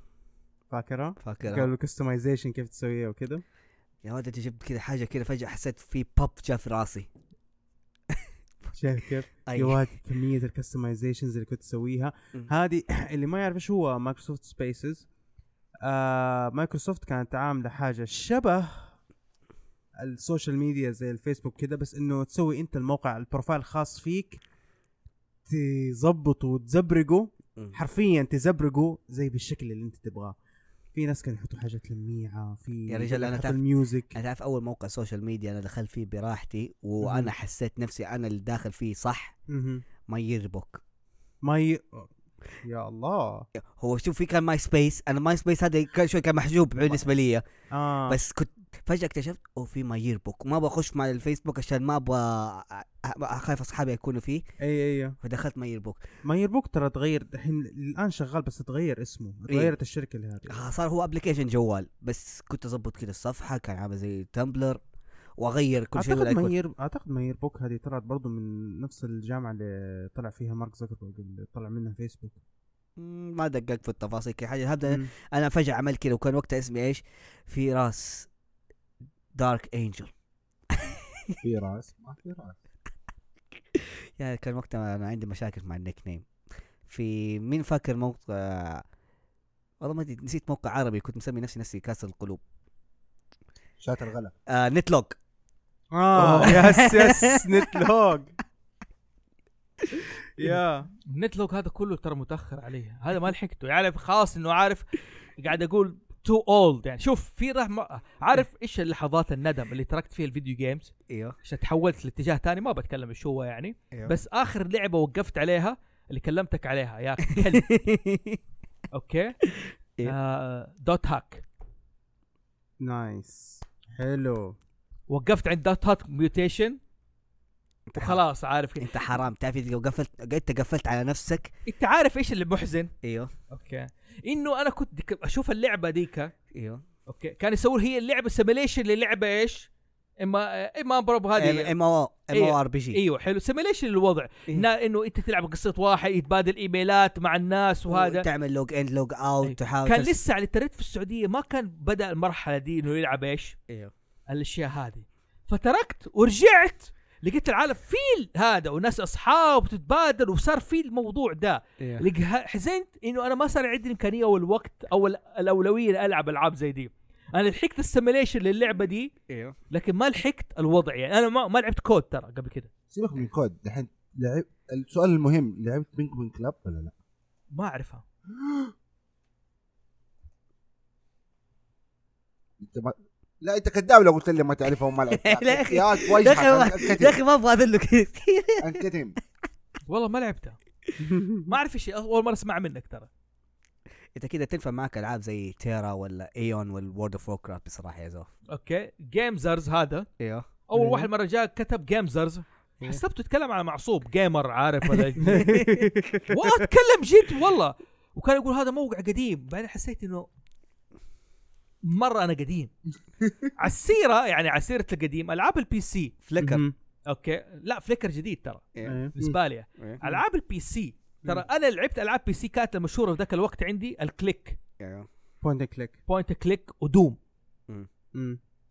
فاكرها
فاكر
قالوا كستمايزيشن كيف تسويها وكذا
يا ولد انت جبت كذا حاجه كذا فجاه حسيت في بوب جاء في راسي
شايف كيف؟
أي.
يا واد كميه الكستمايزيشنز اللي كنت تسويها
مم.
هذه اللي ما يعرف ايش هو مايكروسوفت سبيسز آه مايكروسوفت كانت عامله حاجه شبه السوشيال ميديا زي الفيسبوك كده بس انه تسوي انت الموقع البروفايل الخاص فيك تظبطه وتزبرقه
مم.
حرفيا تزبرقه زي بالشكل اللي انت تبغاه في ناس كانوا يحطوا حاجات لميعه في
يا رجال أنا
يحطوا
تعرف-
الميوزك
انا تعرف اول موقع سوشيال ميديا انا دخلت فيه براحتي وانا
مهم.
حسيت نفسي انا اللي داخل فيه صح
مهم.
ما يربك
ما ي... يا الله
هو شوف في كان ماي سبيس انا ماي سبيس هذا كان شوي كان محجوب بالنسبه لي
اه
بس كنت فجاه اكتشفت او في ماي يربك ما بخش مع الفيسبوك عشان ما ابغى اخاف اصحابي يكونوا فيه
اي اي
فدخلت ماي يربك
ما يربوك ترى تغير دحين الان شغال بس تغير اسمه
إيه.
تغيرت الشركه لهذه
آه، صار هو ابلكيشن جوال بس كنت اظبط كده الصفحه كان عامل زي تمبلر واغير كل شيء
اعتقد ما
والأيقون.
ير... اعتقد ما يربوك هذه طلعت برضو من نفس الجامعه اللي طلع فيها مارك زكربرج اللي طلع منها فيسبوك
مم، ما دققت في التفاصيل كي حاجه هبدا
مم.
انا فجاه عملت كده وكان وقتها اسمي ايش في راس دارك انجل
في راس ما في راس
يعني كان وقتها انا عندي مشاكل مع النيك نيم في مين فاكر موقع والله ما أدري، نسيت موقع عربي كنت مسمي نفسي نفسي كاس القلوب
شات الغلا
آه نتلوج
اه
أوه.
يس يس نتلوج يا
النت لوج هذا كله ترى متاخر عليه هذا ما لحقته يعني خلاص انه عارف قاعد اقول تو اولد يعني شوف في رحمة عارف ايش لحظات الندم اللي تركت فيها الفيديو جيمز
ايوه
عشان تحولت لاتجاه تاني ما بتكلم ايش هو يعني
ايوه
بس اخر لعبه وقفت عليها اللي كلمتك عليها يا كلب اوكي
إيه.
آه دوت هاك
نايس حلو
وقفت عند دوت هاك ميوتيشن وخلاص عارف كده.
انت حرام تعرف إذا لو قفلت انت قفلت على نفسك
انت عارف ايش اللي محزن
ايوه
اوكي انه انا كنت ديك- اشوف اللعبه ديك
ايوه
اوكي كان يسوي هي اللعبه سيميليشن للعبه ايش؟ اما اما برضو هذه
ام او ام او
إيه.
ار بي جي
ايوه حلو سيميليشن للوضع
E. إيه.
نا- انه انت تلعب قصه واحد يتبادل ايميلات مع الناس وهذا
تعمل لوج ان لوج
إيه.
اوت تحاول
كان
تس-
لسه على الانترنت في السعوديه ما كان بدا المرحله دي انه يلعب ايش؟
ايوه
الاشياء هذه فتركت ورجعت لقيت العالم فيل هذا وناس اصحاب تتبادل وصار في الموضوع ده
ايوه
لقه- حزنت انه انا ما صار عندي الامكانيه او الوقت او ال- الاولويه إني العب العاب زي دي انا لحقت السيميليشن للعبه دي
ايوه
لكن ما لحقت الوضع يعني انا ما, ما لعبت كود ترى قبل كده
سيبك من كود دحين لعب السؤال المهم لعبت بينك بين كلاب ولا لا؟
ما اعرفها
انت ما... لا انت كذاب لو قلت لي ما تعرفها وما لعبت
لا يا أخي.
يا
يا أخي ما- يا
وجهك
اخي ما ابغى اذله كثير
انكتم
والله ما لعبتها ما اعرف ايش هي، اول مره اسمع منك ترى
انت كذا تنفع معك العاب زي تيرا ولا ايون والورد اوف ووركرافت بصراحه يا زوف
اوكي جيمزرز هذا
ايوه
اول
أيوه.
واحد مره جاء كتب جيمزرز حسبته يتكلم على معصوب جيمر عارف ولا واتكلم جد والله وكان يقول هذا موقع قديم بعدين حسيت انه مره انا قديم على السيره يعني على سيره القديم العاب البي سي
فليكر
اوكي لا فليكر جديد ترى
إيه.
بالنسبه لي
إيه.
العاب البي سي ترى انا لعبت العاب بي سي كانت المشهوره في ذاك الوقت عندي الكليك
ايوه
بوينت كليك
بوينت كليك ودوم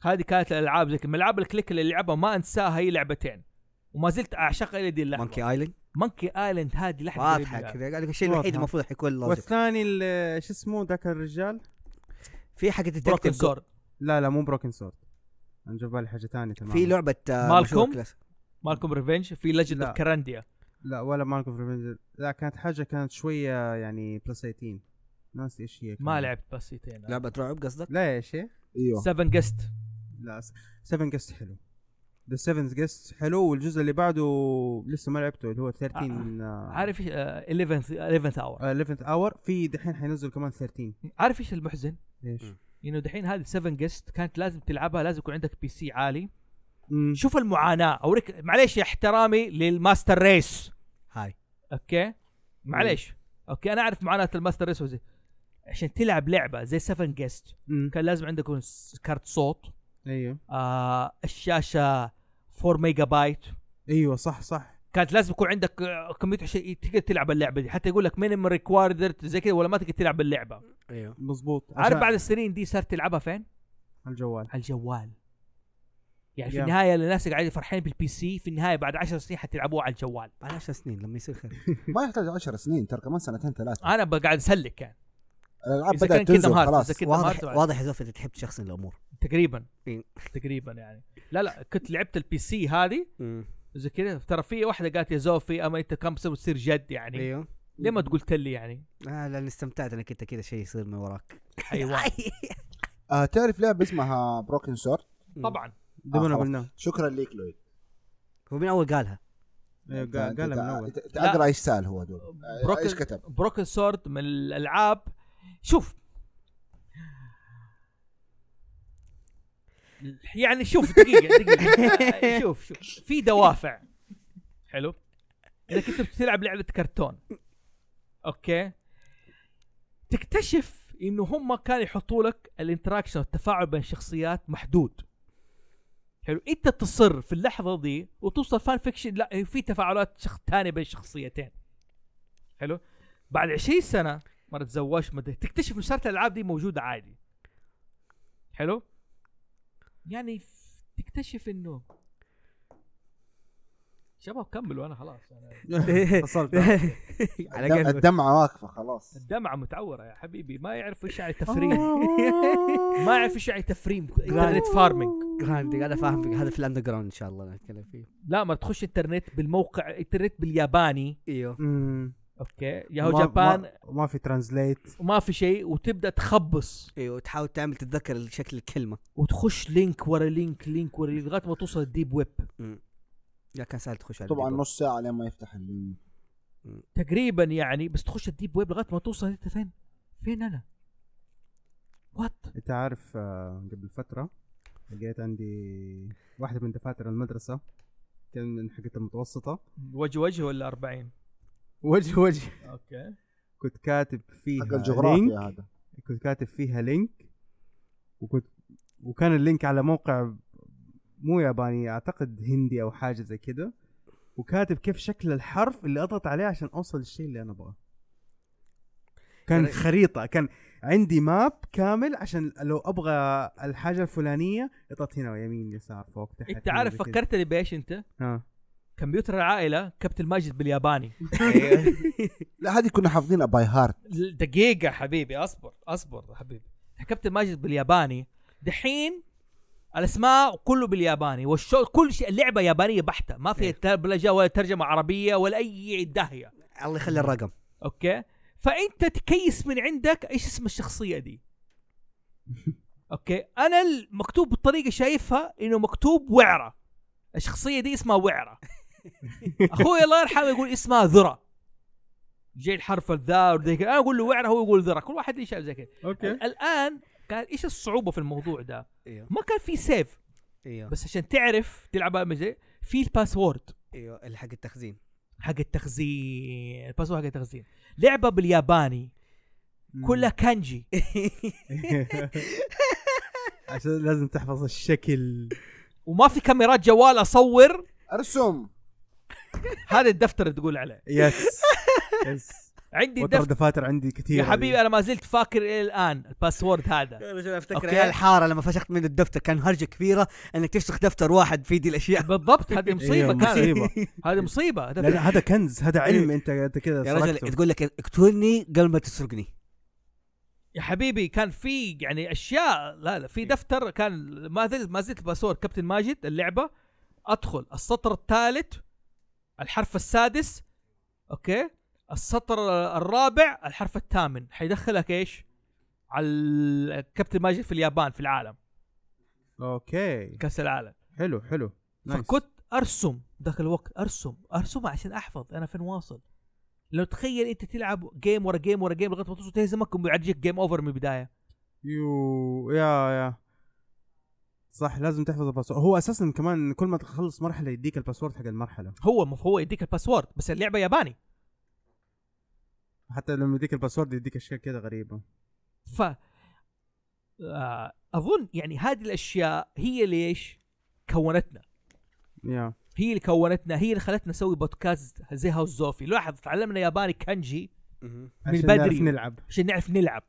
هذه كانت الالعاب زي كده. من العاب الكليك اللي لعبها ما انساها هي لعبتين وما زلت اعشقها الى دي اللحظه
مونكي ايلاند
مونكي ايلاند هذه يعني. لحظه
واضحه كذا قال لك الشيء الوحيد
واضحة.
المفروض حيكون لوجيك
والثاني ال- شو اسمه ذاك الرجال
في حق
بروكن
ديتكتيف
سورد
لا لا مو بروكن سورد انا جاب بالي حاجه ثانيه تمام
في لعبه آه،
نعم. مالكم؟
مشهور كلاس-
مالكم ريفنج في ليجند
لا.
اوف كرانديا
لا ولا مارك اوف ريفنج لا كانت حاجه كانت شويه يعني بلس 18 ناسي ايش هي
ما
كمان.
لعبت بس ايتين
لعبه رعب قصدك
لا يا شيخ
ايوه
7 جست
لا 7 جست حلو ذا 7 جست حلو والجزء اللي بعده لسه ما لعبته اللي هو 13 آه،
عارف ايش آه، 11 11 اور
11 اور في دحين حينزل كمان 13
عارف ايش المحزن؟
ليش؟
مم.
انه دحين هذه 7 جست كانت لازم تلعبها لازم يكون عندك بي سي عالي
مم.
شوف المعاناه اوريك معليش يا احترامي للماستر ريس
هاي
اوكي معليش اوكي انا اعرف معاناه الماستر ريس وزي عشان تلعب لعبه زي 7 جست
مم.
كان لازم عندك يكون س- كارت صوت
ايوه
آه الشاشه 4 ميجا بايت
ايوه صح صح
كانت لازم يكون عندك آه، كمبيوتر عشان تقدر تلعب اللعبه دي حتى يقول لك مينيمم ريكوايرد زي كذا ولا ما تقدر تلعب اللعبه
ايوه
مظبوط
عارف
عشان
بعد السنين دي صارت تلعبها فين؟
الجوال
على الجوال يعني في
Yeah.
النهايه الناس قاعدين فرحانين بالبي سي في النهايه بعد 10 سنين حتلعبوها على الجوال
بعد 10 سنين لما يصير خير
ما يحتاج 10 سنين ترى كمان سنتين ثلاثه
انا بقى قاعد اسلك يعني
الالعاب
إذا كان
بدات
Kingdom
تنزل
Hearts،
خلاص
إذا كان- كده ما
واضح
أتبع.
واضح يا زوف انت تحب شخص الامور
تقريبا
إيه.
تقريبا يعني لا لا كنت لعبت البي سي هذه زي كذا ترى في واحده قالت يا زوفي اما انت كم سنه تصير جد يعني
ايوه
ليه ما قلت لي يعني
آه لاني استمتعت انك انت كذا شيء يصير من وراك
حيوان
آه تعرف لعبه اسمها بروكن سورد
طبعا
دوبنا
خلاص.
قلنا
شكرا لك لويد
هو من اول قالها
إيوه، قا-
أنت-
قالها من
أنت-
اول
أنت تقرا ايش سال هو دوب آه،
بروكن-
ايش كتب
بروكن سورد من الالعاب شوف يعني شوف دقيقه دقيقه شوف شوف في دوافع حلو اذا كنت بتلعب لعبه كرتون اوكي تكتشف انه هم كانوا يحطوا لك الانتراكشن والتفاعل بين الشخصيات محدود حلو انت تصر في اللحظه دي وتوصل فان فيكشن لا في تفاعلات شخص ثاني بين شخصيتين حلو بعد 20 سنه مره تزوجت ما أدري، تكتشف انه صارت الالعاب دي موجوده عادي حلو يعني ف- تكتشف انه شباب كملوا انا خلاص أنا
فصلت
على
الدم-
قلبك
الدمعه واقفه خلاص
الدمعه متعوره يا آه. حبيبي ما يعرف ايش يعني تفريم ما يعرف ايش يعني تفريم انترنت فارمنج
جراند هذا فاهم هذا في الاندر جراوند ان شاء الله نتكلم فيه
لا ما تخش انترنت بالموقع انترنت بالياباني
ايوه
مم.
اوكي ياهو
ما-
جابان
ما, ما في ترانزليت
وما في شيء وتبدا تخبص
ايوه تحاول تعمل تتذكر شكل الكلمه
وتخش لينك ورا لينك لينك ورا لينك لغايه ما توصل الديب ويب
لا كان سهل تخش على
طبعا
الفيديو.
نص ساعه لين ما يفتح اللينك
تقريبا يعني بس تخش الديب ويب لغايه ما توصل انت فين؟ فين انا؟ وات
انت عارف آه، قبل فتره لقيت عندي واحده من دفاتر المدرسه كان من حقة المتوسطه
وجه وجه ولا 40
وجه وجه
اوكي
كنت كاتب
حق
فيها
الجغرافيا
لينك
هذا
كنت كاتب فيها لينك وكنت وكان اللينك على موقع مو ياباني اعتقد هندي او حاجه زي كده وكاتب كيف شكل الحرف اللي اضغط عليه عشان اوصل للشيء اللي انا ابغاه كان
يعني-
خريطه كان عندي ماب كامل عشان لو ابغى الحاجه الفلانيه اضغط هنا ويمين يسار فوق تحت
انت
كده
عارف
زي كده.
فكرت لي بايش انت؟
ها
كمبيوتر العائله كابتن ماجد بالياباني
لا هذه كنا حافظينها باي هارت
دقيقة حبيبي اصبر اصبر يا حبيبي كابتن ماجد بالياباني دحين الاسماء كله بالياباني والشو كل شيء اللعبة يابانية بحتة ما فيها
إيه.
ترجمة ولا ترجمة عربية ولا اي داهية
الله يخلي الرقم
اوكي فانت تكيس من عندك ايش اسم الشخصية دي اوكي انا المكتوب بالطريقة شايفها انه مكتوب وعرة الشخصية دي اسمها وعرة اخوي الله يرحمه يقول اسمها ذرة جاي الحرف الذا وذي كده. انا اقول له وعرة هو يقول ذرة كل واحد ليه شايف زي كده
اوكي
ال- الان كان ايش الصعوبه في الموضوع ده؟
ايوه
ما كان في سيف
ايوه
بس عشان تعرف تلعب على مزي في الباسورد
ايوه اللي حق التخزين
حق التخزين الباسورد حق التخزين لعبه بالياباني كلها كانجي
عشان لازم تحفظ الشكل
وما في كاميرات جوال اصور
ارسم
هذا الدفتر اللي تقول عليه
يس يس
عندي
وترى
دفتر
دفاتر عندي كثير
يا حبيبي انا ما زلت فاكر الى الان الباسورد هذا
افتكر
أوكي.
يا إيه؟ الحاره لما فشخت من الدفتر كان هرجه كبيره انك تفسخ دفتر واحد في دي الاشياء
بالضبط هذه
إيوه،
مصيبه كانت إيه.
مصيبه
هذه مصيبه هذا
لا، لا،
في-
هذا كنز هذا علم انت انت كذا
يا رجل
سرقته.
تقول لك اقتلني قبل ما تسرقني
يا حبيبي كان في يعني اشياء لا لا
إيه.
في دفتر كان ما زلت ما زلت باسورد كابتن ماجد اللعبه ادخل السطر الثالث الحرف السادس اوكي السطر الرابع الحرف الثامن حيدخلك ايش؟ على ال- كابتن ماجد في اليابان في العالم
اوكي
كاس العالم
حلو حلو نايس.
فكنت ارسم ذاك الوقت ارسم ارسم عشان احفظ انا فين واصل لو تخيل انت تلعب جيم ورا جيم ورا جيم لغايه ما توصل تهزمك ويعجيك جيم اوفر من البدايه
يو يا يا صح لازم تحفظ الباسورد هو اساسا كمان كل ما تخلص مرحله يديك الباسورد حق المرحله
هو مف- هو يديك الباسورد بس اللعبه ياباني
حتى لما يديك الباسورد يديك اشياء كذا غريبه
ف آه، اظن يعني هذه الاشياء هي ليش كونتنا
يا
هي اللي كونتنا هي اللي خلتنا نسوي بودكاست زي هاوس زوفي لاحظ تعلمنا ياباني كانجي من
عشان نعرف
بدري.
نلعب
عشان نعرف نلعب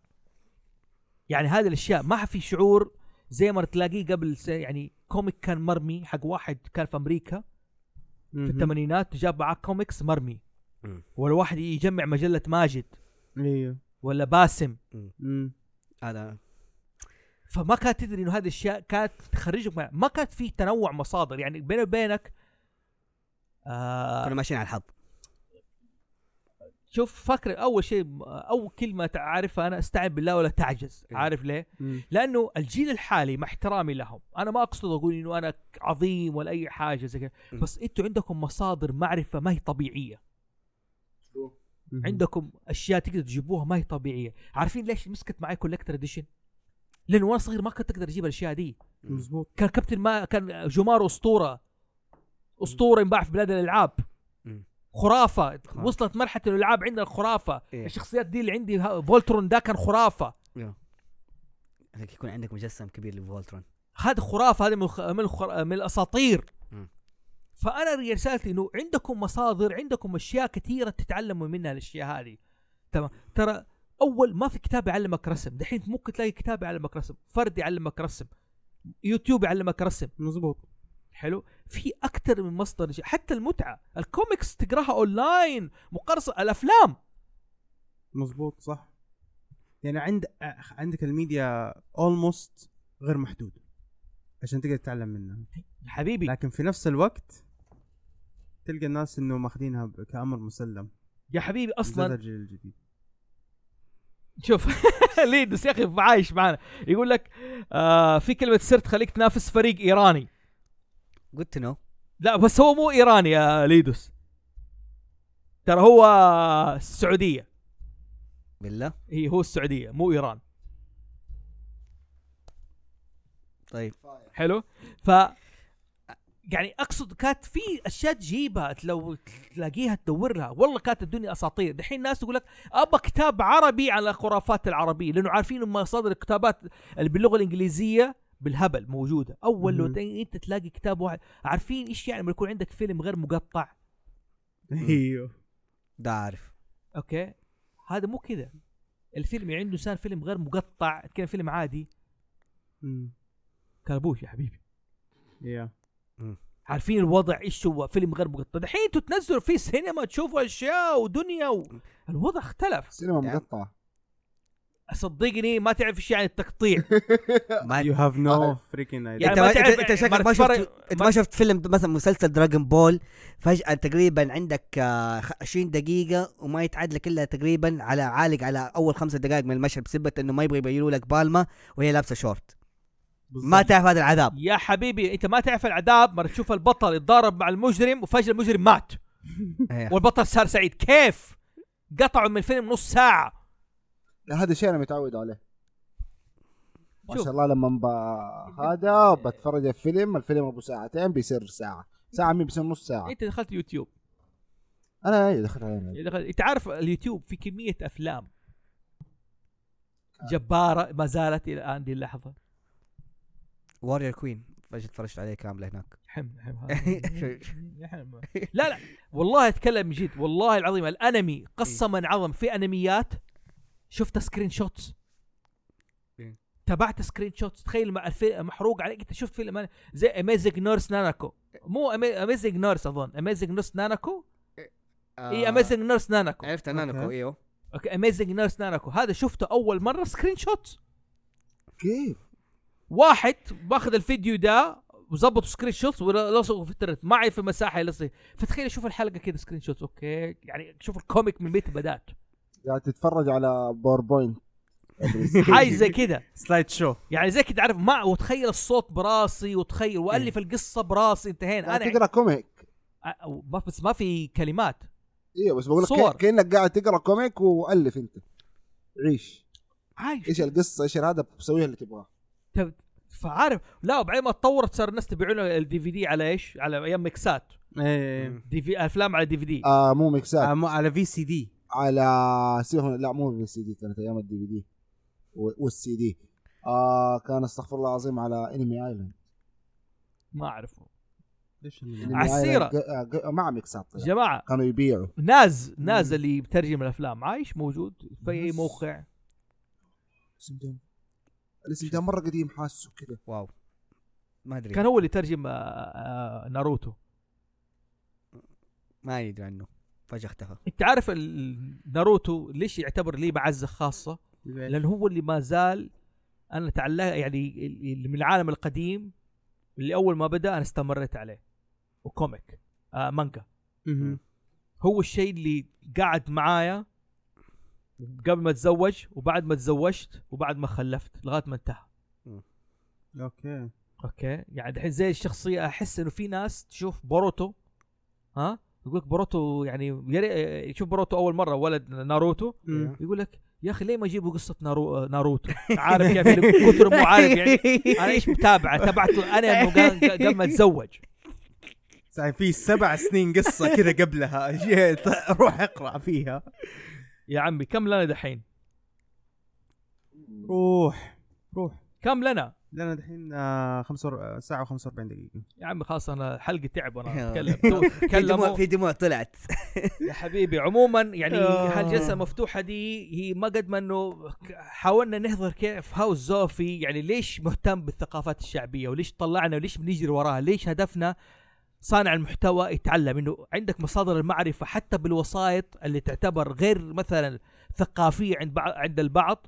يعني هذه الاشياء ما في شعور زي ما تلاقيه قبل س- يعني كوميك كان مرمي حق واحد كان في امريكا في الثمانينات جاب معاه كوميكس مرمي
مم.
ولا واحد يجمع مجله ماجد
ايوه
ولا باسم
مم.
هذا
فما كانت تدري انه هذه الاشياء كانت تخرجك مع- ما كانت في تنوع مصادر يعني بيني وبينك آه
كنا ماشيين على الحظ
شوف فاكر اول شيء اول كلمه اعرفها انا استعن بالله ولا تعجز
إيه.
عارف ليه؟
مم.
لانه الجيل الحالي مع احترامي لهم انا ما اقصد اقول انه انا عظيم ولا اي حاجه زي كذا
م.
بس انتوا عندكم مصادر معرفه ما هي طبيعيه
مم.
عندكم اشياء تقدر تجيبوها ما هي طبيعيه عارفين ليش مسكت معي كولكتر اديشن لانه وانا صغير ما كنت اقدر اجيب الاشياء دي
مزبوط
كان كابتن ما كان جومارو اسطوره اسطوره ينباع في بلاد الالعاب
مم.
خرافه وصلت مرحله الالعاب عندنا خرافه
إيه.
الشخصيات دي اللي عندي ها- فولترون ده كان خرافه
انك يكون عندك مجسم كبير لفولترون
هذا خرافه هذا من الخ- من, الخر... من الاساطير
مم.
فانا رسالتي انه عندكم مصادر عندكم اشياء كثيره تتعلموا منها الاشياء هذه تمام ترى اول ما في كتاب يعلمك رسم دحين ممكن تلاقي كتاب يعلمك رسم فرد يعلمك رسم يوتيوب يعلمك رسم
مزبوط
حلو في اكثر من مصدر شيء. حتى المتعه الكوميكس تقراها اونلاين مقارصه الافلام
مزبوط صح يعني عند آه، عندك الميديا اولموست غير محدود عشان تقدر تتعلم منها
حبيبي
لكن في نفس الوقت تلقى الناس انه ماخذينها ب- كامر مسلم
يا حبيبي اصلا
بالذات الجيل الجديد
شوف ليدس يا اخي عايش معنا يقول لك آه في كلمه سر تخليك تنافس فريق ايراني
جود تو نو
لا بس هو مو ايراني يا ليدوس ترى هو السعوديه
بالله
هي هو السعوديه مو ايران
طيب
حلو ف يعني اقصد كانت في اشياء تجيبها لو تلاقيها تدور لها والله كانت الدنيا اساطير دحين الناس تقول لك ابى كتاب عربي على خرافات العربيه لانه عارفين إن مصادر الكتابات اللي باللغه الانجليزيه بالهبل موجوده اول لو
مم.
ت- انت تلاقي كتاب واحد عارفين ايش يعني لما يكون عندك فيلم غير مقطع
ايوه
ده عارف
اوكي هذا مو كذا الفيلم يعني عنده صار فيلم غير مقطع كان فيلم عادي
مم.
كربوش يا حبيبي
يا
عارفين الوضع ايش هو فيلم غير مقطع دحين انتوا تنزلوا في سينما تشوفوا اشياء ودنيا و... الوضع اختلف
سينما
يعني-
مقطعه
صدقني ما تعرف ايش يعني التقطيع
ما
يو هاف نو فريكين ايديا
انت
يعني ما
ما انت,
تعرف-
انت شكلك
ما
ما شفت
تتفرج-
انت
ما-
ما شفت فيلم مثلا مسلسل دراجون بول فجأة تقريبا عندك آه، خ- 20 دقيقة وما يتعادلك الا تقريبا على عالق على اول خمسة دقائق من المشهد بسبة انه ما يبغى يبينوا لك بالما وهي لابسة شورت ما تعرف هذا العذاب
يا حبيبي انت ما تعرف العذاب مره تشوف البطل يتضارب مع المجرم وفجاه المجرم مات
ايه.
والبطل صار سعيد كيف قطعوا من الفيلم نص ساعه
لا هذا شيء انا متعود عليه ما
شوف.
شاء الله لما ب... هذا بتفرج على فيلم الفيلم ابو ساعتين بيصير ساعه ساعه مين بيصير نص ساعه
انت دخلت يوتيوب
انا اي دخلت علينا
دخلت... انت عارف اليوتيوب في كميه افلام
آه.
جباره ما زالت الى الان دي اللحظه
وارير كوين فجأة تفرجت عليه كاملة هناك
حم حم حم لا لا والله اتكلم من جد والله العظيم الانمي قسما عظم في انميات شفت سكرين شوتس
إيه.
تابعت سكرين شوتس تخيل مع الفي- محروق عليك انت شفت فيلم أنا- زي اميزنج نيرس ناناكو مو اميزنج نيرس اظن اميزنج نيرس ناناكو اي اميزنج نيرس ناناكو
آه، عرفت
انا نكو،
ايوه
اوكي اميزنج نيرس ناناكو هذا شفته اول مره سكرين شوتس
كيف؟
واحد باخذ الفيديو ده وظبط سكرين شوتس ولصقه في الترنت ما عاد في مساحه يلصق فتخيل اشوف الحلقه كذا سكرين شوتس اوكي يعني شوف الكوميك من متى بدات
قاعد تتفرج على باوربوينت
حاجه زي كذا
سلايد شو
يعني زي كذا عارف ما وتخيل الصوت براسي وتخيل والف القصه براسي انتهينا انا
تقرا كوميك
أ- ما- بس ما في كلمات
ايوه بس بقول
صور.
لك كانك قاعد تقرا كوميك والف انت عيش
عايش
ايش القصه ايش هذا بسويها اللي تبغاه
طب- فعارف لا وبعدين ما تطورت صار الناس تبيعون الدي في دي على ايش؟ على ايام ميكسات
ايه
دي في افلام على دي في دي
آه مو ميكسات
آه، مو- على في سي دي
على سيفون لا مو بالسي دي كانت ايام الدي في دي و- والسي دي آه كان استغفر الله العظيم على انمي ايلاند
ما اعرفه
إنمي
على السيرة.
آيلاند ج- آه، ج- مع ميكسات طلع.
جماعه
كانوا يبيعوا
ناز ناز اللي بترجم الافلام عايش موجود في اي
ناز.
موقع
الاسم ده الاسم ده مره قديم حاسه كذا
واو ما ادري
كان هو اللي ترجم آه، آه، ناروتو
ما يدري عنه فجأة اختفى
انت عارف ال- ناروتو ليش يعتبر لي معزه خاصه لان هو اللي ما زال انا تعلق يعني ال- ال- من العالم القديم اللي اول ما بدا انا استمريت عليه وكوميك آه مانجا
مهم.
هو الشيء اللي قاعد معايا قبل ما اتزوج وبعد ما تزوجت وبعد ما خلفت لغايه ما انتهى
اوكي
اوكي يعني دحين زي الشخصيه احس انه في ناس تشوف بوروتو ها يقول لك بوروتو يعني يري- يشوف بوروتو اول مره ولد ناروتو
مم.
يقول لك يا اخي ليه ما يجيبوا قصه نارو... ناروتو عارف كيف يعني كثر مو عارف يعني انا ايش متابعه تبعته انا من قبل- قبل ما اتزوج
يعني في سبع سنين قصه كذا قبلها جيت روح اقرا فيها
يا عمي كم لنا دحين
روح روح
كم لنا
لنا دحين آه، خمسة ور- ساعه و45 دقيقه
يا عمي خلاص انا حلقه تعب وانا
يا.
اتكلم
في دموع
كلموا
في دموع طلعت
يا حبيبي عموما يعني
آه.
هالجلسه المفتوحه دي هي ما قد ما انه ك- حاولنا نحضر كيف هاوس زوفي يعني ليش مهتم بالثقافات الشعبيه وليش طلعنا وليش بنجري وراها ليش هدفنا صانع المحتوى يتعلم انه عندك مصادر المعرفه حتى بالوسائط اللي تعتبر غير مثلا ثقافيه عند بعض عند البعض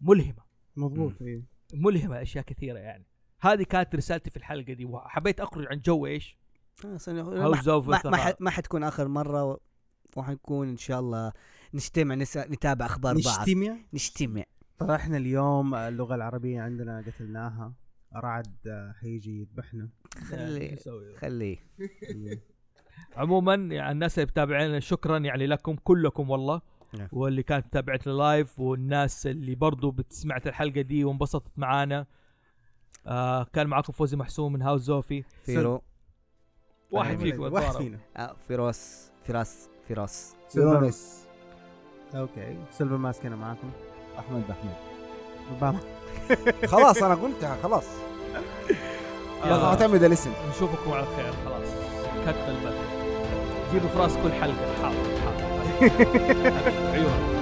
ملهمه
مضبوط ايه
ملهمه اشياء كثيره يعني هذه كانت رسالتي في الحلقه دي وحبيت اخرج عن جو ايش؟
خلاص أنا- آه، ما-
هاوس اوف
ما- ما ح- ما حتكون اخر مره و- وحنكون ان شاء الله نجتمع نس... نتابع اخبار بعض
نجتمع
نجتمع
طرحنا اليوم اللغه العربيه عندنا قتلناها رعد آه، حيجي يذبحنا
خلي خليه
عموما يعني الناس اللي بتابعنا شكرا يعني لكم كلكم والله
نعم.
واللي كانت تابعتنا لايف والناس اللي برضو بتسمعت الحلقه دي وانبسطت معانا آه كان معكم فوزي محسوم من هاوس زوفي
فيرو
واحد فيكم
واحد
أتوارى.
فينا
آه فيروس فراس فراس
سيرونس
اوكي سيلفر ماسك انا معاكم
احمد احمد
أوباما.
خلاص انا قلتها خلاص خلاص
آه،
اعتمد الاسم
نشوفكم على خير خلاص كتل البث جيبوا في راس كل حلقه حاضر حاضر عيون